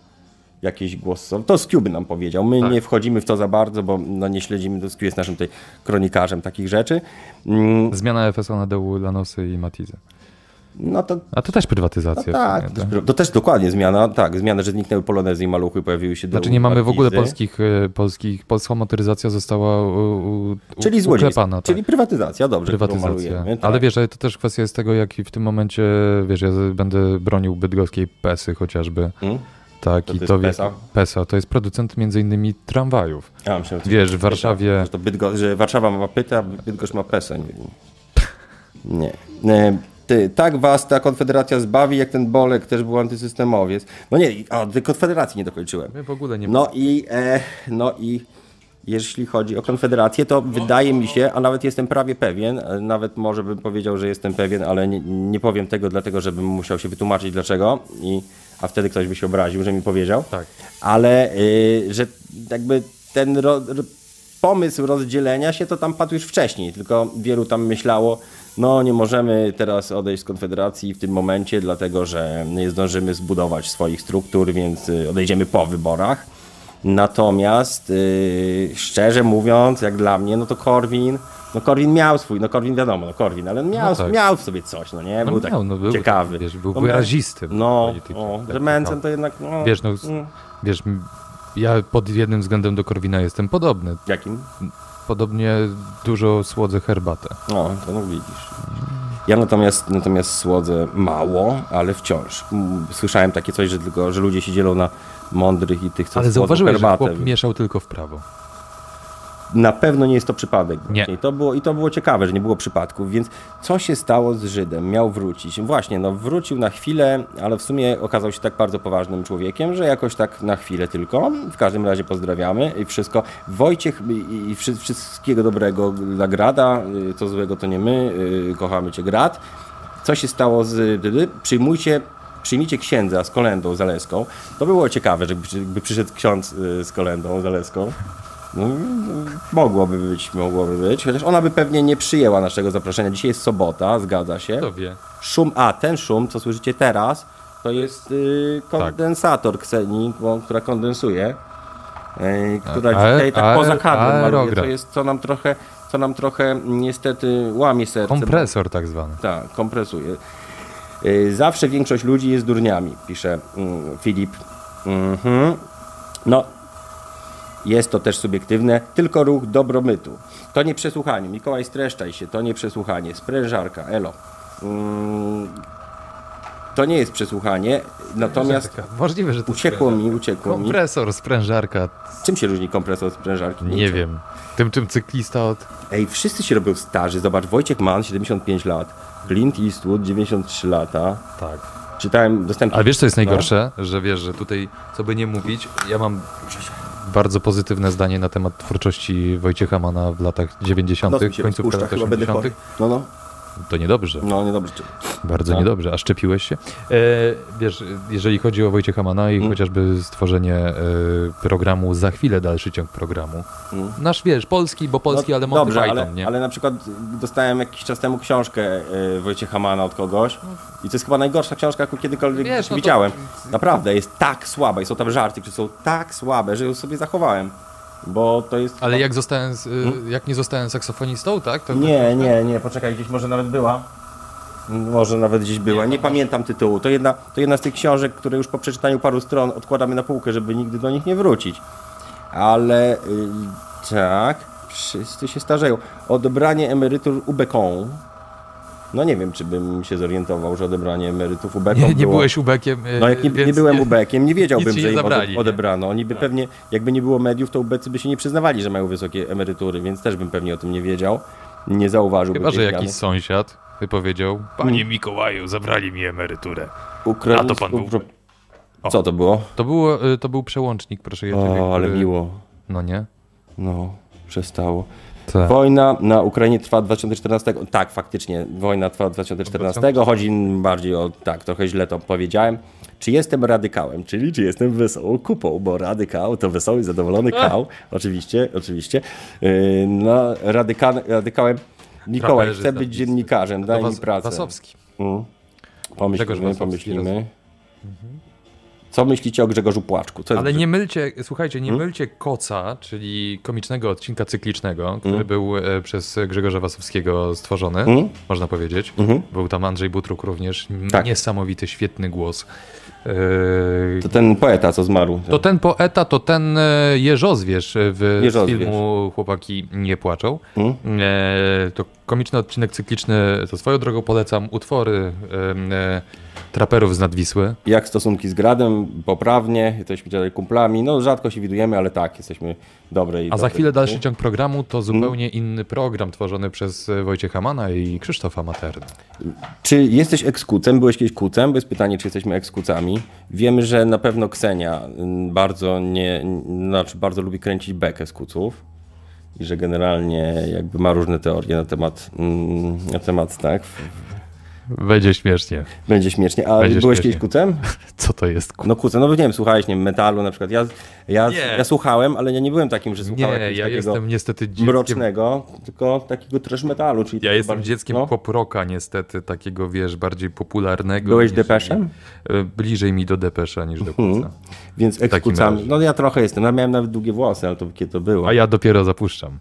jakieś głosy. To Skiuby nam powiedział. Tak. My nie wchodzimy w to za bardzo, bo no, nie śledzimy, to Skiu jest naszym tutaj kronikarzem takich rzeczy. Mm, Zmiana FSO na Deu Lanosy i Matize. No to A to też prywatyzacja. no w tak, sumie, to też, to też dokładnie zmiana, tak, zmiana, że zniknęły Polonezy i Maluchy, pojawiły się Znaczy nie mamy w ogóle polskich, e, polskich polska motoryzacja została u, u, u- Czyli złodziejstwo, uklepana, tak. czyli prywatyzacja, dobrze, którą prywatyzacja. malujemy. Tak. Ale wiesz, ale to też kwestia jest tego, jaki w tym momencie, wiesz, ja będę bronił bydgoskiej PESy chociażby. Mm? Tak, To i to to jest wie- PESA? PESA to jest producent między innymi tramwajów. Ja myślałem, że- Wiesz, w Warszawie Że, to Bydgo- że Warszawa ma pyta, a Bydgoszcz ma pesę. Nie. nie. Ty, tak was ta konfederacja zbawi, jak ten Bolek też był antysystemowiec. No nie, a ty konfederacji nie dokończyłem. My w ogóle nie No i, e, no i jeśli chodzi o Konfederację, to wydaje mi się, a nawet jestem prawie pewien, e, nawet może bym powiedział, że jestem pewien, ale nie, nie powiem tego, dlatego żebym musiał się wytłumaczyć dlaczego, i, a wtedy ktoś by się obraził, że mi powiedział. Tak. Ale y, że jakby ten ro, ro, pomysł rozdzielenia się to tam padł już wcześniej, tylko wielu tam myślało, no nie możemy teraz odejść z Konfederacji w tym momencie, dlatego że nie zdążymy zbudować swoich struktur, więc y, odejdziemy po wyborach. Natomiast yy, szczerze mówiąc, jak dla mnie, no to Korwin, no Korwin miał swój, no Korwin wiadomo, no Korwin, ale on miał, No tak. miał w sobie coś, no nie? No Był tak miał, no był ciekawy. taki, wiesz, był No miał- wyrazisty był No, politycznie, o, tak że Mencen naprawdę. to jednak, no, Wiesz, no, z- mm, wiesz, m- ja pod jednym względem do Korwina jestem podobny. Jakim? Podobnie dużo słodzę herbatę. No, to no widzisz. Ja natomiast, natomiast słodzę mało, ale wciąż. Mm, Słyszałem takie coś, że tylko, że ludzie się dzielą na mądrych i tych, co Ale słodzą zauważyłeś, że herbatę. chłop mieszał tylko w prawo. Na pewno nie jest to przypadek. właśnie. Nie. I to było, I to było ciekawe, że nie było przypadków, więc co się stało z Żydem? Miał wrócić. Właśnie, no wrócił na chwilę, ale w sumie okazał się tak bardzo poważnym człowiekiem, że jakoś tak na chwilę tylko. W każdym razie pozdrawiamy i wszystko. Wojciech i, i wszy- wszystkiego dobrego dla Grada. Y, Co złego to nie my. Y, Kochamy Cię, Grad. Co się stało z... dydy? Przyjmujcie... Przyjmijcie księdza z kolendą zaleską. To by było ciekawe, żeby, żeby przyszedł ksiądz y, z kolendą zaleską. No, Mogłoby być, mogłoby być, chociaż ona by pewnie nie przyjęła naszego zaproszenia. Dzisiaj jest sobota, zgadza się. To wie. Szum, a ten szum, co słyszycie teraz, to jest y, kondensator Tak. Kseni, bo- która kondensuje, y, która A- dzisiaj tak aer- poza kadrem maluje, aerograf. to jest, co nam trochę, co nam trochę niestety łamie serce. bo- Kompresor tak zwany. tak, kompresuje. Y, Zawsze większość ludzi jest durniami, pisze mm, Filip. Mhm. No, jest to też subiektywne, tylko ruch dobromytu. To nie przesłuchanie. Mikołaj, streszczaj się, to nie przesłuchanie. Sprężarka, elo. Mm, To nie jest przesłuchanie, natomiast Możliwe, że to uciekło mi, uciekło mi. Kompresor, sprężarka, Czym się różni kompresor od sprężarki? nie wiem. Tym czym cyklista od... Ej, wszyscy się robią starzy. Zobacz, Wojciech Mann, 75 lat. Clint Eastwood, 93 lata. Tak. Czytałem, No. dostępnie. A wiesz, co jest najgorsze? No. Że wiesz, że tutaj, co by nie mówić, ja mam bardzo pozytywne zdanie na temat twórczości Wojciecha Mana w latach 90., Nos No, mi się końcówka rozpuszcza, lat chyba będę 80. chory. No, no, To niedobrze. no, niedobrze. Bardzo niedobrze. A szczepiłeś się? E, wiesz, jeżeli chodzi o Wojciecha Mana Mm. i chociażby stworzenie e, programu Za chwilę dalszy ciąg programu. Nasz, wiesz, polski, bo polski, Mm. no, ale Monty dobrze, Python, ale, nie? ale na przykład dostałem jakiś czas temu książkę y, Wojciecha Mana od kogoś i to jest chyba najgorsza książka, jaką kiedykolwiek Wiesz, no to- widziałem. Naprawdę, jest tak słaba i są tam żarty, które są tak słabe, że ją sobie zachowałem, bo to jest... Ale jak Hmm? zostałem, z, y, jak nie zostałem saksofonistą, tak? To Nie, nie, nie, poczekaj, gdzieś może nawet była. Może nawet gdzieś była, nie pamiętam tytułu. To jedna, to jedna z tych książek, które już po przeczytaniu paru stron odkładamy na półkę, żeby nigdy do nich nie wrócić. Ale y, tak, wszyscy się starzeją. Odebranie emerytur ubeką. No nie wiem, czy bym się zorientował, że odebranie emerytów ubeką Nie, nie było... byłeś ubekiem. e, No jak nie, więc nie byłem ubekiem, nie wiedziałbym, nic ci że nie im ode- zabrali, nie? No. odebrano. Oni by pewnie, jakby nie było mediów, to ubecy by się nie przyznawali, że mają wysokie emerytury, więc też bym pewnie o tym nie wiedział. Nie zauważyłbym Chyba, że tej jakiś zmiany. sąsiad wypowiedział: Panie Mikołaju, zabrali mi emeryturę. Ukra- A to pan był. O. Co to było? To, było, y, to był przełącznik, proszę Jerzy. O, ale który- miło. No nie. No, przestało. Tak. Wojna na Ukrainie trwa 2014. Tak, faktycznie, wojna trwa 2014. Chodzi bardziej o, tak, trochę źle to powiedziałem. Czy jestem radykałem, czyli czy jestem wesołą kupą, bo radykał to wesoły, zadowolony kał. Oczywiście, oczywiście. Yy, No, radyka, radykałem. Mikołaj Traperzysta, chce być pisty. dziennikarzem, daj To mi Was- pracę. Wasowski. Mm. Grzegorz Pomyślimy, Wasowski pomyślimy. Co myślicie o Grzegorzu Płaczku? Co jest Ale nie mylcie, słuchajcie, nie Hmm? mylcie Koca, czyli komicznego odcinka Hmm? cyklicznego, który był e, przez Grzegorza Wasowskiego stworzony, można powiedzieć. Był tam Andrzej Butruk również, n- Hmm? Tak. niesamowity, świetny głos. E, To ten poeta, co zmarł. To ten poeta, to ten e, Jeżozwierz w z Jeżozwierz. filmu Chłopaki nie płaczą. E, To komiczny odcinek cykliczny, to swoją drogą polecam, utwory em, e, traperów z Nadwisły. Jak stosunki z Gradem? Poprawnie, jesteśmy dalej kumplami. No rzadko się widujemy, ale tak, jesteśmy dobrej. A za dobrej- chwilę dalszy ciąg programu to zupełnie inny program tworzony przez e, Wojciecha Mana i Krzysztofa Materny. Czy jesteś ekskucem? Byłeś kiedyś kucem? Bo jest pytanie, czy jesteśmy ekskucami. Wiemy, że na pewno Ksenia mm, bardzo nie, n- znaczy bardzo lubi kręcić bekę z kuców. I że generalnie jakby ma różne teorie na temat, mm, na temat tak. Będzie śmiesznie. Będzie śmiesznie. A Będzie byłeś śmiesznie. kiedyś kucem? Co to jest? ku- No kucem, no bo nie wiem, słuchałeś, nie wiem, metalu na przykład. Ja, ja, Nie. ja słuchałem, ale ja nie byłem takim, że Nie, słuchałem ja jakiegoś takiego... jestem niestety dzieckiem, mrocznego, tylko takiego trash metalu. Czyli ja tak jestem bardziej- dzieckiem no. pop rocka niestety, takiego wiesz, bardziej popularnego. Byłeś niż- depeszem? E, Bliżej mi do depesza niż do Kuca. Więc takim ekskucami. razie. No ja trochę jestem, no, miałem nawet długie włosy, ale to kiedy to było. A ja dopiero zapuszczam.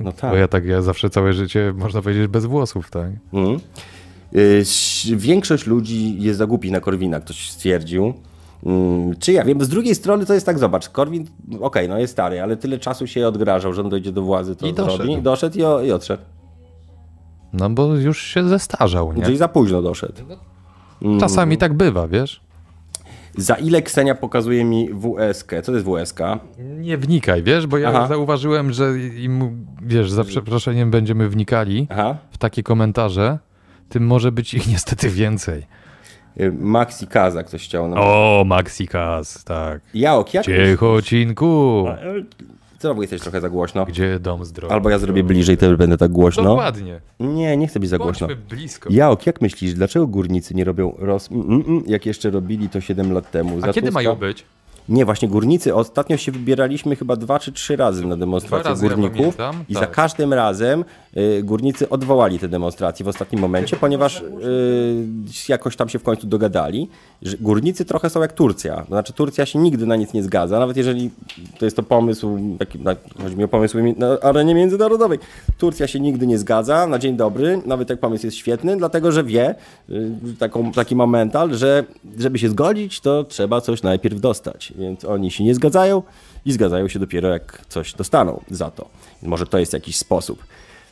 No Bo tak. ja tak, ja zawsze całe życie, można powiedzieć, bez włosów, tak? Mhm. Y, ś- Większość ludzi jest zagupi na Korwina, ktoś stwierdził. Mm, Czy ja wiem, z drugiej strony to jest tak, zobacz, Korwin, okej, no jest stary, ale tyle czasu się odgrażał, że on dojdzie do władzy, to I zrobi. doszedł. Doszedł i, o, i odszedł. No bo już się zestarzał, nie? Czyli za późno doszedł. Mm. Czasami tak bywa, wiesz? Za ile Ksenia pokazuje mi WSK? Co to jest WSK? Nie wnikaj, wiesz, bo ja Aha. zauważyłem, że im, wiesz, za przeproszeniem będziemy wnikali Aha. w takie komentarze, tym może być ich niestety więcej. Y, Maxi Kaza ktoś chciał nam O, Maxikas, tak. Jaok, jak? Ciechocinku, Znowu jesteś trochę za głośno. gdzie dom zdrowia. Albo ja zrobię bliżej, to będę tak głośno. Dokładnie, Nie, nie chcę być za głośno. bądźmy blisko. Jaok, jak myślisz, dlaczego górnicy nie robią roz... Mm, mm, mm, jak jeszcze robili to 7 lat temu? A Za kiedy Tuska? mają być? Nie, właśnie górnicy. Ostatnio się wybieraliśmy chyba dwa czy trzy razy na demonstrację razy ja górników. pamiętam, I tak. za każdym razem y, górnicy odwołali te demonstracje w ostatnim momencie, ponieważ y, jakoś tam się w końcu dogadali. Że górnicy trochę są jak Turcja. To znaczy Turcja się nigdy na nic nie zgadza, nawet jeżeli to jest to pomysł, taki, na, chodzi mi o pomysł mi- na arenie międzynarodowej. Turcja się nigdy nie zgadza na dzień dobry, nawet jak pomysł jest świetny, dlatego że wie, y, taką, taki ma mental, że żeby się zgodzić, to trzeba coś najpierw dostać. Więc oni się nie zgadzają i zgadzają się dopiero jak coś dostaną za to. Może to jest jakiś sposób.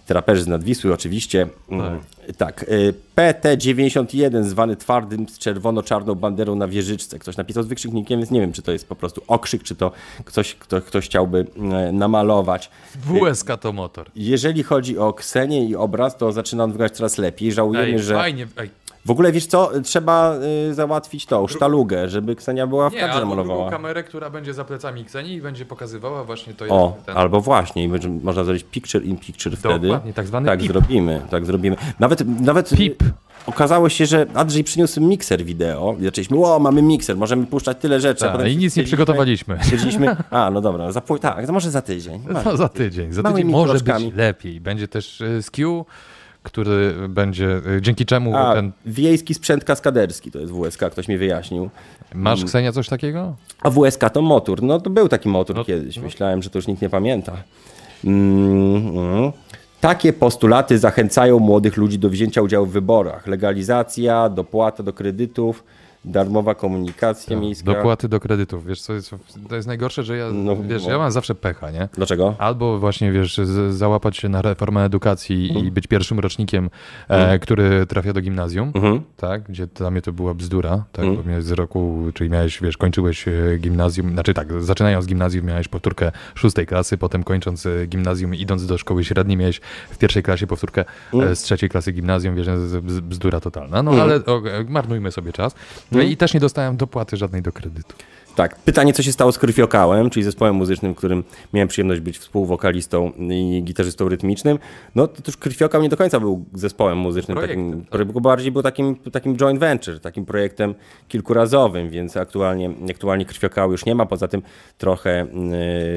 Traperzy z Nadwisły oczywiście. Mm, Tak. y, PT91 zwany twardym z czerwono-czarną banderą na wieżyczce. Ktoś napisał z wykrzyknikiem, więc nie wiem, czy to jest po prostu okrzyk, czy to ktoś, kto, ktoś chciałby e, namalować. WSK to motor. Jeżeli chodzi o Ksenię i obraz, to zaczynam wyglądać coraz lepiej. Żałujemy, Ej, że... fajnie, ej, W ogóle wiesz co, trzeba y, załatwić tą sztalugę, żeby Ksenia była w Nie, kadrze albo drugą malowała. kamerę, która będzie za plecami Kseni i będzie pokazywała właśnie to, jak O, ten... albo właśnie, i będzie- można zrobić picture in picture wtedy. Dokładnie, tak zwany pip. zrobimy, tak zrobimy. Nawet, nawet Pip. okazało się, że Andrzej przyniósł mikser wideo. i Zaczęliśmy, o, mamy mikser, możemy puszczać tyle rzeczy. a Tak, potem I się nic nie stwierdziliśmy- przygotowaliśmy. Stwierdziliśmy, a no dobra, za, pół- tak, to może za tydzień. No, za tydzień. Za Małymi tydzień może być kroczkami. lepiej. Będzie też y, skew, który będzie, y, dzięki czemu A, ten... wiejski sprzęt kaskaderski, to jest WSK, ktoś mi wyjaśnił. mm. Masz, Ksenia, coś takiego? A WSK to motor. No to był taki motor kiedyś. Myślałem, że to już nikt nie pamięta. Mm, mm. Takie postulaty zachęcają młodych ludzi do wzięcia udziału w wyborach. Legalizacja, dopłata do kredytów, darmowa komunikacja miejska. Dopłaty do kredytów. Wiesz, co jest, to jest najgorsze, że ja, No, wiesz, bo- ja mam zawsze pecha, nie? Dlaczego? Albo właśnie, wiesz, z- załapać się na reformę edukacji i być pierwszym rocznikiem, e, który trafia do gimnazjum, tak? Gdzie dla mnie to była bzdura, tak? Bo mnie z roku, czyli miałeś, wiesz, kończyłeś e, gimnazjum, znaczy tak, zaczynając gimnazjum miałeś powtórkę szóstej klasy, potem kończąc e, gimnazjum, idąc do szkoły średniej miałeś w pierwszej klasie powtórkę e, z trzeciej klasy gimnazjum, wiesz, z- z- bzdura totalna. No ale o, e, marnujmy sobie czas. No i też nie dostałem dopłaty żadnej do kredytu. Tak, pytanie, co się stało z Krwiokołem, czyli zespołem muzycznym, w którym miałem przyjemność być współwokalistą i gitarzystą rytmicznym. No to też Krwiokał nie do końca był zespołem muzycznym, Projektem, tak. takim, tylko bardziej był takim, takim joint venture, takim projektem kilkurazowym, więc aktualnie, aktualnie Krwiokał już nie ma, poza tym trochę...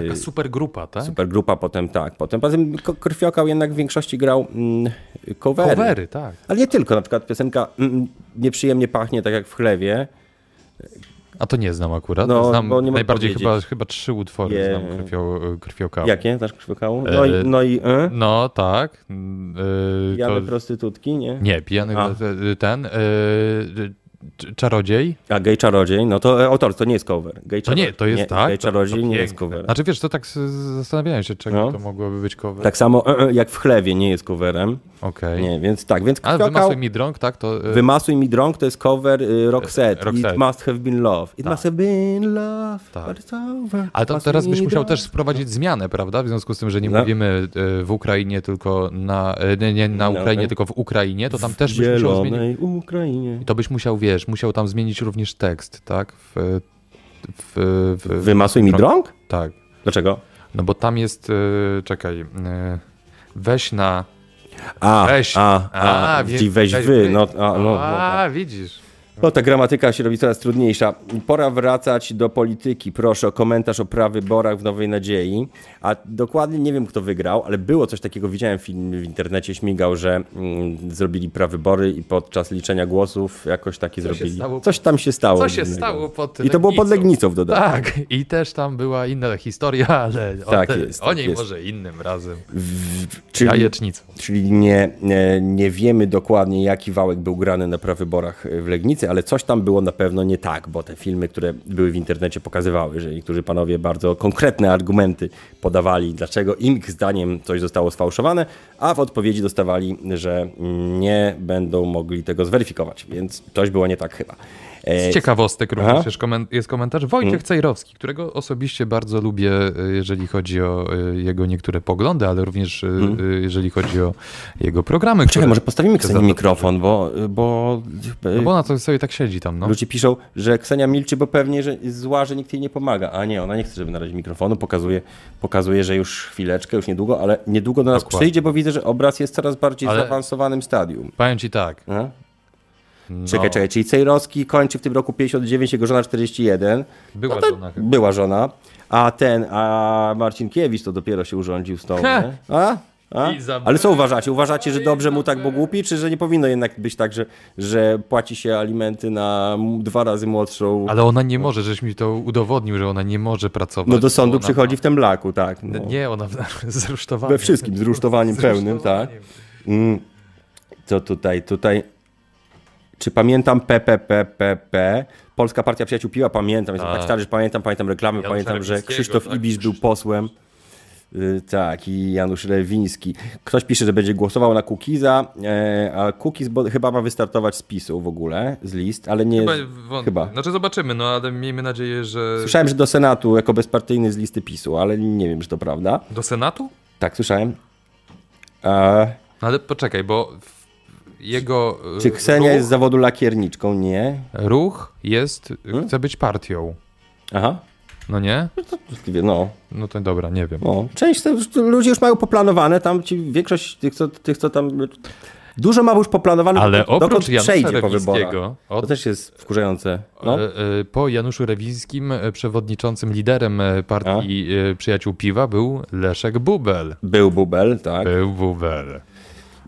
Yy, Super grupa, tak? Supergrupa potem tak, potem poza tym Ko- Krwiokał jednak w większości grał mm, covery. Covery, tak. Ale nie tylko, na przykład piosenka mm, Nieprzyjemnie pachnie, tak jak w chlewie, A to nie znam akurat. No, znam bo nie mogę najbardziej powiedzieć. chyba, chyba trzy utwory Nie. znam krwio, Tak. krwiokała. Jakie znasz Krwiokału? E, No i... No i y? No tak. mm, Yy, Pijane to, prostytutki, nie? nie, pijany A. y, ten. Yy, c- czarodziej. A gej czarodziej, no to e, autor, to nie jest cover. Gej To nie, czaro- to jest tak. Gej to- to czarodziej nie piękne. jest cover. Znaczy wiesz, to tak s- zastanawiałem się, czego No. to mogłoby być cover. Tak samo e, e, jak w chlewie nie jest coverem. Okej. Nie, więc tak, więc Ale Krwiokał- wymasuj mi drąg, tak? To, yy, Wymasuj mi drąg to jest cover y, Roxette. Roxette. It must have been love. It must have been love. Tak. But it's over. ale to Must teraz be byś musiał drunk. też wprowadzić zmianę, prawda? W związku z tym, że nie No. mówimy y, w Ukrainie, tylko na, y, nie, nie na No. Ukrainie, tylko w Ukrainie, to tam też byś musiał zmienić. Zielonej Ukrainie. I to byś musiał, wiesz, musiał tam zmienić również tekst, tak? W, w, w, Wymasuj mi drąg? Tak. Dlaczego? No bo tam jest, y, czekaj, y, weź na... A, Weź. a, a, A, a wie- czyli weź weź wy. wy. No, a, no, no, tak. A, widzisz. No ta gramatyka się robi coraz trudniejsza. Pora wracać do polityki. Proszę o komentarz o prawyborach w Nowej Nadziei. A dokładnie nie wiem, kto wygrał, ale było coś takiego, widziałem film w internecie, śmigał, że mm, zrobili prawybory i podczas liczenia głosów jakoś taki się zrobili. stało- coś tam się stało. Co się dziwnego. stało pod I to było pod Legnicą w dodatku. Tak, i też tam była inna historia, ale o, Tak te, jest, o tak niej jest. może innym razem. Czyli, Jajecznicą. czyli nie, nie, nie wiemy dokładnie, jaki wałek był grany na prawyborach e, w Legnicy, ale coś tam było na pewno nie tak, bo te filmy, które były w internecie pokazywały, że niektórzy panowie bardzo konkretne argumenty podawali, dlaczego ich zdaniem coś zostało sfałszowane, a w odpowiedzi dostawali, że nie będą mogli tego zweryfikować, więc coś było nie tak chyba. E, Z ciekawostek Aha. Mm. również jest komen- jest komentarz Wojciech Cejrowski, którego osobiście bardzo lubię, y, jeżeli chodzi o y, jego niektóre poglądy, ale również y, y, jeżeli chodzi o jego programy. Czekaj, które- Mm. może postawimy za Kseni to- mikrofon, bo, bo, No bo ona to sobie tak siedzi tam, no. Ludzie piszą, że Ksenia milczy, bo pewnie że jest zła, że nikt jej nie pomaga. A nie, ona nie chce, żeby na razie mikrofonu. Pokazuje, pokazuje, że już chwileczkę, już niedługo, ale niedługo do nas Dokładnie. przyjdzie, bo widzę, że obraz jest coraz bardziej Ale- zaawansowanym stadium. Powiem ci tak. No. No, Czekaj, czekaj, czyli Cejrowski kończy w tym roku 59, jego żona 41. Była No to żona Tak. chyba. Była żona. A ten, a Marcinkiewicz to dopiero się urządził z tą, Ha! nie? A? A? I za- No Ale co uważacie? Uważacie, że dobrze mu tak, bo głupi, czy że nie powinno jednak być tak, że, że płaci się alimenty na m- dwa razy młodszą Ale ona nie może, żeś mi to udowodnił, że ona nie może pracować. No do bo sądu ona przychodzi w tym laku, tak. ma- No. Nie, ona zrusztowana. We wszystkim, z rusztowaniem pełnym, tak. Mm. Co tutaj, tutaj. Czy pamiętam PPPPP? Polska Partia Przyjaciół Piła, pamiętam. Jestem tak stary, że pamiętam, pamiętam reklamy, Janusza pamiętam, że Repińskiego, Krzysztof tak, Ibisz był posłem. Y, Tak, i Janusz Rewiński. Ktoś pisze, że będzie głosował na Kukiza, e, a Kukiz bo, chyba ma wystartować z PiSu w ogóle, z list, ale nie... Chyba, chyba. chyba. Znaczy zobaczymy, no ale miejmy nadzieję, że... Słyszałem, że do Senatu jako bezpartyjny z listy PiSu, ale nie wiem, czy to prawda. Do Senatu? Tak, słyszałem. E, A, No ale poczekaj, bo w- jego e, czy Ksenia No. ruch, jest z zawodu lakierniczką? Nie. Ruch jest, chce być partią. Aha. No nie? Możliwie, No, No to dobra, nie wiem. no. Część te, ludzie już mają poplanowane, tam ci większość tych, co, tych, co tam. Dużo ma już poplanowane, Ale dokąd, dokąd oprócz Janusza przejdzie po wyborach. Rewińskiego, To od, też jest wkurzające. No. e, e, po Januszu Rewińskim e, przewodniczącym, liderem e, partii e, Przyjaciół Piwa był Leszek Bubel. Był bubel, tak. Był Bubel.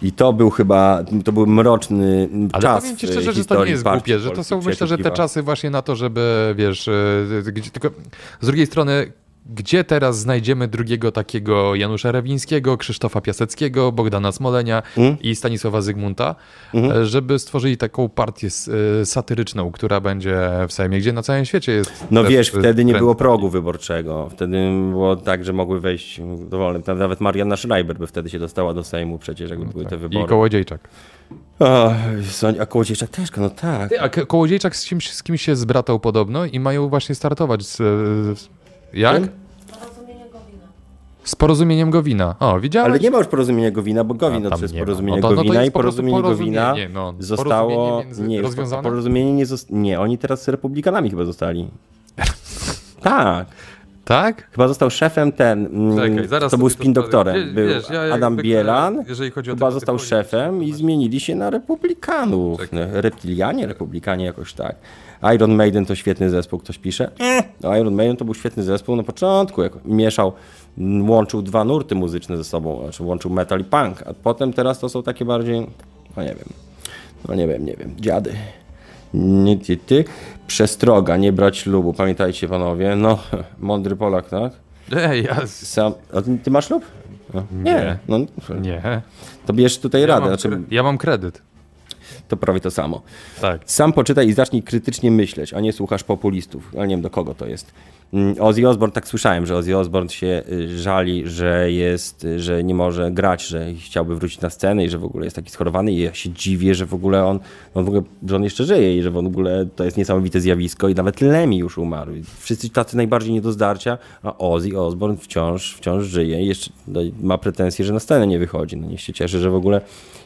I to był chyba, to był mroczny Ale czas. powiem ci w szczerze, że to historii nie jest partii głupie, że to polskich są myślę, że te przyjaciół czasy właśnie na to, żeby wiesz, e, gdzie, tylko z drugiej strony Gdzie teraz znajdziemy drugiego takiego Janusza Rewińskiego, Krzysztofa Piaseckiego, Bogdana Smolenia Mhm. i Stanisława Zygmunta, e, żeby stworzyli taką partię s- e, satyryczną, która będzie w Sejmie, gdzie na całym świecie jest. No też, wiesz, e, wtedy nie trend. było progu wyborczego. Wtedy było tak, że mogły wejść dowolne. Tam Nawet Marianna Schreiber by wtedy się dostała do Sejmu przecież, jakby były te No tak. I wybory. Kołodziejczak. Oj, Sonia- a Kołodziejczak też, no tak. Ty, a K- Kołodziejczak z kimś, z kimś się zbratał podobno i mają właśnie startować z... e, z jak? Z porozumieniem Gowina. O, widziałeś? Ale nie ma już porozumienia Gowina, bo Gowin A, tam odszedł z nie ma. porozumienia No to- no to Gowina jest i po prostu porozumienie Gowina porozumienie, no. zostało... Porozumienie między- nie, już rozwiązane? porozumienie nie zost... Nie, oni teraz z republikanami chyba zostali. tak. Tak? Chyba został szefem ten. mm, Czekaj, zaraz to był sobie to spin sprawdzę. doktorem. Wie- Był wiesz, ja jak Adam zwykle, Bielan. jeżeli chodzi o chyba tego został typu szefem ludzi, i zmienili się na republikanów. No, Reptilianie, republikanie jakoś tak. Iron Maiden to świetny zespół, ktoś pisze. No, Iron Maiden to był świetny zespół na początku, jak mieszał, m, łączył dwa nurty muzyczne ze sobą, znaczy łączył metal i punk, a potem teraz to są takie bardziej, no nie wiem, no nie wiem, nie wiem, dziady. Nie, ty, ty. Przestroga, nie brać ślubu, pamiętajcie panowie, no, mądry Polak, tak? Ej, ja... z- Sam, a ty, ty masz lub? No. Nie. No, Nie. to bierz tutaj Ja, radę, mam, znaczy, kre- ja mam kredyt. to prawie to samo. Tak. Sam poczytaj i zacznij krytycznie myśleć, a nie słuchasz populistów. Ja nie wiem do kogo to jest. Mm, Ozzy Osbourne, tak słyszałem, że Ozzy Osbourne się y, żali, że jest, y, że nie może grać, że chciałby wrócić na scenę i że w ogóle jest taki schorowany i ja się dziwię, że w ogóle on, on w ogóle, że on jeszcze żyje i że w ogóle to jest niesamowite zjawisko i nawet Lemmy już umarł. I Wszyscy tacy najbardziej nie do zdarcia, a Ozzy Osbourne wciąż, wciąż żyje i jeszcze no, i ma pretensje, że na scenę nie wychodzi. No niech się cieszy, że w ogóle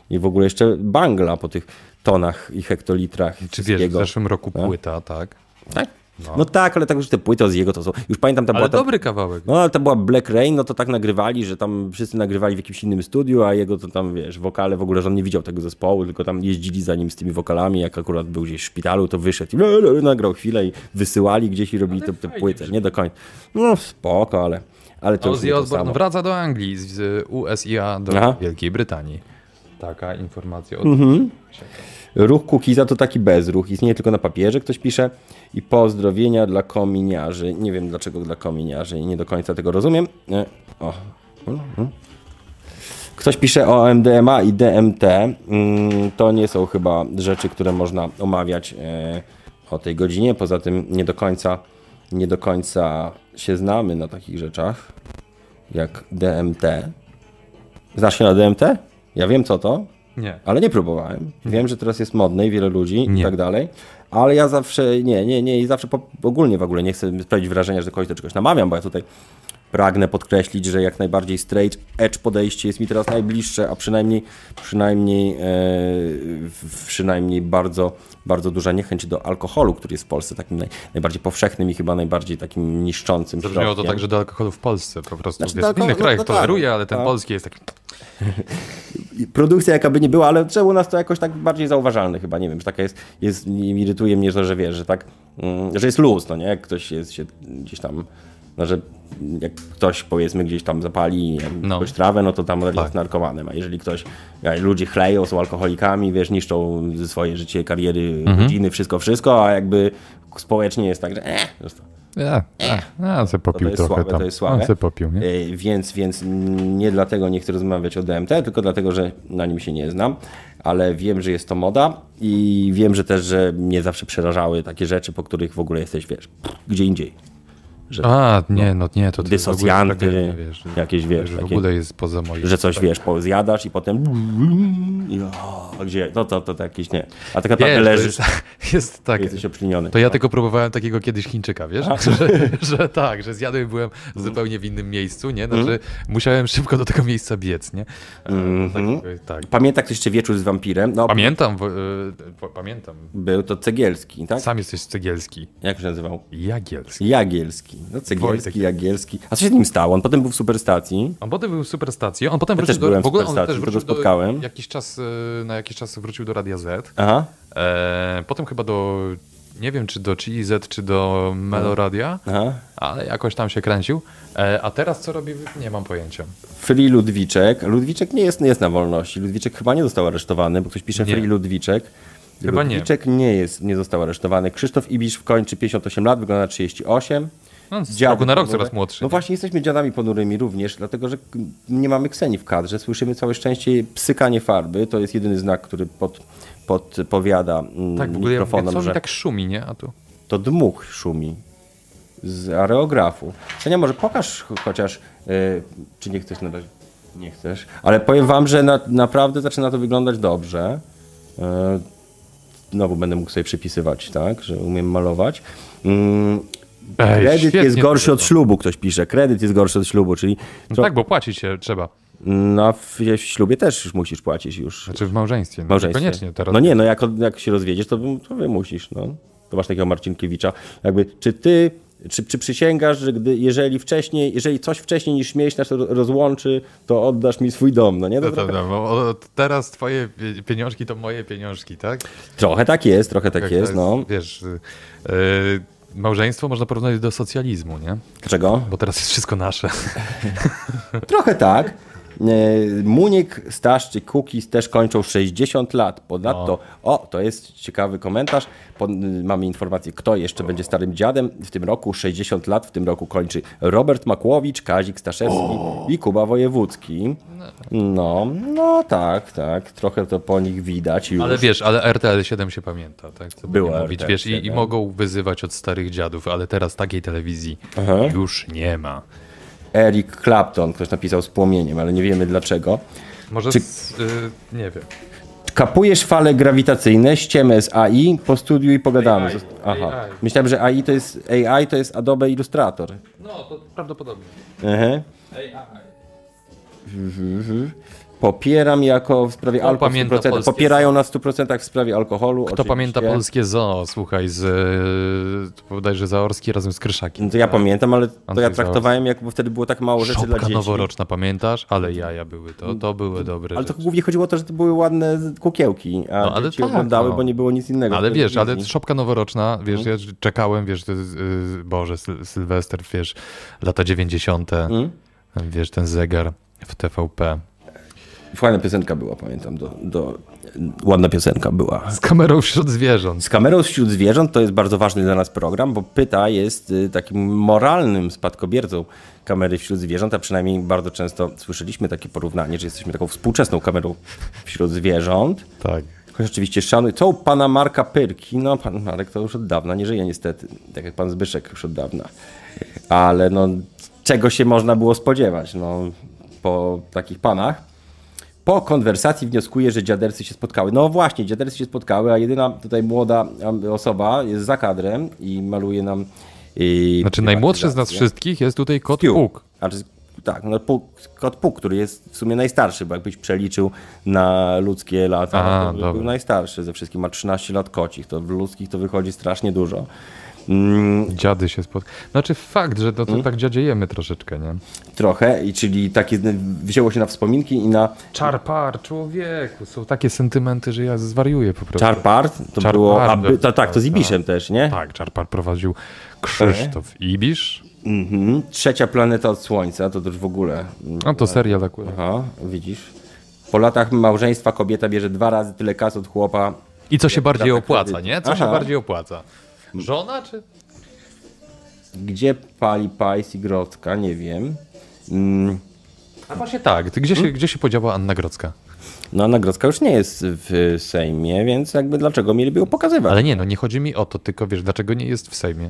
i w ogóle jeszcze bangla po tych tonach i hektolitrach Czy wiesz, w wszystkiego. zeszłym roku No. płyta, tak? Tak? No. tak, ale tak już te płyty z jego to są. Już pamiętam, tam Ale była ta, dobry kawałek. no, ale to była Black Rain, no to tak nagrywali, że tam wszyscy nagrywali w jakimś innym studiu, a jego to tam, wiesz, wokale w ogóle, że on nie widział tego zespołu, tylko tam jeździli za nim z tymi wokalami, jak akurat był gdzieś w szpitalu, to wyszedł i le, le, le, nagrał chwilę i wysyłali gdzieś i robili tę tę płytę. Nie do końca. No spoko, ale, ale to już nie Ozzy to Osbourne no samo. wraca do Anglii, z- z USA do Aha. Wielkiej Brytanii. Taka informacja od Ruch Kukiza to taki bezruch, istnieje tylko na papierze, ktoś pisze. I pozdrowienia dla kominiarzy. Nie wiem dlaczego dla kominiarzy, nie do końca tego rozumiem. E, O. Mhm. Ktoś pisze o MDMA i DMT. Mm, To nie są chyba rzeczy, które można omawiać e, o tej godzinie. Poza tym nie do końca, nie do końca się znamy na takich rzeczach jak DMT. Znasz się na DMT? Ja wiem co to, Nie. ale nie próbowałem. Wiem, że teraz jest modne i wiele ludzi i Mhm. Nie. tak dalej. Ale ja zawsze, nie, nie, nie, i zawsze po, ogólnie w ogóle nie chcę sprawić wrażenia, że kogoś do czegoś namawiam, bo ja tutaj pragnę podkreślić, że jak najbardziej straight edge podejście jest mi teraz najbliższe, a przynajmniej, przynajmniej, e, w- przynajmniej bardzo, bardzo duża niechęć do alkoholu, który jest w Polsce takim naj, najbardziej powszechnym i chyba najbardziej takim niszczącym Zabrzmiało to środkiem. tak, że do alkoholu w Polsce po prostu. Znaczy, wiesz, do w innych alkoholu- krajach no to tak. toleruje, ale ten Tak. polski jest taki... produkcja jaka by nie była, ale trzeba u nas to jakoś tak bardziej zauważalne chyba, nie wiem, że taka jest, jest irytuje mnie to, że wiesz, że tak, mm, że jest luz, no nie, jak ktoś jest się gdzieś tam, no że jak ktoś powiedzmy gdzieś tam zapali nie wiem, No. jakąś trawę, no to tam jest narkomanem, a jeżeli ktoś, a ludzie chleją, są alkoholikami, wiesz, niszczą swoje życie, kariery, rodziny, wszystko, wszystko, a jakby społecznie jest tak, że eh, zostaw. Ja, a, a se popił To jest trochę słabe, tam. to jest słabe. A se popił, nie? E, Więc, więc nie dlatego nie chcę rozmawiać o DMT, tylko dlatego, że na nim się nie znam, ale wiem, że jest to moda i wiem, że też, że mnie zawsze przerażały takie rzeczy, po których w ogóle jesteś, wiesz, gdzie indziej. A, nie, no nie, to... Dysocjanty, jakieś, wiesz, W takie, ogóle jest poza moim... że coś, wiesz, po- zjadasz i potem i o, a gdzie, no to, to, to jakieś, nie. A tak naprawdę Wiesz, to leżysz, jest, jest tak. jesteś No. obczyniony. To ja tylko próbowałem takiego kiedyś Chińczyka, wiesz? Że, że tak, że zjadłem i byłem Mhm. zupełnie w innym miejscu, nie? Znaczy musiałem szybko do tego miejsca biec, nie? E, Mhm. Takiego, tak. Pamięta ktoś jeszcze wieczór z wampirem? No, Pamiętam, wo- e, po- pamiętam. był to Cegielski, tak? Sam jesteś cegielski. Jak się nazywał? Jagielski. Jagielski. No, Wojtek. Cegielski, Jagielski. A co się z nim stało? On potem był w superstacji. On potem był w superstacji, on potem Ja wrócił też do... byłem W ogóle w on Superstacji, też to wrócił go spotkałem. do... Jakiś czas, e, na jakiś czas wrócił do Radia Z. Aha. E, potem chyba do... Nie wiem, czy do CZ, czy do Meloradia, No. Aha. ale jakoś tam się kręcił. E, a teraz co robi? Nie mam pojęcia. Fri Ludwiczek. Ludwiczek nie jest, nie jest na wolności. Ludwiczek chyba nie został aresztowany, bo ktoś pisze Nie. Fri Ludwiczek. Chyba nie. Ludwiczek nie. jest, nie został aresztowany. Krzysztof Ibisz kończy 58 lat, wygląda na 38. No, z dziady roku na rok ponure. coraz młodszy. No właśnie, jesteśmy dziadami ponurymi również, dlatego że k- nie mamy Kseni w kadrze. Słyszymy całe szczęście psykanie farby. To jest jedyny znak, który pod, podpowiada mm, tak, w ogóle ja mówię, mikrofonom, co mi że tak szumi, nie? A tu... to dmuch szumi z areografu. Senia, może pokaż ch- chociaż, y, czy nie chcesz na razie? Nie chcesz, ale powiem wam, że na, naprawdę zaczyna to wyglądać dobrze. Y, Znowu będę mógł sobie przypisywać, tak, że umiem malować. Mm, Ej, kredyt świetnie jest to gorszy od wyszło. ślubu, ktoś pisze. Kredyt jest gorszy od ślubu, czyli No tro- tak, bo płacić się trzeba. no, w, w ślubie też już musisz płacić już. Znaczy w małżeństwie. No, Małżeństwie. Koniecznie teraz. No nie, no jak, jak się rozwiedziesz, to, to wymusisz, no. To masz takiego Marcinkiewicza. Jakby, czy ty, czy, czy przysięgasz, że gdy, jeżeli wcześniej, jeżeli coś wcześniej niż śmieć nas ro- rozłączy, to oddasz mi swój dom, no nie? To To, to, trochę, to, bo od teraz twoje pie- pieniążki to moje pieniążki, tak? trochę tak jest, trochę tak Jak jest, no. Wiesz, y, y, małżeństwo można porównać do socjalizmu, nie? Dlaczego? Bo teraz jest wszystko nasze. Trochę tak. E, Muniek, Staszczyk, Kukiz też kończą 60 lat. Ponadto, o, to jest ciekawy komentarz. Pon- y, mamy informację, kto jeszcze będzie starym dziadem w tym roku. 60 lat w tym roku kończy Robert Makłowicz, Kazik Staszewski i Kuba Wojewódzki. No, no tak, tak. Trochę to po nich widać już. Ale wiesz, ale RTL 7 się pamięta, tak? Co by Było nie mówić, RTL wiesz, i, i 7. mogą wyzywać od starych dziadów, ale teraz takiej telewizji już nie ma. Eric Clapton, ktoś napisał z płomieniem, ale nie wiemy dlaczego. Może Czy- z, y, nie wiem. Kapujesz fale grawitacyjne, ściemę z AI, po studiu i pogadamy. Zost- Aha. AI. Myślałem, że AI to jest AI to jest Adobe Illustrator. No, to prawdopodobnie. Mhm. Mhm. Popieram jako w sprawie Kto alkoholu. pamięta 100%. polskie- Popierają na 100% w sprawie alkoholu. Kto pamięta polskie zoo, słuchaj, z y, bodajże Zaorski razem z Kryszakiem. No to ja pamiętam, ale to ja Andrzej traktowałem, jak, bo wtedy było tak mało rzeczy dla Szopka dzieci. noworoczna, pamiętasz? Ale jaja były to, to były dobre Ale to rzeczy. głównie chodziło o to, że to były ładne kukiełki, a No, ale dzieci tak, oglądały, no. bo nie było nic innego. w Ale wiesz, ale telewizji. Mhm. szopka noworoczna, wiesz, ja czekałem, wiesz, to jest, y, Boże, Syl- Sylwester, wiesz, lata 90. Mhm. Wiesz, ten zegar w TVP. Fajna piosenka była, pamiętam. Do, do... Ładna piosenka była. Z kamerą wśród zwierząt. Z kamerą wśród zwierząt to jest bardzo ważny dla nas program, bo Pyta jest y, takim moralnym spadkobiercą kamery wśród zwierząt, a przynajmniej bardzo często słyszeliśmy takie porównanie, że jesteśmy taką współczesną kamerą wśród zwierząt. Tak. Choć oczywiście szanuj. Co u pana Marka Pyrki? No, pan Marek to już od dawna nie żyje niestety, tak jak pan Zbyszek już od dawna. Ale no, czego się można było spodziewać no, po takich panach? Po konwersacji wnioskuję, że dziadercy się spotkały. No właśnie, dziadercy się spotkały, a jedyna tutaj młoda am, osoba jest za kadrem i maluje nam... y, Znaczy, najmłodszy z nas prywatyzację. wszystkich jest tutaj kot Piu. Puk. Znaczy, tak, no, Puk, kot Puk, który jest w sumie najstarszy, bo jakbyś przeliczył na ludzkie lata, no A, to by dobra. był najstarszy ze wszystkich. Ma 13 lat kocich, to w ludzkich to wychodzi strasznie dużo. Mm, Dziady się spotkały. Znaczy, fakt, że to, Mhm. to tak dziadziejemy troszeczkę, nie? trochę, i czyli takie wzięło się na wspominki i na Czarpar, człowieku, są takie sentymenty, że ja zwariuję po prostu. Czarpart, to Czar było, Part, a, by, to, tak, to z tak, Ibiszem też, nie? Tak, Czarpar prowadził E? Krzysztof Ibisz. Mhm. Trzecia planeta od Słońca, to też w ogóle mm, No to serial akurat. Aha, widzisz. Po latach małżeństwa kobieta bierze dwa razy tyle kas od chłopa. I co się bardziej Data opłaca, kredytu. nie? Co się Aha. bardziej opłaca? Żona czy... Gdzie pali pajs i grotka? Nie wiem. Mm, A właśnie tak, ty gdzie Hmm? się, gdzie się podziała Anna Grodzka? No Anna Grodzka już nie jest w Sejmie, więc jakby dlaczego mieliby ją pokazywać? Ale nie, no nie chodzi mi o to, tylko wiesz, dlaczego nie jest w Sejmie?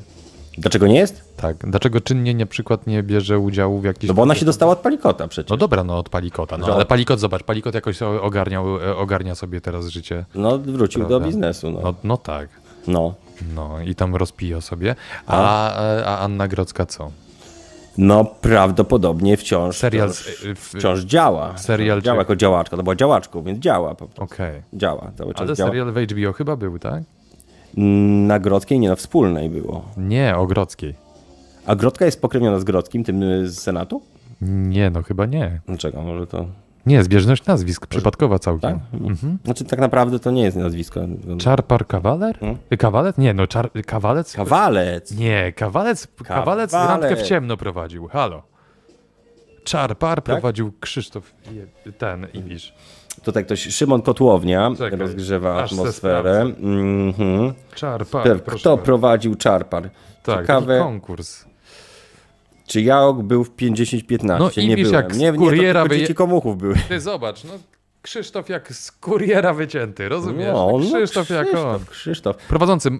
Dlaczego nie jest? Tak, dlaczego czynnie na przykład nie bierze udziału w jakichś... No bo ona się dostała od Palikota przecież. No dobra, no od Palikota, no No. ale Palikot, zobacz, Palikot jakoś o- ogarniał, e, ogarnia sobie teraz życie. No wrócił do Prawda. biznesu, no. No, no tak, no. no i tam rozpija sobie. A, e, a Anna Grodzka co? No prawdopodobnie wciąż, Serial z- wciąż, y, w- wciąż działa. Serial Wciąż działa czy- jako działaczka, to była działaczką, więc działa po prostu. Okej. Działa, cały czas Ale działa. serial w HBO chyba był, tak? Mm, Na Grodzkiej, nie na Wspólnej było. Nie, o Grodzkiej. A Grodka jest pokrewniona z Grodzkim, tym y, z Senatu? Nie, no chyba nie. Dlaczego? Może to... Nie, zbieżność nazwisk, przypadkowa Tak? całkiem. Znaczy tak naprawdę to nie jest nazwisko. Czarpar Kawaler? Hmm? Kawalet? Nie, no czar... Kawalec? Kawalec! Nie, Kawalec, Kawalec randkę w Kawalec. ciemno prowadził, halo. Czarpar Tak? prowadził Krzysztof, je- ten, Ibisz. Tutaj ktoś, tak Szymon Kotłownia, Czekaj, rozgrzewa aż se atmosferę. sprawdzę. Mhm. Czarpar, Kto proszę bardzo. prowadził czarpar? Tak, taki Ciekawe, konkurs. Czy Jaok był w 50-15? No i nie wiesz, byłem. jak z nie, nie, kuriera to tylko wyje- dzieci komuchów były. Ty zobacz, no Krzysztof jak z kuriera wycięty, rozumiesz? No, no, Krzysztof jak on. Krzysztof. Prowadzącym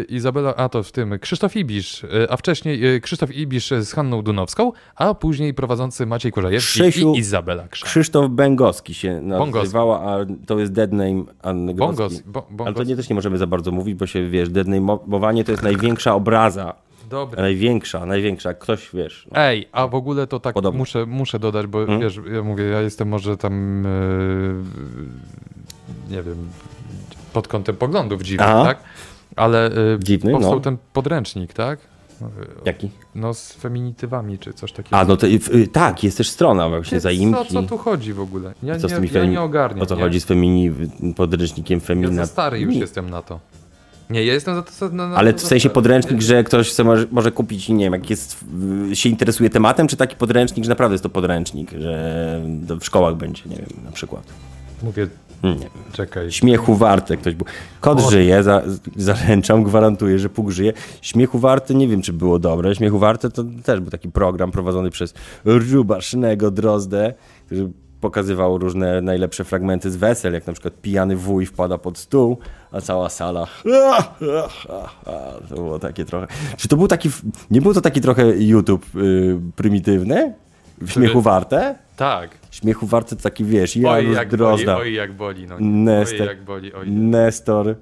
y, Izabela, a to w tym Krzysztof Ibisz, y, a wcześniej y, Krzysztof Ibisz z Hanną Dunowską, a później prowadzący Maciej Kurzajewski Krzysiu- i Izabela Krzysztof. Krzysztof Bęgowski się Bągowski. nazywała, a to jest dead name Anny Bongos, Grodzkiej. bo, Ale bongos. to nie, też nie możemy za bardzo mówić, bo się, wiesz, deadname'owanie to jest największa obraza. Dobra. Największa, największa. Ktoś, wiesz, no, Ej, a w ogóle to tak Podobno. Mhm. muszę, muszę dodać, bo wiesz, ja mówię, ja jestem może tam, yy, nie wiem, pod kątem poglądów dziwnych, Aha. tak? Ale yy, Dziwny, powstał no. ten podręcznik, tak? jaki. No z feminitywami czy coś takiego. A, no to, y, tak, jest też strona właśnie Ty, zaimki. Co, co tu chodzi w ogóle? Ja, Co z tymi nie, ja femi- nie ogarniam. O co nie? chodzi z femini, podręcznikiem Ja femina? za stary już Nie. jestem na to. Nie, ja jestem za to. Na, na Ale to w za sensie stary. podręcznik, że ktoś se może, może kupić, nie wiem, jak jest, y, się interesuje tematem, czy taki podręcznik, że naprawdę jest to podręcznik, że w szkołach będzie, nie wiem, na przykład. Hmm, Mówię, Nie wiem. czekaj. Śmiechu warte ktoś był. Kot żyje, za, zaręczam, gwarantuję, że Puk żyje. Śmiechu warte, nie wiem, czy było dobre. Śmiechu warte to też był taki program prowadzony przez Rubasznego Drozdę, który pokazywał różne najlepsze fragmenty z wesel, jak na przykład pijany wuj wpada pod stół, a cała sala to było takie trochę... Czy to był taki... Nie był to taki trochę YouTube y, prymitywny? Śmiechu warte? Tak. Śmiechu warte to taki, wiesz, Oj, Janusz jak boli, Drozda. oj, jak boli. No, nie. oj, Nester. jak boli, oj. Nestor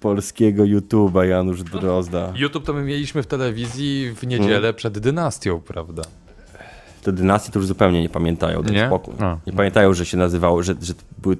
polskiego YouTube'a Janusz Drozda. YouTube to my mieliśmy w telewizji w niedzielę Mm. przed dynastią, prawda? Te dynastie to już zupełnie nie pamiętają, ten Nie? spokój. A. Nie pamiętają, że się nazywało, że, że były...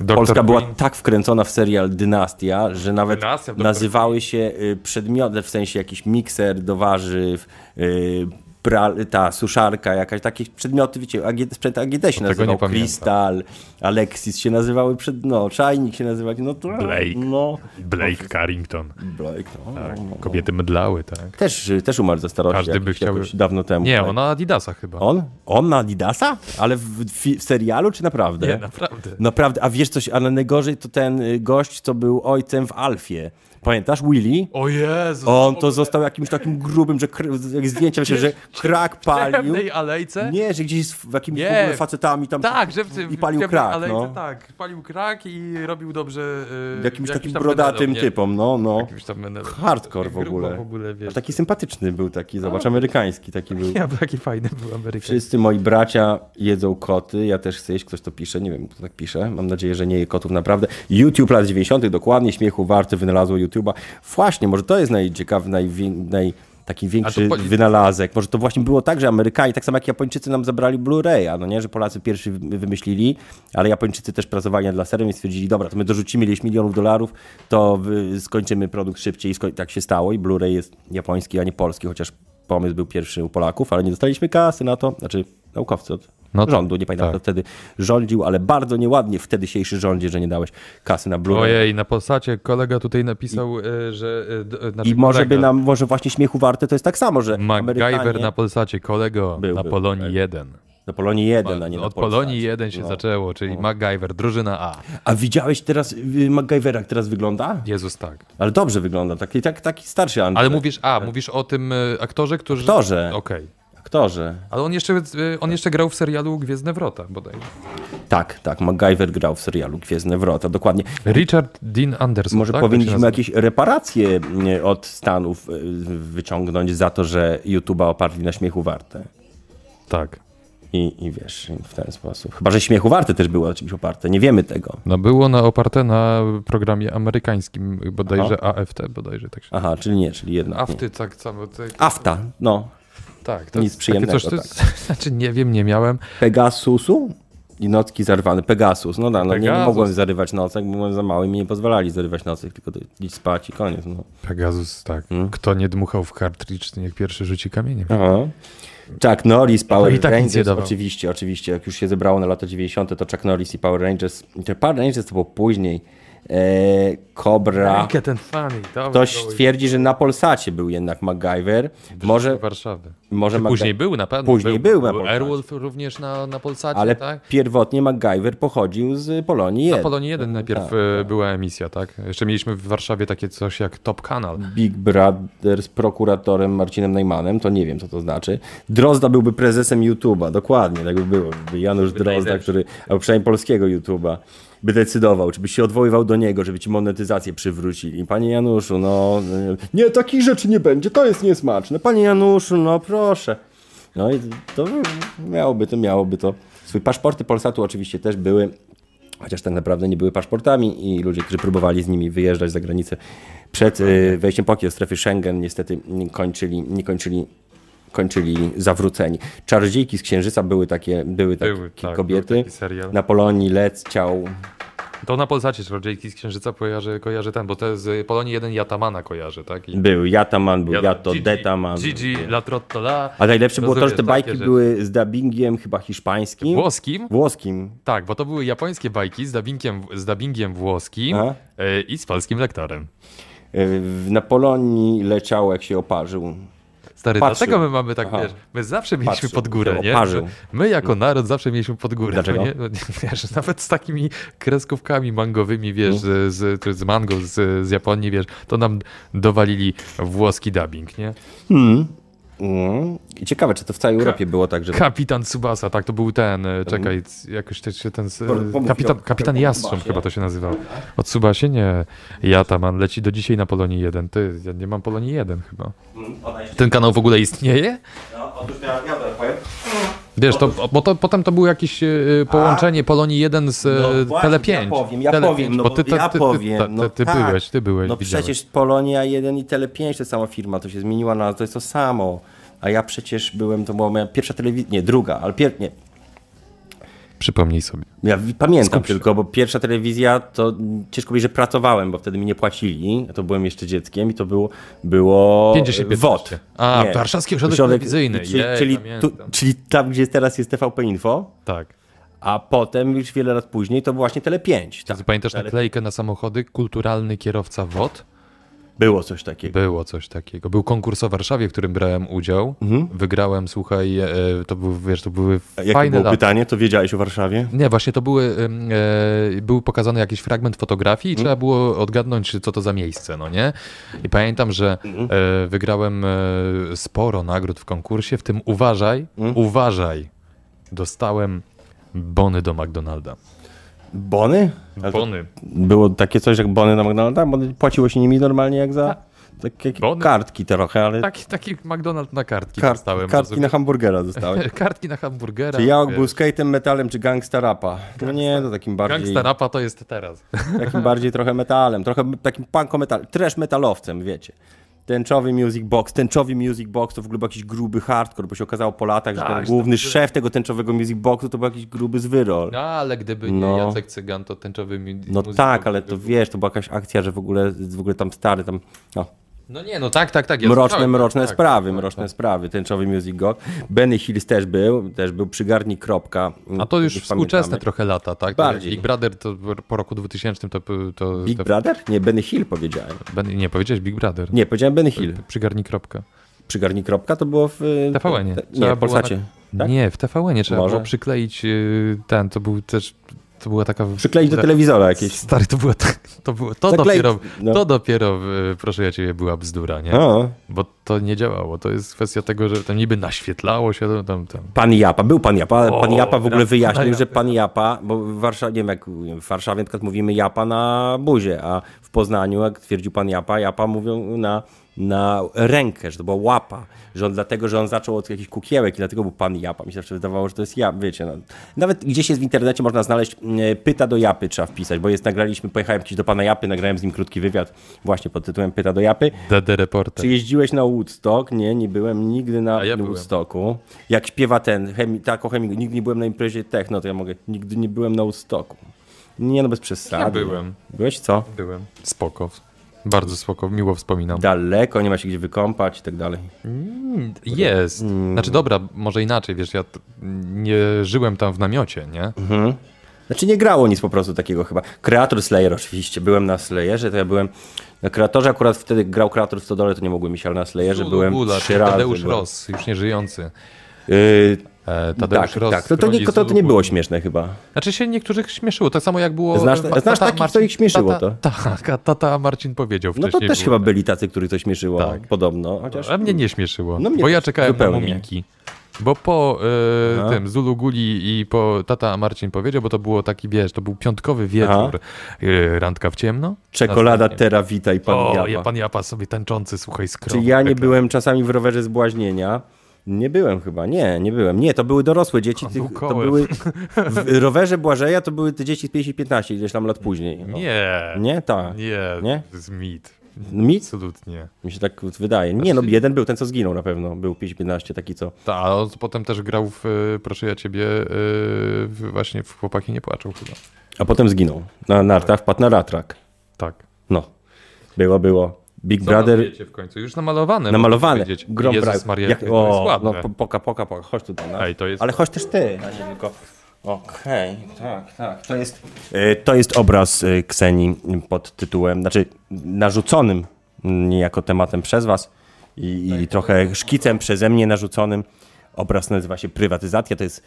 Dr. Polska Queen. była tak wkręcona w serial Dynastia, że nawet Dynastia, Dr. nazywały się y, przedmioty, w sensie jakiś mikser do warzyw, y, pral, ta suszarka jakaś, takie przedmioty, wiecie, AG, sprzęt AGD się nazywał, nie pamiętam. Krystal, Alexis się nazywały, przed, no, Czajnik się nazywał, no to... Blake. Tak. No, Blake Carrington. Blake, no, no, no. Kobiety mydlały, tak? Też, też umarł ze starości Każdy by jakoś, chciał- jakoś dawno temu. Nie, Tak. ona Adidasa chyba. On? On na Adidasa? Ale w, fi- w serialu czy naprawdę? Nie, naprawdę. Naprawdę, a wiesz coś, ale najgorzej to ten y, gość, co był ojcem w Alfie. Pamiętasz, Willy? O Jezu! On to został jakimś takim grubym, że kr- jak zdjęcia, myślę, że krak W palił. ciemnej alejce? Nie, że gdzieś z jakimiś Nie. w ogóle facetami tam Tak, że w tym i palił ciemnej krak, alejce, no. tak. Palił krak i robił dobrze... Yy, Jakimś takim tam brodatym menelem, nie? typom, no, no. Jakimś tam menelem. Hardcore w Grubo ogóle. w ogóle, wiesz. No. A tak- taki sympatyczny był taki, zobacz, amerykański taki był. Ja, taki fajny był Amerykanin. Wszyscy moi bracia jedzą koty, ja też chcę jeść, ktoś to pisze, nie wiem kto tak pisze, mam nadzieję, że nie je kotów naprawdę. YouTube lat 90. dokładnie, śmiechu warty wynalazło YouTube'a. Właśnie, może to jest najciekawy, najwię... naj... taki większy po- wynalazek. Może to właśnie było tak, że Amerykanie, tak samo jak Japończycy nam zabrali Blu-raya, no nie, że Polacy pierwszy wy- wymyślili, ale Japończycy też pracowali nad laserem i stwierdzili, dobra, to my dorzucimy ileś milionów dolarów, to wy- skończymy produkt szybciej i skoń... tak się stało i Blu-ray jest japoński, a nie polski, chociaż pomysł był pierwszy u Polaków, ale nie dostaliśmy kasy na to, znaczy naukowcy od No tak, rządu, nie pamiętam tak. kto wtedy rządził, ale bardzo nieładnie w teddysiejszy rządzie, że nie dałeś kasy na Blu-ray. Ojej, na Polsacie kolega tutaj napisał, y, że... y, d- y, znaczy I może by kolega. nam, może właśnie śmiechu warte to jest tak samo, że MacGyver Amerykanie... na Polsacie, kolego, Był, na był, Polonii tak. 1. Na Polonii 1, a nie na Od Polsacie. No. Polonii 1 się zaczęło, czyli MacGyver, drużyna A. A widziałeś teraz y, MacGyvera, jak teraz wygląda? Jezus, tak. Ale dobrze wygląda, taki, tak, taki starszy Andrzej. Ale mówisz A, mówisz o tym y, aktorze, który... Aktorze. Okej. Aktorze. Ale on jeszcze, y, on jeszcze grał w serialu Gwiezdne Wrota bodajże. Tak, tak, MacGyver grał w serialu Gwiezdne Wrota, dokładnie. Richard Dean Anderson, Może tak? powinniśmy Tak się jakieś reparacje nie, od Stanów y, wyciągnąć za to, że YouTube'a oparli na śmiechu warte. nazywa? Tak. I, I wiesz, w ten sposób. Chyba, że śmiechu warte też było na czymś oparte. Nie wiemy tego. No było na, oparte na programie amerykańskim, bodajże AFT, bodajże tak się Aha, czyli nie, czyli jednak. nie. Afty, tak samo. Tak, Afta, no. tak, nic takie przyjemnego, coś, to jest, znaczy nie wiem, nie miałem. Pegasusu i nocki zarwany. Pegasus, no da, no nie, nie Pegasus. mogłem zarywać nocek, bo byłem za mały i mi nie pozwalali zarywać nocek, tylko do- iść spać i koniec. No. Pegasus, tak. Kto nie dmuchał w kartridż, niech pierwszy rzuci kamieniem. Aha. Chuck Norris, Power To i tak nic nie Rangers, dawał. oczywiście, oczywiście, jak już się zebrało na lata 90, to Chuck Norris i Power Rangers, czy Power Rangers to było później, e, Kobra. Make it and funny. Dobra, Ktoś go- twierdzi, że na Polsacie był jednak MacGyver. Może, Warszawy. może Mac- Później był na pewno. Później był na Polsacie. Airwolf również na, na Polsacie, Ale tak? pierwotnie MacGyver pochodził z Polonii 1. Na Polonie 1 najpierw e, była emisja, tak? Jeszcze mieliśmy w Warszawie takie coś jak Top Kanal. Big Brother z prokuratorem Marcinem Najmanem, to nie wiem, co to znaczy. Drozda byłby prezesem YouTube'a, dokładnie, tak by było. By Janusz Drozda, który, albo przynajmniej polskiego YouTube'a, by decydował, czy byś się odwoływał do niego, żeby ci monetyzację przywrócili. Panie Januszu, no... Nie, takich rzeczy nie będzie, to jest niesmaczne. Panie Januszu, no proszę. No i to miałoby to, miałoby to. Swój paszporty Polsatu oczywiście też były chociaż tak naprawdę nie były paszportami i ludzie, którzy próbowali z nimi wyjeżdżać za granicę przed y, wejściem Polski do strefy Schengen, niestety nie kończyli, nie kończyli, kończyli zawróceni. Czardziejki z Księżyca były takie, były takie Były, tak, był kobiety. taki serial. Na Polonii leciał To na Polsacie Czarodziejki z Księżyca kojarzy, kojarzy ten, bo to z Polonii 1 Jatamana kojarzy, tak? I był Jataman, był Jato, Gigi- Detaman. Gigi, La Trottola. A najlepsze było to, że te Rozumiem, bajki takie były z dubbingiem chyba hiszpańskim. Włoskim? Włoskim. Tak, bo to były japońskie bajki z dubbingiem, z dubbingiem włoskim A? e, i z polskim lektorem. Y, w- Na Polonii leciał, jak się oparzył. Stary, Patrzył. dlatego my mamy tak, Aha. wiesz, my zawsze mieliśmy Patrzył, pod górę, było, nie? parzył. Że My jako naród zawsze mieliśmy pod górę. Dlaczego? bo Nie, no nie, wiesz, nawet z takimi kreskówkami mangowymi, wiesz, Mm. z, z, z mango z, z Japonii, wiesz, to nam dowalili włoski dubbing, nie? Mm. I ciekawe, czy to w całej Europie było tak, że Kapitan Tsubasa, tak, to był ten, e, czekaj, c- jakoś też się ten, s- e, pomów mi kapitan, o- kapitan o Jastrząb Tsubasie. chyba to się nazywał. O Tsubasie? Nie, Jataman leci do dzisiaj na Polonii 1, ty, ja nie mam Polonii 1 chyba. Ten kanał w ogóle istnieje? No, otóż ja, ja to powiem. Wiesz, to, bo to, potem to było jakieś y, połączenie Polonii 1 z No no, właśnie, Tele 5. Ja powiem, ja Tele powiem, 5, no bo ty, ta- ja ty, ty, powiem. ta- no ty, ty tak. byłeś, ty byłeś. No widziałeś. przecież Polonia 1 i Tele 5 to sama firma, to się zmieniła na to jest to samo. A ja przecież byłem, to była moja pierwsza telewizja, nie, druga, ale pier... nie. Przypomnij sobie. Ja wi- pamiętam Skup się. tylko, bo pierwsza telewizja to mm, ciężko powiedzieć, że pracowałem, bo wtedy mi nie płacili, a to byłem jeszcze dzieckiem i to było, było 50, e, WOT. 15. A, Nie. Warszawski Ośrodek Telewizyjny. Czyli, Jej, czyli, tu, pamiętam. czyli tam, gdzie teraz jest TVP Info, Tak. a potem już wiele lat później to było właśnie Tele 5. Tak, Ty pamiętasz naklejkę na samochody? Kulturalny kierowca WOT? było coś takiego. Było coś takiego. Był konkurs o Warszawie, w którym brałem udział. Wygrałem, słuchaj, e, to, był, wiesz, to były Mhm. A Jakie fajne było lata. pytanie? To wiedziałeś o Warszawie? Nie, właśnie to były, ym, e, był pokazany jakiś fragment fotografii i Mhm. trzeba było odgadnąć, co to za miejsce, no nie? I pamiętam, że Mhm. e, wygrałem e, sporo nagród w konkursie, w tym uważaj, Mhm. uważaj, dostałem bony do McDonalda. Bony? Ale to Bony. Było takie coś jak bony na McDonalda? Bo płaciło się nimi normalnie jak za takie Tak. Bony. kartki trochę, ale Taki, taki McDonald na kartki kart, dostałem. kartki na rozumiesz? hamburgera dostałeś. kartki na hamburgera. Czy Jaok wiesz. był skate'em, metalem czy gangsta rapa? No nie, to takim bardziej, Gangsta rapa to jest teraz. takim bardziej trochę metalem, trochę takim punkometal, trash metalowcem, wiecie. Tęczowy Music Box, tęczowy Music Box to w ogóle był jakiś gruby hardcore, bo się okazało po latach, że Tak, ten główny szef tego tęczowego Music Boxu to był jakiś gruby zwyrol. No, ale gdyby nie No. Jacek Cygan, to tęczowy mi- No muzyk tak, byłby ale to wiesz, to była jakaś akcja, że w ogóle, w ogóle tam stary, tam no, No nie, no tak, tak, tak. ja mroczne, słyszałem, mroczne tak, sprawy, tak, mroczne sprawy, tęczowy Music Go. Benny Hills też był, też był przygarni kropka. A to już pamiętamy. współczesne trochę lata, tak? Bardziej. Big Brother to po roku 2000 to... to, Big to Brother? Nie, Benny Hill powiedziałem. Ben- nie, powiedziałeś Big Brother. Nie, powiedziałem Benny Hill. Przygarnij kropkę. Przygarni kropka to było w... y, TVN-ie. te- Trzeba Nie, w było Polsacie. na- tak? Nie, w TVN-ie trzeba Może. było przykleić y, ten, to był też... To była taka... Przykleić do Ta- telewizora jakieś. Stary, to było tak, to było, to Zaklejki, dopiero, no. to dopiero, y, proszę ja ciebie, była bzdura, nie? O, Bo to nie działało, to jest kwestia tego, że tam niby naświetlało się, tam, tam. pan Japa, był pan Japa, ale pan O, Japa w ogóle pan wyjaśnił, Japa. że pan Japa, bo w Warszawie, nie wiem jak w Warszawie na przykład mówimy Japa na buzie, a w Poznaniu, jak twierdził pan Japa, Japa mówią na, na rękę, że to była łapa, że on dlatego, że on zaczął od jakichś kukiełek i dlatego był pan Japa. Mi się zawsze wydawało, że to jest ja, wiecie. No. Nawet gdzieś jest w internecie, można znaleźć mm, pyta do Japy trzeba wpisać, bo jest, nagraliśmy, pojechałem kiedyś do pana Japy, nagrałem z nim krótki wywiad właśnie pod tytułem pyta do Japy. DD Reporter. Czy jeździłeś na Woodstock? Nie, nie byłem nigdy na A ja byłem. Woodstocku. Jak śpiewa ten, chemi, tako chemik, nigdy nie byłem na imprezie techno, to ja mogę, nigdy nie byłem na Woodstocku. Nie no, bez przesady. Ja byłem. Byłeś co? Byłem. Spoko. Bardzo spoko, miło wspominam. Tak. Daleko, nie ma się gdzie wykąpać i tak dalej. Jest. Mm. Znaczy dobra, może inaczej, wiesz, ja t- nie żyłem tam w namiocie, nie? Znaczy nie grało nic po prostu takiego chyba. Kreator Slayer oczywiście, byłem na Slayerze, to ja byłem... Na kreatorze akurat wtedy grał kreator w Stodole, to nie mogłem iść, ale na Slayerze byłem Gula, trzy czyli razy. Tadeusz byłem. Ross, już nie żyjący. Yy, E, Tadeusz tak, Ross. tak. To, to, rodzi nie, to, to nie Zulubulu. było śmieszne chyba. Znaczy się niektórych śmieszyło, tak samo jak było... Znasz- e, znasz takich, co ich śmieszyło, tata, Tak, a tata Marcin powiedział No wcześniej. to też było. chyba byli tacy, których to śmieszyło Tak. podobno. Chociaż... A mnie nie śmieszyło, No mnie bo ja też, czekałem zupełnie. na muminki. Bo po e, Aha. tym Zulu Guli i po tata Marcin powiedział, bo to było taki, wiesz, to był piątkowy wieczór, e, randka w ciemno. Czekolada Tera Vita i Pan O, Japa. ja, pan Japa sobie tańczący, słuchaj, skrok. Czy ja nie byłem czasami w rowerze zbłaźnienia? Nie byłem chyba, nie, nie byłem. Nie, to były dorosłe dzieci. On Tych, był to kołem. były w rowerze Błażeja to były te dzieci z 5 i 15, gdzieś tam lat później. O. Nie. Nie? Tak. Nie. Nie? To jest mit. Mit? Absolutnie. Mi się tak wydaje. Nie, no jeden był, ten co zginął na pewno. Był 5 i 15, taki co. Ta, a on potem też grał w, y, proszę ja ciebie, y, w, właśnie w Chłopaki nie płaczą chyba. A potem zginął. Na nartach wpadł na ratrak. Tak. No. Było, było. Big Co Brother. wiecie w końcu? Już namalowane. Namalowany. można powiedzieć. Grom Jezus brak. Maria, Jak- jak, to jest ładne. no, po- poka, poka, poka. Chodź tutaj. No. Ej, to jest- Ale chodź też ty, a nie tylko... Okej, tak, tak. To jest... Y, To jest obraz y, Ksenii pod tytułem, znaczy narzuconym mm, niejako tematem przez was i, i trochę szkicem przeze mnie narzuconym. Obraz nazywa się Prywatyzacja, to jest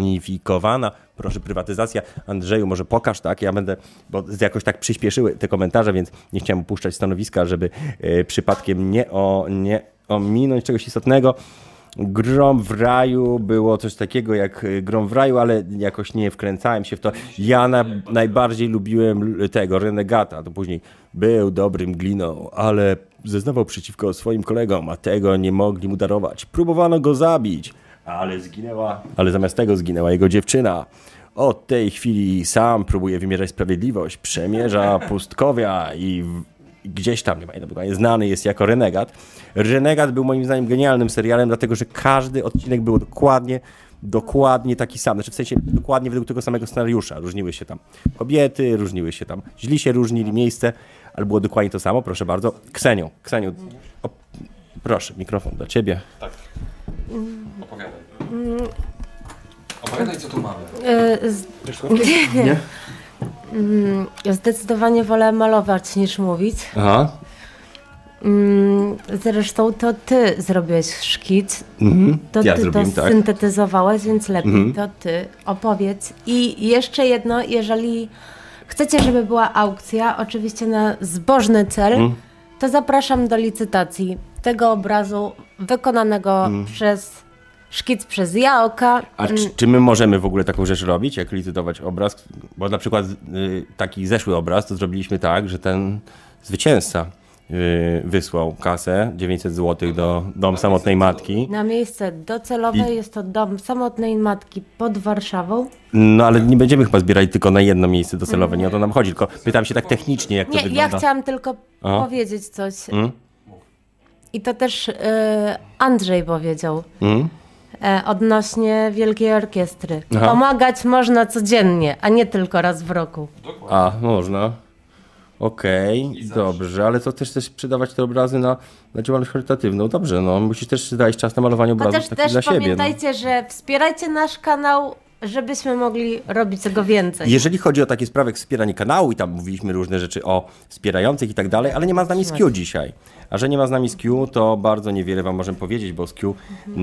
spersonifikowana, proszę prywatyzacja. Andrzeju, może pokaż, tak? Ja będę, bo jakoś tak przyspieszyły te komentarze, więc nie chciałem opuszczać stanowiska, żeby y, przypadkiem nie, o, nie ominąć czegoś istotnego. Grom w raju było coś takiego jak y, Grom w raju, ale jakoś nie wkręcałem się w to. Ja na, najbardziej lubiłem l- tego renegata. To później był dobrym gliną, ale zeznawał przeciwko swoim kolegom, a tego nie mogli mu darować. Próbowano go zabić, ale zginęła. Ale zamiast tego zginęła jego dziewczyna. Od tej chwili sam próbuje wymierzać sprawiedliwość, przemierza pustkowia i w- gdzieś tam, nie pamiętam dokładnie, znany jest jako Renegat. Renegat był moim zdaniem genialnym serialem, dlatego że każdy odcinek był dokładnie, dokładnie taki sam. Znaczy w sensie dokładnie według tego samego scenariusza. Różniły się tam kobiety, różniły się tam źli się różnili, miejsce, ale było dokładnie to samo. Proszę bardzo. Kseniu, Kseniu, o, proszę, mikrofon dla ciebie. Opowiadaj. Opowiadaj, co tu mamy. Y, z- Nie? mm, Zdecydowanie wolę malować niż mówić. Aha. Mm, Zresztą to ty zrobiłeś szkic, to Ja ty zrobiłem, to tak. Mhm. syntetyzowałeś, więc lepiej to ty opowiedz. I jeszcze jedno, jeżeli chcecie, żeby była aukcja, oczywiście na zbożny cel, Mhm. to zapraszam do licytacji tego obrazu wykonanego przez szkic przez Jaoka. Mhm. A czy, czy my możemy w ogóle taką rzecz robić, jak licytować obraz? Bo na przykład y, taki zeszły obraz to zrobiliśmy tak, że ten zwycięzca y, wysłał kasę 900 zł do Dom Samotnej Matki. Na miejsce docelowe jest to dom samotnej matki pod Warszawą. No ale nie będziemy chyba zbierali tylko na jedno miejsce docelowe, nie o to nam chodzi, tylko pytam się tak technicznie, jak to Nie, ja wygląda. chciałam tylko O. Mm? powiedzieć coś. I to też y, Andrzej powiedział e, odnośnie Wielkiej Orkiestry. Mm? Aha. Pomagać można codziennie, a nie tylko raz w roku. A, można. Okej, dobrze, ale to też też przydawać te obrazy na, na działalność charytatywną. Dobrze, no musisz też dać czas na malowanie Chociaż obrazów takich też dla siebie. no. pamiętajcie, że wspierajcie nasz kanał, żebyśmy mogli robić tego więcej. Jeżeli chodzi o takie sprawy jak wspieranie kanału i tam mówiliśmy różne rzeczy o wspierających i tak dalej, ale nie ma z nami SQ dzisiaj. A że nie ma z nami SQ, to bardzo niewiele wam możemy powiedzieć, bo SQ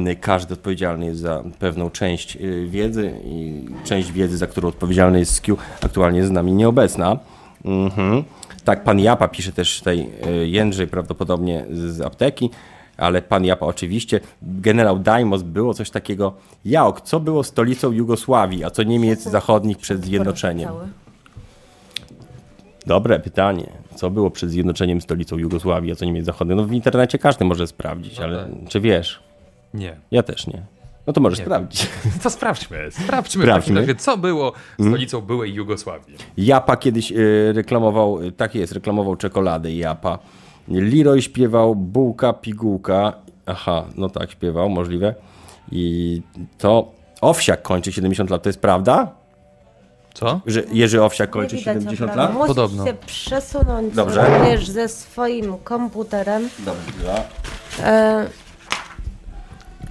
y, każdy odpowiedzialny jest za pewną część y, wiedzy i część wiedzy, za którą odpowiedzialny jest SQ, aktualnie jest z nami nieobecna. Mhm. Tak, pan Japa pisze też tutaj y, Jędrzej prawdopodobnie z apteki, ale pan Japa oczywiście. Generał Dajmos było coś takiego. Jaok, co było stolicą Jugosławii, a co Niemiec zachodnich przed zjednoczeniem? Cały. Dobre pytanie. Co było przed zjednoczeniem stolicą Jugosławii, a co Niemiec zachodnich? No w internecie każdy może sprawdzić, ale czy wiesz? Nie. Ja też nie. No to możesz sprawdzić. To sprawdźmy. Sprawdźmy, Sprawdźmy. w takim razie, co było stolicą byłej Jugosławii. Japa kiedyś y, reklamował, y, tak jest, reklamował czekoladę Japa. Leroy śpiewał bułka, pigułka. Aha, no tak śpiewał, możliwe. I to Owsiak kończy 70 lat, to jest prawda? Co? Że Jerzy Owsiak kończy widać 70 obrazu. lat? Musisz Podobno. się przesunąć Dobrze. również ze swoim komputerem. Dobrze. E,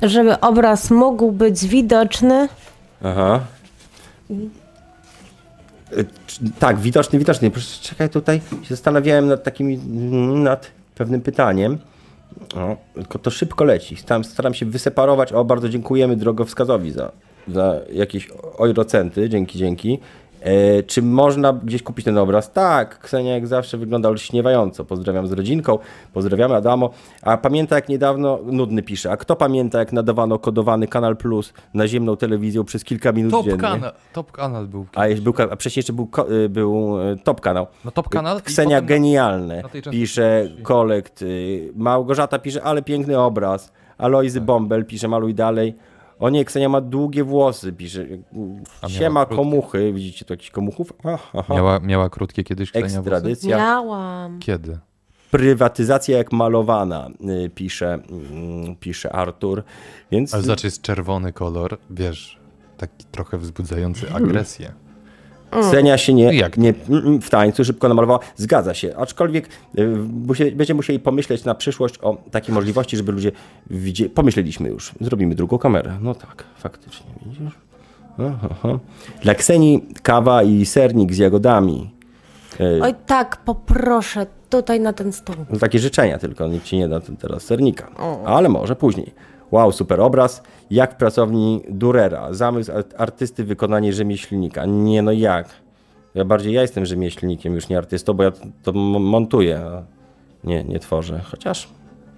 żeby obraz mógł być widoczny. Aha. E, c- Tak, widoczny, widoczny. Proszę, czekaj, tutaj się zastanawiałem nad takimi, nad pewnym pytaniem. No, tylko to szybko leci. Staram, staram się wyseparować. O, bardzo dziękujemy drogowskazowi za, za jakieś ojrocenty. Dzięki, dzięki. E, czy można gdzieś kupić ten obraz? Tak, Ksenia jak zawsze wygląda olśniewająco. Pozdrawiam z rodzinką, pozdrawiamy Adamo. A pamięta jak niedawno, nudny pisze, a kto pamięta jak nadawano kodowany Kanal Plus na ziemną telewizję przez kilka minut Top dziennie? kanał, top kanał był. A, jeszcze był, ka- a wcześniej jeszcze był, ko- y, był y, Top Kanał. No Top Kanał i Ksenia potem na- Genialny na tej części- pisze Kolekt. y, Małgorzata pisze, ale piękny obraz. Alojzy Tak. Bąbel pisze, maluj dalej. O nie, Ksenia ma długie włosy, pisze. Siema krótkie. komuchy. Widzicie tu jakichś komuchów? Aha, aha. Miała, miała krótkie kiedyś kształcenia włosy? Ekstradycja. Miałam. Kiedy? Prywatyzacja jak malowana, y, pisze, mm, pisze Artur. Więc Ale znaczy jest czerwony kolor, wiesz, taki trochę wzbudzający agresję. Ksenia się nie, Jak? nie mm, mm, w tańcu szybko namalowała. Zgadza się, aczkolwiek y, musie- będziemy musieli pomyśleć na przyszłość o takiej możliwości, żeby ludzie widzieli. Pomyśleliśmy już, zrobimy drugą kamerę. No tak, faktycznie, widzisz? Aha, aha. Dla Ksenii kawa i sernik z jagodami. Y, Oj tak, poproszę tutaj na ten stół. no takie życzenia tylko, nikt ci nie da t- teraz sernika. Ale może później. Wow, super obraz. Jak w pracowni Durera. Zamysł ar- artysty, wykonanie rzemieślnika. Nie no jak. Ja bardziej ja jestem rzemieślnikiem, już nie artystą, bo ja t- to m- montuję. a Nie, nie tworzę. Chociaż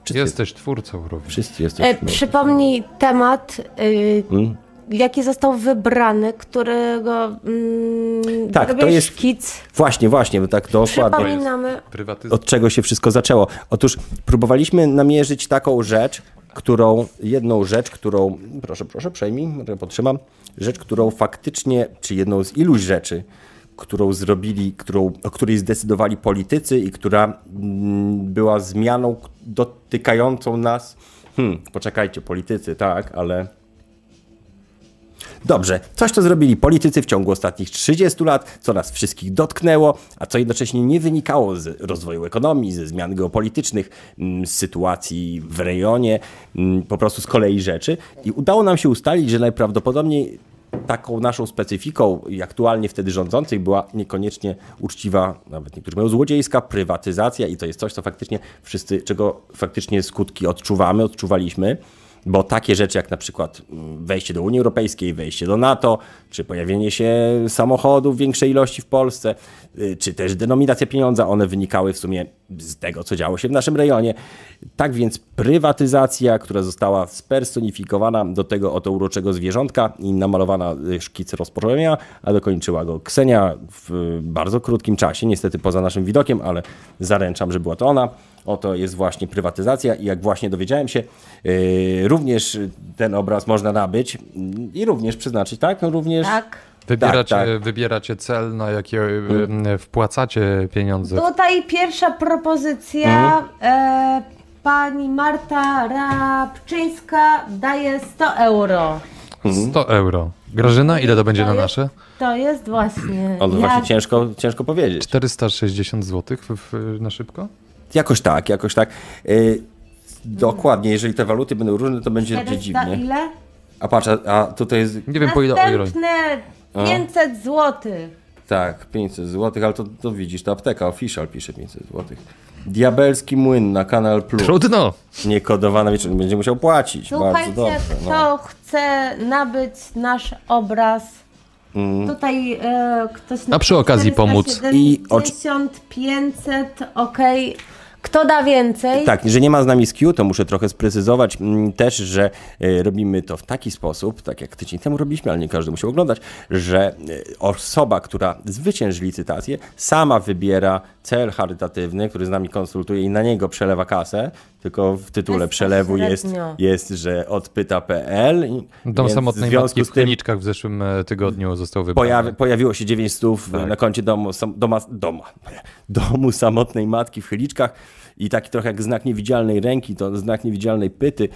wszyscy, Jesteś twórcą również. wszyscy E, jesteśmy. przypomnij temat, y, Mm. jaki został wybrany, którego mm, Tak, to robiłeś jest- szkic. Właśnie, właśnie, bo tak dokładnie. Przypominamy. Prywatyzacja. od tak, czego się wszystko zaczęło. Otóż próbowaliśmy namierzyć taką rzecz, którą, jedną rzecz, którą, proszę, proszę, przejmij, potrzymam, rzecz, którą faktycznie, czy jedną z iluś rzeczy, którą zrobili, którą, o której zdecydowali politycy i która mm, była zmianą k- dotykającą nas. Hmm, poczekajcie, politycy, tak, ale. Dobrze, coś to zrobili politycy w ciągu ostatnich 30 lat, co nas wszystkich dotknęło, a co jednocześnie nie wynikało z rozwoju ekonomii, ze zmian geopolitycznych, mm, z sytuacji w rejonie, mm, po prostu z kolei rzeczy. I udało nam się ustalić, że najprawdopodobniej taką naszą specyfiką i aktualnie wtedy rządzących była niekoniecznie uczciwa, nawet niektórzy mówią złodziejska, prywatyzacja i to jest coś, co faktycznie wszyscy, czego faktycznie skutki odczuwamy, odczuwaliśmy. Bo takie rzeczy jak na przykład mm, wejście do Unii Europejskiej, wejście do NATO, czy pojawienie się samochodów w większej ilości w Polsce, y, czy też denominacja pieniądza, one wynikały w sumie z tego, co działo się w naszym rejonie. Tak więc prywatyzacja, która została spersonifikowana do tego oto uroczego zwierzątka i namalowana y, szkic rozporządzenia, a dokończyła go Ksenia w y, bardzo krótkim czasie, niestety poza naszym widokiem, ale zaręczam, że była to ona. Oto jest właśnie prywatyzacja i jak właśnie dowiedziałem się, yy, również ten obraz można nabyć mm, i również przeznaczyć, tak? No również... Tak. Wybieracie, e, tak. Mhm. wybieracie cel, na jakie mm. wpłacacie pieniądze. Tutaj pierwsza propozycja. Hmm? E, pani Marta Rabczyńska daje 100 euro. Mhm. 100 euro. Grażyna, ile to będzie na nasze? To jest właśnie. O, no jak- właśnie ciężko, ciężko powiedzieć. 460 zł w, w, na szybko? Jakoś tak, jakoś tak. Yy, dokładnie, jeżeli te waluty będą różne, to będzie, będzie 400 dziwnie. ile? A patrz, a, a tutaj jest Nie wiem, po ile euro. Następne 500 zł. Tak, 500 zł, ale to, to widzisz, to apteka official pisze 500 zł. Diabelski młyn na Kanal Plus. Trudno! Niekodowana wieczór, będzie musiał płacić. Słuchajcie, Bardzo dobrze. No. kto chce nabyć nasz obraz? Mm. Tutaj e, ktoś A przy okazji pomóc. I I oczy- 50, 500, okej. Kto da więcej? Tak, że nie ma z nami SKU, to muszę trochę sprecyzować mm, też, że e, robimy to w taki sposób, tak jak tydzień temu robiliśmy, ale nie każdy musiał oglądać, że e, osoba, która zwycięży licytację, sama wybiera cel charytatywny, który z nami konsultuje i na niego przelewa kasę, tylko w tytule przelewu jest, Bezpośrednio. jest, że odpyta.pl. i- Dom więc samotnej w związku matki z w tym- Kliniczkach w zeszłym e, tygodniu został wybrany. Pojawi, Tak. pojawiło się 9 stów e, na koncie domu, sam, doma, doma, domu samotnej matki w Chyliczkach i taki trochę jak znak niewidzialnej ręki, to znak niewidzialnej pyty.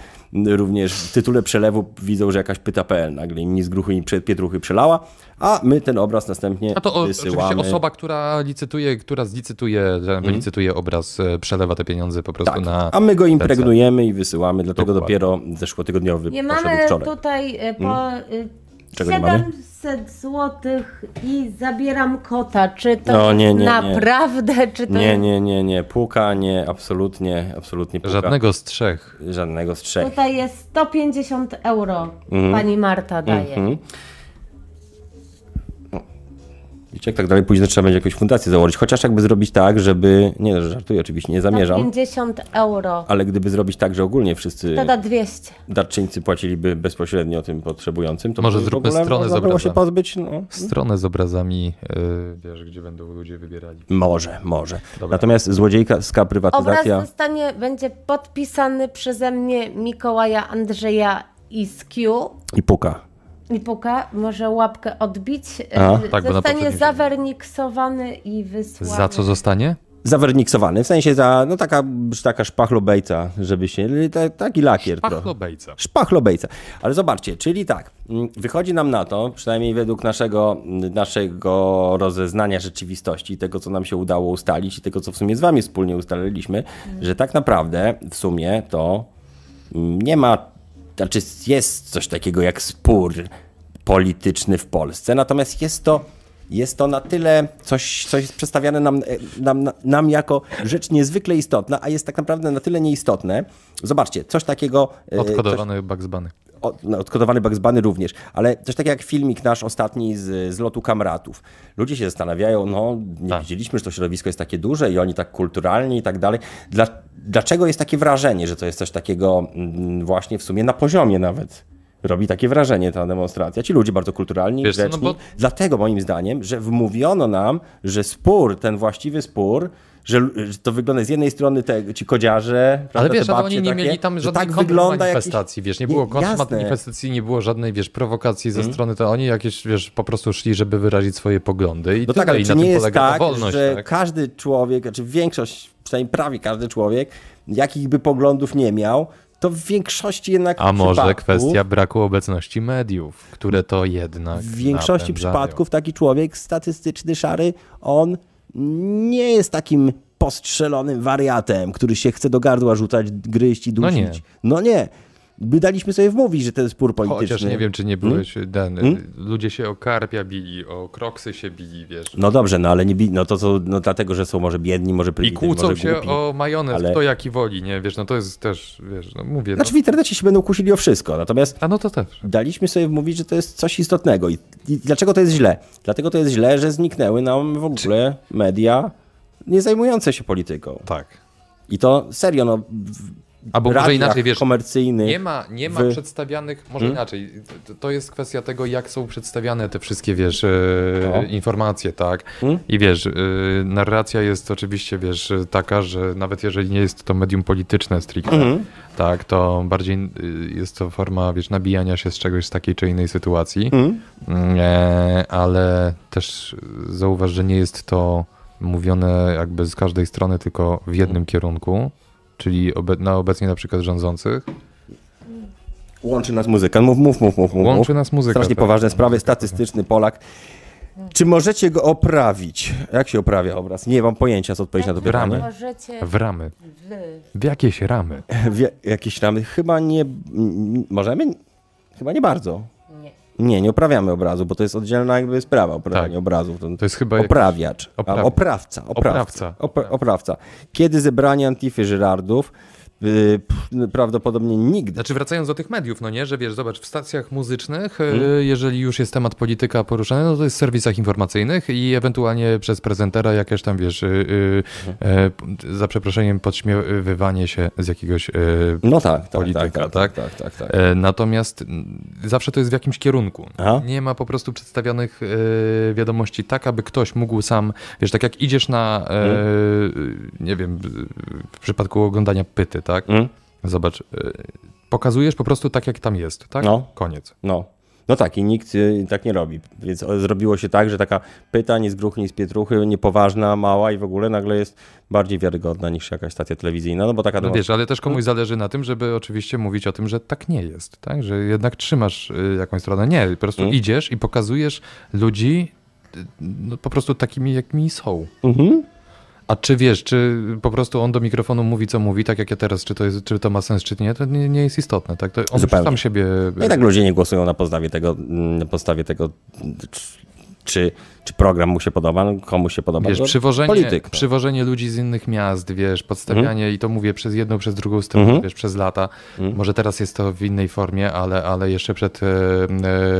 Również w tytule przelewu widzą, że jakaś pyta.pl nagle im z gruchy i prze- pietruchy przelała, a my ten obraz następnie A to o, wysyłamy. oczywiście osoba, która licytuje, która zlicytuje, że licytuje obraz, e, przelewa te pieniądze po prostu Mhm. tak, na... a my go impregnujemy i wysyłamy, dlatego Dokładnie. dopiero zeszłotygodniowy Nie poszedł mamy wczoraj. tutaj e, po, e, Mm. Czego nie mamy? 700 złotych i zabieram kota. Czy to No, nie, nie, nie. naprawdę, czy to Nie, nie, nie, nie. Puka, nie, absolutnie, absolutnie puka. Żadnego z trzech. Żadnego z trzech. tutaj jest 150 euro pani Marta daje. Mm. Mhm. No. Wiecie, jak tak dalej później trzeba będzie jakąś fundację założyć. Chociaż jakby zrobić tak, żeby... Nie, no, żartuję oczywiście, nie zamierzam. 50 euro. Ale gdyby zrobić tak, że ogólnie wszyscy Tak, To da 200. darczyńcy płaciliby bezpośrednio tym potrzebującym, to Może by w zróbmy ogóle stronę z można było się obrazami. pozbyć, no. Stronę z obrazami, yy, wiesz, gdzie będą ludzie wybierali. Może, może. Natomiast złodziejska Obraz prywatyzacja... zostanie, będzie podpisany przeze mnie Mikołaja Andrzeja i z Q. I puka. I puka, może łapkę odbić. A, Y, tak, bo na zostanie poprzednim- zawerniksowany i wysłany. Za co zostanie? Zawerniksowany, w sensie za, no taka, taka szpachlobejca, żeby się, ta, taki lakier trochę. Pachlobejca. Szpachlobejca. Ale zobaczcie, czyli tak, mm, wychodzi nam na to, przynajmniej według naszego, mm, naszego rozeznania rzeczywistości, tego co nam się udało ustalić i tego co w sumie z wami wspólnie ustaliliśmy, że tak naprawdę w sumie to mm, nie ma, znaczy jest coś takiego jak spór polityczny w Polsce, natomiast jest to jest to na tyle coś, co jest przedstawiane nam, e, nam, nam jako rzecz niezwykle istotna, a jest tak naprawdę na tyle nieistotne. Zobaczcie, coś takiego... e, coś- Odkodowany Bugs Bunny. od, no, odkodowany Bugs Bunny również, ale też tak jak filmik nasz ostatni z, z lotu kamratów. Ludzie się zastanawiają, no nie Tak. widzieliśmy, że to środowisko jest takie duże i oni tak kulturalni i tak dalej. Dla, dlaczego jest takie wrażenie, że to jest coś takiego mm, właśnie w sumie na poziomie nawet? Robi takie wrażenie ta demonstracja. Ci ludzie bardzo kulturalni, Wiesz co, no grzeczni. bo- Dlatego moim zdaniem, że wmówiono nam, że spór, ten właściwy spór, że, że to wygląda z jednej strony te, ci kodziarze, Ale prawda, wiesz, te ale babcie oni nie takie, mieli tam że żadnej tak tak wygląda jakiś- manifestacji, wiesz, nie było kontrmanifestacji, Jasne. Mhm. manifestacji, nie było żadnej, wiesz, prowokacji ze strony, to oni jakieś, wiesz, po prostu szli, żeby wyrazić swoje poglądy i No tyle, tak, ale i czy na nie tym jest polega ta tak, wolność, że tak? każdy człowiek, znaczy większość, przynajmniej prawie każdy człowiek, jakich by poglądów nie miał, to w większości jednak A może przypadków- kwestia braku obecności mediów, które to jednak W większości napędzają. przypadków taki człowiek statystyczny, szary, on nie jest takim postrzelonym wariatem, który się chce do gardła rzucać, gryźć i No dusić. nie. No nie. By daliśmy sobie wmówić, że to jest spór polityczny. Chociaż nie wiem, czy nie byłeś, Hmm? Dan, ludzie się o karpia bili, o kroksy się bili, wiesz. No dobrze, no ale nie, bi- no to co, no dlatego, że są może biedni, może I prymitywni, kłócą może się głupi. o majonez, ale- kto jaki woli, nie? Wiesz, no to jest też, wiesz, no mówię. Znaczy w no. internecie się będą kłócili o wszystko, natomiast A no to też. daliśmy sobie wmówić, że to jest coś istotnego. I, I dlaczego to jest źle? Dlatego to jest źle, że zniknęły nam w ogóle media nie zajmujące się polityką. Tak. I to serio, no. W Albo może radiach inaczej, wiesz, komercyjnych. nie ma, nie ma w- przedstawianych, może inaczej, to- to jest kwestia tego, jak są przedstawiane te wszystkie, wiesz, e, informacje, tak? I wiesz, e, narracja jest oczywiście, wiesz, e, taka, że nawet jeżeli nie jest to medium polityczne stricte, tak, to bardziej e, jest to forma, wiesz, nabijania się z czegoś z takiej czy innej sytuacji, E, ale też zauważ, że nie jest to mówione jakby z każdej strony, tylko w jednym kierunku, czyli obe- na obecnie na przykład rządzących, Łączy nas muzyka. No, Mów, mów, mów, mów. mów. Łączy nas muzyka, Strasznie tak. poważne sprawy, statystyczny Polak. Czy możecie go oprawić? Jak się oprawia obraz? Nie mam pojęcia, co odpowiedzieć na to pytanie. Bramy. Możecie w ramy, wy. w jakieś ramy. Wie, jakieś ramy? Chyba nie. m- Możemy? Chyba nie bardzo. Nie, nie oprawiamy obrazu, bo to jest oddzielna jakby sprawa oprawianie Tak. obrazów. To jest chyba jakiś- Oprawiacz. A, Oprawi- Oprawca. Oprawca. Oprawca. Tak. Oprawca. oprawca. Kiedy zebranie Antify Żyrardów? Yy, p- Prawdopodobnie nigdy. Znaczy wracając do tych mediów, no nie, że wiesz, zobacz, w stacjach muzycznych, e, jeżeli już jest temat polityka poruszany, no to jest w serwisach informacyjnych i ewentualnie przez prezentera jakieś tam, wiesz, e, e, e, p- za przeproszeniem podśmiewywanie się z jakiegoś e, No tak, tak, polityka, tak, tak, tak, tak, tak. E, Natomiast m, zawsze to jest w jakimś kierunku. Aha. Nie ma po prostu przedstawionych e, wiadomości tak, aby ktoś mógł sam, wiesz, tak jak idziesz na, e, y, nie wiem, w przypadku oglądania pyty, tak? Mm. Zobacz, e, pokazujesz po prostu tak, jak tam jest, tak? No. Koniec. No. No tak, i nikt y, tak nie robi. Więc o- zrobiło się tak, że taka pytań z gruchni z pietruchy, niepoważna, mała i w ogóle nagle jest bardziej wiarygodna niż jakaś stacja telewizyjna, no bo taka No demo- wiesz, ale też komuś zależy na tym, żeby oczywiście mówić o tym, że tak nie jest, tak? Że jednak trzymasz y, jakąś stronę. Nie, po prostu Mhm. idziesz i Mhm. pokazujesz ludzi y, no, po prostu takimi, jakimi są. A czy wiesz, czy po prostu on do mikrofonu mówi, co mówi, tak jak ja teraz, czy to, jest, czy to ma sens, czy nie, to nie, nie jest istotne. Tak? To on już Zupełnie. sam siebie... No i tak ludzie nie głosują na podstawie tego, mm, na podstawie tego czy, czy program mu się podoba, no, komu się podoba. Wiesz, no, przywożenie, polityk. Mhm. no. przywożenie ludzi z innych miast, wiesz, podstawianie i to mówię przez jedną, przez drugą stronę, Mhm. wiesz, przez lata. Może teraz jest to w innej formie, ale, ale jeszcze przed e,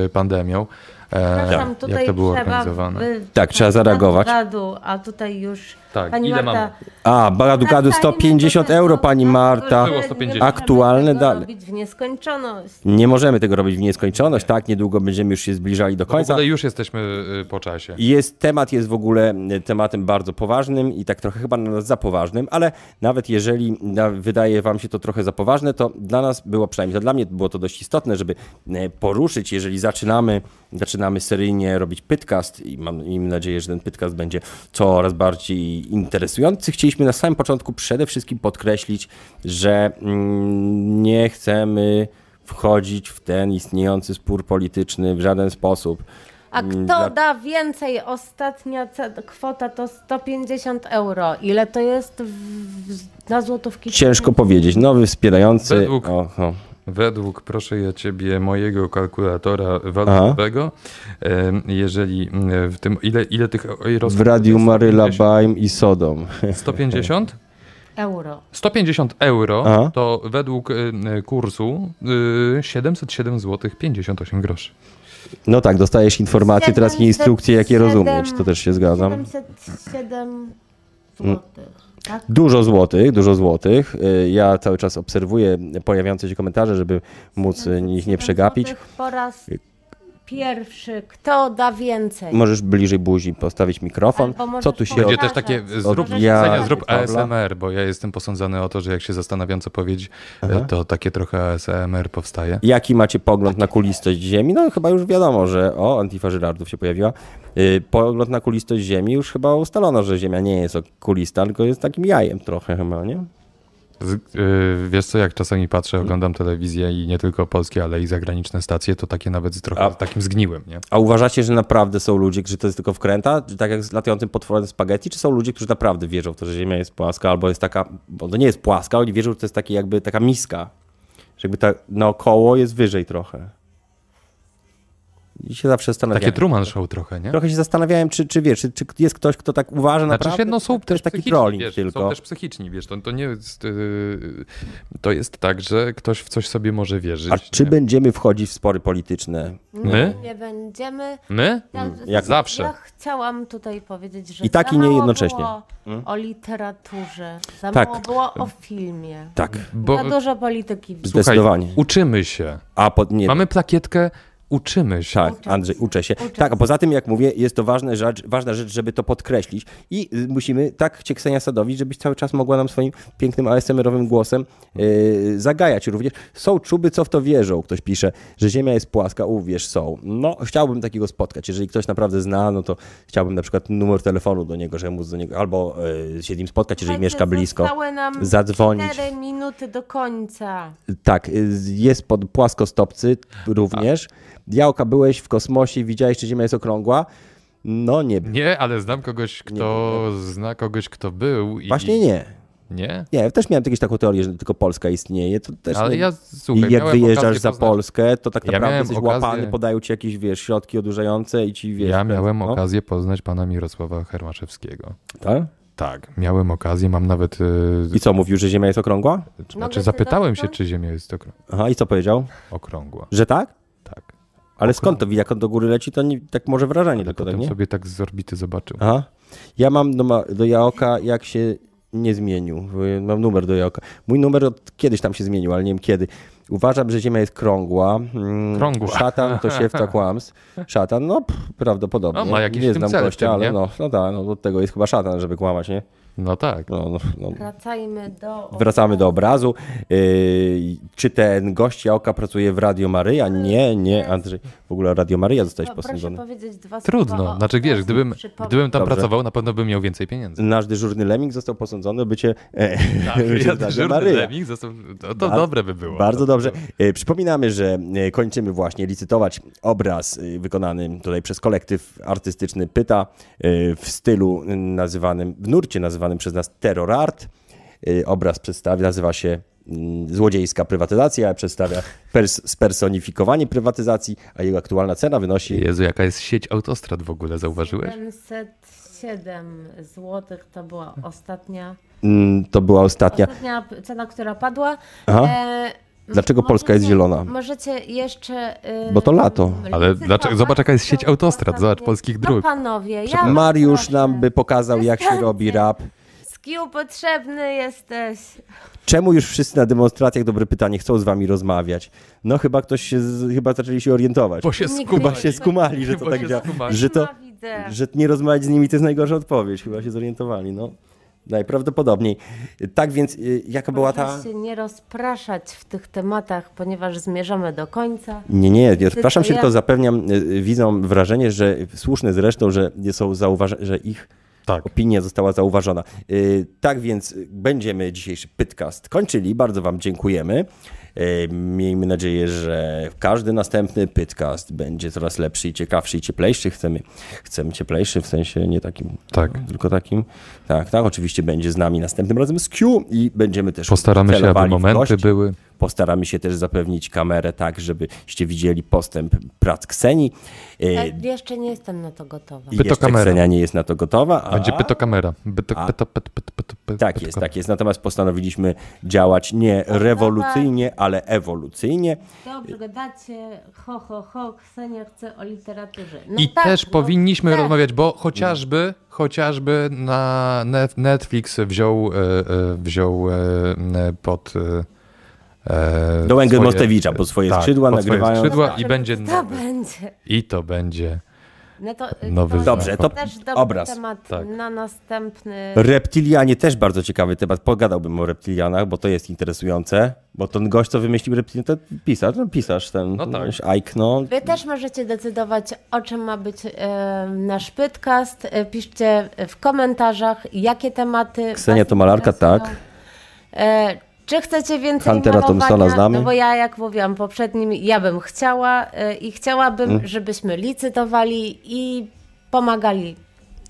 e, pandemią. Tak, E, Przepraszam, tutaj jak to było trzeba organizowane? wy- Tak, trzeba zareagować. Radu, a tutaj już Tak, pani ile Marta. mamy? A, Baradugadu Tak, 150 euro, pani no, Marta. Było 150. Aktualne dalej. Robić w nieskończoność. Nie możemy tego robić w nieskończoność, tak? Niedługo będziemy już się zbliżali do W końca. ogóle już jesteśmy y, po czasie. Jest, temat jest w ogóle y, tematem bardzo poważnym i tak trochę chyba na nas za poważnym, ale nawet jeżeli na, wydaje wam się to trochę za poważne, to dla nas było przynajmniej, to dla mnie było to dość istotne, żeby y, poruszyć, jeżeli zaczynamy, zaczynamy seryjnie robić podcast i mam, i mam nadzieję, że ten podcast będzie coraz bardziej interesujący. Chcieliśmy na samym początku przede wszystkim podkreślić, że mm, nie chcemy wchodzić w ten istniejący spór polityczny w żaden sposób. A Mm, kto dla- da więcej? Ostatnia ce- kwota to 150 euro. Ile to jest w, w, na złotówki? Ciężko powiedzieć. Nowy wspierający. Według- O, o. Według, proszę ja ciebie, mojego kalkulatora walutowego, e, em, jeżeli mm, w tym, ile, ile tych rozkazów W Radiu jest? Maryla, 150? Baim i Sodom. 150? Euro. 150 euro Aha. to według y, y, kursu y, 707 zł 58 groszy. No tak, dostajesz informacje teraz i instrukcje, jak je 707, rozumieć. To też się zgadzam. Mm, 707 złotych. Tak? Dużo złotych, dużo złotych. Y, Ja cały czas obserwuję pojawiające się komentarze, żeby móc y, ich nie przegapić. Y- Złotych Po raz pierwszy. Kto da więcej? Możesz bliżej buzi postawić mikrofon. Albo możesz Co tu się powiedzieć- Będzie od... też takie, Zdarza się. zrób, Ja- Senia, zrób Dobra. ASMR, bo ja jestem posądzany o to, że jak się zastanawiam, co powiedzieć, y, to takie trochę ASMR powstaje. Jaki macie pogląd na kulistość Ziemi? No chyba już wiadomo, że o, Antifa Żyrardów się pojawiła. Y, Pogląd na kulistość Ziemi już chyba ustalono, że Ziemia nie jest kulista, tylko jest takim jajem trochę chyba, nie? Z, y, wiesz co, jak czasami patrzę, oglądam telewizję i nie tylko polskie, ale i zagraniczne stacje, to takie nawet z trochę A- z takim zgniłym, nie? A uważacie, że naprawdę są ludzie, którzy to jest tylko wkręta? Czy tak jak z latającym potworem spaghetti? Czy są ludzie, którzy naprawdę wierzą w to, że Ziemia jest płaska albo jest taka, bo to nie jest płaska, oni wierzą, że to jest taki jakby taka miska. Że jakby ta naokoło jest wyżej trochę. I się zawsze zastanawiam. Takie Truman Show trochę, nie? Trochę się zastanawiałem, czy, czy wiesz, czy, czy jest ktoś, kto tak uważa Znaczy naprawdę? się, no są to też jest taki psychiczni, trolling wiesz, tylko. Są też psychiczni, wiesz, to, to nie jest... y, to jest tak, że ktoś w coś sobie może wierzyć. A czy nie? będziemy wchodzić w spory polityczne? My? Nie będziemy. My? Ja, Mm, jak- Zawsze. Ja chciałam tutaj powiedzieć, że I tak, za i nie mało jednocześnie. Mm? Było o literaturze, za Tak. mało było o filmie. Tak, Bo za dużo polityki. Zde- zdecydowanie. uczymy się. a pod, nie, Mamy plakietkę, uczymy się. Tak, Andrzej, uczę się. Tak, a poza tym, jak mówię, jest to ważne, rzecz, ważna rzecz, żeby to podkreślić. I y, musimy tak cię Ksenia sadowić, żebyś cały czas mogła nam swoim pięknym ASMR-owym głosem y, zagajać również. Są czuby, co w to wierzą, ktoś pisze, że Ziemia jest płaska, uwierz, są. No, chciałbym takiego spotkać. Jeżeli ktoś naprawdę zna, no to chciałbym na przykład numer telefonu do niego, żeby móc do niego, albo y, się z nim spotkać, jeżeli mieszka blisko. Zostały nam Zadzwonić. 4 minuty do końca. Tak, y, jest pod płaskostopcy również. Tak. Jałka, byłeś w kosmosie i widziałeś, czy Ziemia jest okrągła? No nie. Nie, ale znam kogoś, kto zna kogoś, kto był i... Właśnie nie. Nie? Nie, też miałem jakieś taką teorię, że tylko Polska istnieje. To też Ale nie... ja, słuchaj, I jak miałem wyjeżdżasz okazję za poznać- Polskę, to tak Ja naprawdę miałem jesteś okazję- łapany, podają ci jakieś, wiesz, środki odurzające i ci, wiesz... Ja ten- miałem no. okazję poznać pana Mirosława Hermaszewskiego. Tak? Tak, miałem okazję, mam nawet... y, I co, mówił, że Ziemia jest okrągła? Znaczy, zapytałem się, czy Ziemia jest okrą- Aha, i co powiedział? okrągła. Że tak? Tak. Ale skąd to, jak on do góry leci, to nie, tak może wrażenie Ale tylko, potem tak, nie? sobie tak z orbity zobaczył. Aha. Ja mam do, ma- do Jaoka, jak się nie zmienił. Y, Mam numer do Jaoka. Mój numer od kiedyś tam się zmienił, ale nie wiem kiedy. Uważam, że Ziemia jest krągła. Mm, Krągła. Szatan to siewca kłamstw. Szatan, no pff, prawdopodobnie. No, ma jakiś nie w tym znam cel w gościa, tym, ale nie? no, no tak, no, od tego jest chyba szatan, żeby kłamać, nie? No tak. No, no, no. Wracajmy do. Wracamy do obrazu. Y, czy ten gość Jaoka pracuje w Radio Maryja? Nie, nie, Andrzej. W ogóle Radio Maryja zostałeś Proszę posądzony. powiedzieć dwa słowa Trudno. o Znaczy wiesz, obrazu. gdybym, Przypomnę- gdybym tak tam Dobrze. pracował, na pewno bym miał więcej pieniędzy. Nasz dyżurny Lemming został posądzony o bycie, e, bycie w Tak, Ja Radiu dyżurny tak, Maryja. Remik, zastą- to, to dobre by było. Bardzo dobrze. E, Przypominamy, że e, kończymy właśnie licytować obraz e, wykonany tutaj przez kolektyw artystyczny Pyta e, w stylu nazywanym, w nurcie nazywanym znany przez nas terrorart. Y, Obraz przedstawia, nazywa się mm, Złodziejska prywatyzacja, przedstawia pers- spersonifikowanie prywatyzacji, a jego aktualna cena wynosi Jezu, jaka jest sieć autostrad w ogóle, zauważyłeś? 707 zł to była ostatnia, Mm, To była ostatnia. ostatnia p- cena, która padła. Aha. E, Dlaczego Polska jest zielona? Możecie jeszcze. y, Bo to lato. Ale licytować dlaczego- zobacz, jaka jest sieć tą autostrad, ostatnią. zobacz, polskich dróg. No panowie, ja. Mariusz was nam proszę. by pokazał, jak się robi rap. Skill potrzebny jesteś. Czemu już wszyscy na demonstracjach, dobre pytanie, chcą z wami rozmawiać? No chyba ktoś się, z, chyba zaczęli się orientować. Bo się Nigdy Chyba skuba się skumali, że to Chyba tak się działa. skumali. Że to, Ma widzę. że nie rozmawiać z nimi to jest najgorsza odpowiedź. Chyba się zorientowali, no. Najprawdopodobniej. Tak więc, y, jaka była ta... Proszę się nie rozpraszać w tych tematach, ponieważ zmierzamy do końca. Nie, nie, nie przepraszam to się, ja- tylko zapewniam y, y, widzom wrażenie, że słuszne zresztą, że są zauważa- że ich Tak. opinia została zauważona. Y, Tak więc y, będziemy dzisiejszy podcast kończyli. Bardzo Wam dziękujemy. Y, Miejmy nadzieję, że każdy następny podcast będzie coraz lepszy i ciekawszy i cieplejszy. Chcemy, chcemy cieplejszy w sensie nie takim, Tak. no, tylko takim. Tak, tak, oczywiście będzie z nami następnym razem z Q i będziemy też Postaramy się, aby celowali w gości. momenty były. Postaramy się też zapewnić kamerę tak, żebyście widzieli postęp prac Kseni. Ja Yy, jeszcze nie jestem na to gotowa. jeszcze pytokamera. Ksenia nie jest na to gotowa. A... Będzie pytokamera. Byto, A. pyto, pyto, pyto, pyto, pyto, Tak jest, tak jest. Natomiast postanowiliśmy działać nie rewolucyjnie, ale ewolucyjnie. Dobrze gadacie, ho, ho, ho, Ksenia chce o literaturze. No I tak, też no powinniśmy chcę. rozmawiać, bo chociażby, chociażby na Net- Netflix wziął, e, e, wziął e, m, pod e, e, Do Engel swoje- Mostewicza pod swoje tak, skrzydła pod swoje nagrywają. skrzydła i będzie Tak. To nowy, będzie. i to będzie No to, Nowy to Dobrze, to też dobry obraz. temat Tak. na następny. Reptilianie też bardzo ciekawy temat. Pogadałbym o reptilianach, bo to jest interesujące. Bo ten gość, co wymyślił reptilian, to pisarz, no pisarz ten. No tak. Ike, no. Wy też możecie decydować, o czym ma być e, nasz podcast. E, Piszcie w komentarzach, jakie tematy. Ksenia was to malarka, interesują. tak. E, czy chcecie więcej Huntera malowania? Thompsona znamy. No bo ja, jak mówiłam poprzednim, ja bym chciała e, i chciałabym, Mm. żebyśmy licytowali i pomagali.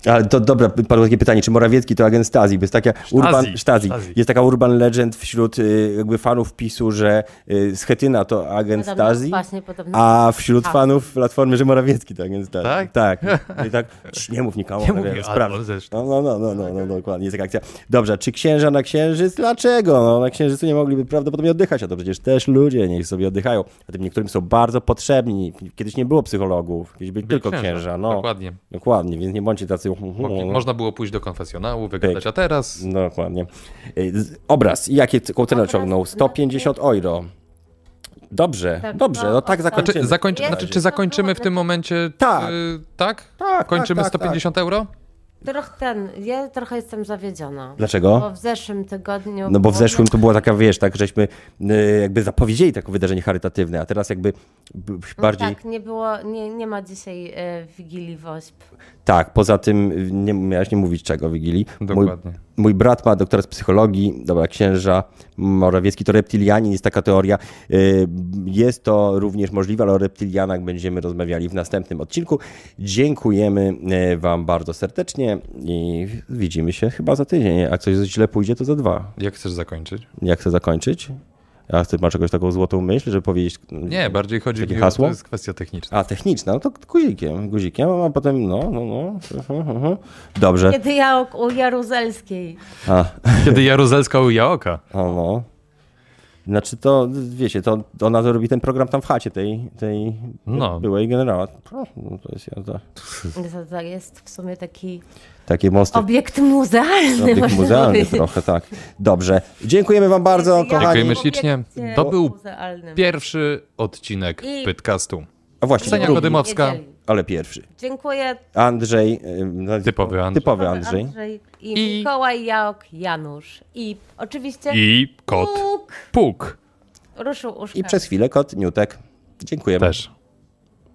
Ale to dobra, padło takie pytanie, czy Morawiecki to agent Stasi? Bo jest taka urban, Stasi. Stasi. Jest taka urban legend wśród y, jakby fanów PiSu, że y, Schetyna to agent Podobno- Stasi, właśnie, Tak. podobno. a wśród fanów Platformy, że Morawiecki to agent Stasi. Tak? Tak. I tak "Cii, nie mów nikomu, Nie ale mówię, sprawdź. albo zresztą. No, no, no, no, no, no, dokładnie, jest taka akcja. Dobrze, czy księża na księżyc? Dlaczego? No, na księżycu nie mogliby prawdopodobnie oddychać, a to przecież też ludzie niech sobie oddychają. A tym niektórym są bardzo potrzebni. Kiedyś nie było psychologów, kiedyś byli tylko księża. księża, no. dokładnie. Dokładnie, więc nie bądźcie tacy... Mogli, można było pójść do konfesjonału, wygadać, a teraz No, Dokładnie. Y, z- Obraz. I jakie kołtera Obraz ciągnął? na 150 euro. Dobrze, Tak, dobrze. no, No tak o- zakończymy. znaczy, zakończy, Jest znaczy, no to czy zakończymy w ładne. tym momencie? Tak. y, tak? Tak, Kończymy tak, tak, 150 euro? Trochę ten, ja trochę jestem zawiedziona. Bo Dlaczego? w zeszłym tygodniu. No bo w było- zeszłym to była taka, wiesz, tak żeśmy y, jakby zapowiedzieli takie wydarzenie charytatywne, a teraz jakby b- bardziej... Tak, nie było, nie, nie ma dzisiaj e, Wigilii Wośp. Tak, poza tym y, nie miałeś nie mówić czego w Wigilii. Dokładnie. Mój, mój brat ma doktora z psychologii, dobra, księża, Morawiecki to reptilianin, jest taka teoria. Y, Jest to również możliwe, ale o reptilianach będziemy rozmawiali w następnym odcinku. Dziękujemy y, wam bardzo serdecznie i widzimy się chyba za tydzień. Jak coś źle pójdzie, to za dwa. Jak chcesz zakończyć? Jak chcę zakończyć? A ty masz jakąś taką złotą myśl, żeby powiedzieć... Nie, bardziej chodzi Takie mi o hasło? to jest kwestia techniczna. A, techniczna, no to guzikiem, guzikiem, a potem no, no, no. Dobrze. Kiedy ja o- u Jaruzelskiej. A, Kiedy Jaruzelska u Jaoka. o no. Znaczy to, wiecie, to ona to robi ten program tam w chacie tej, tej No. byłej generała. No, to jest jazda. To, to jest w sumie taki Takie mosty obiekt muzealny. obiekt można muzealny powiedzieć. trochę, tak. Dobrze. Dziękujemy wam bardzo, Dziękujemy. kochani. Dziękujemy ślicznie. Obiekcie To był muzealnym. pierwszy odcinek I- podcastu. A No właśnie, Ksenia drugi, Kodymowska. Dymowska. Niedzieli. ale pierwszy. Dziękuję. Andrzej. ym, no, Typowy Andrzej. Typowy Andrzej. I, I- Mikołaj Jaok Janusz. I oczywiście I kot Puk Puk ruszył uszka. I przez chwilę kot Newtek. Dziękujemy. też.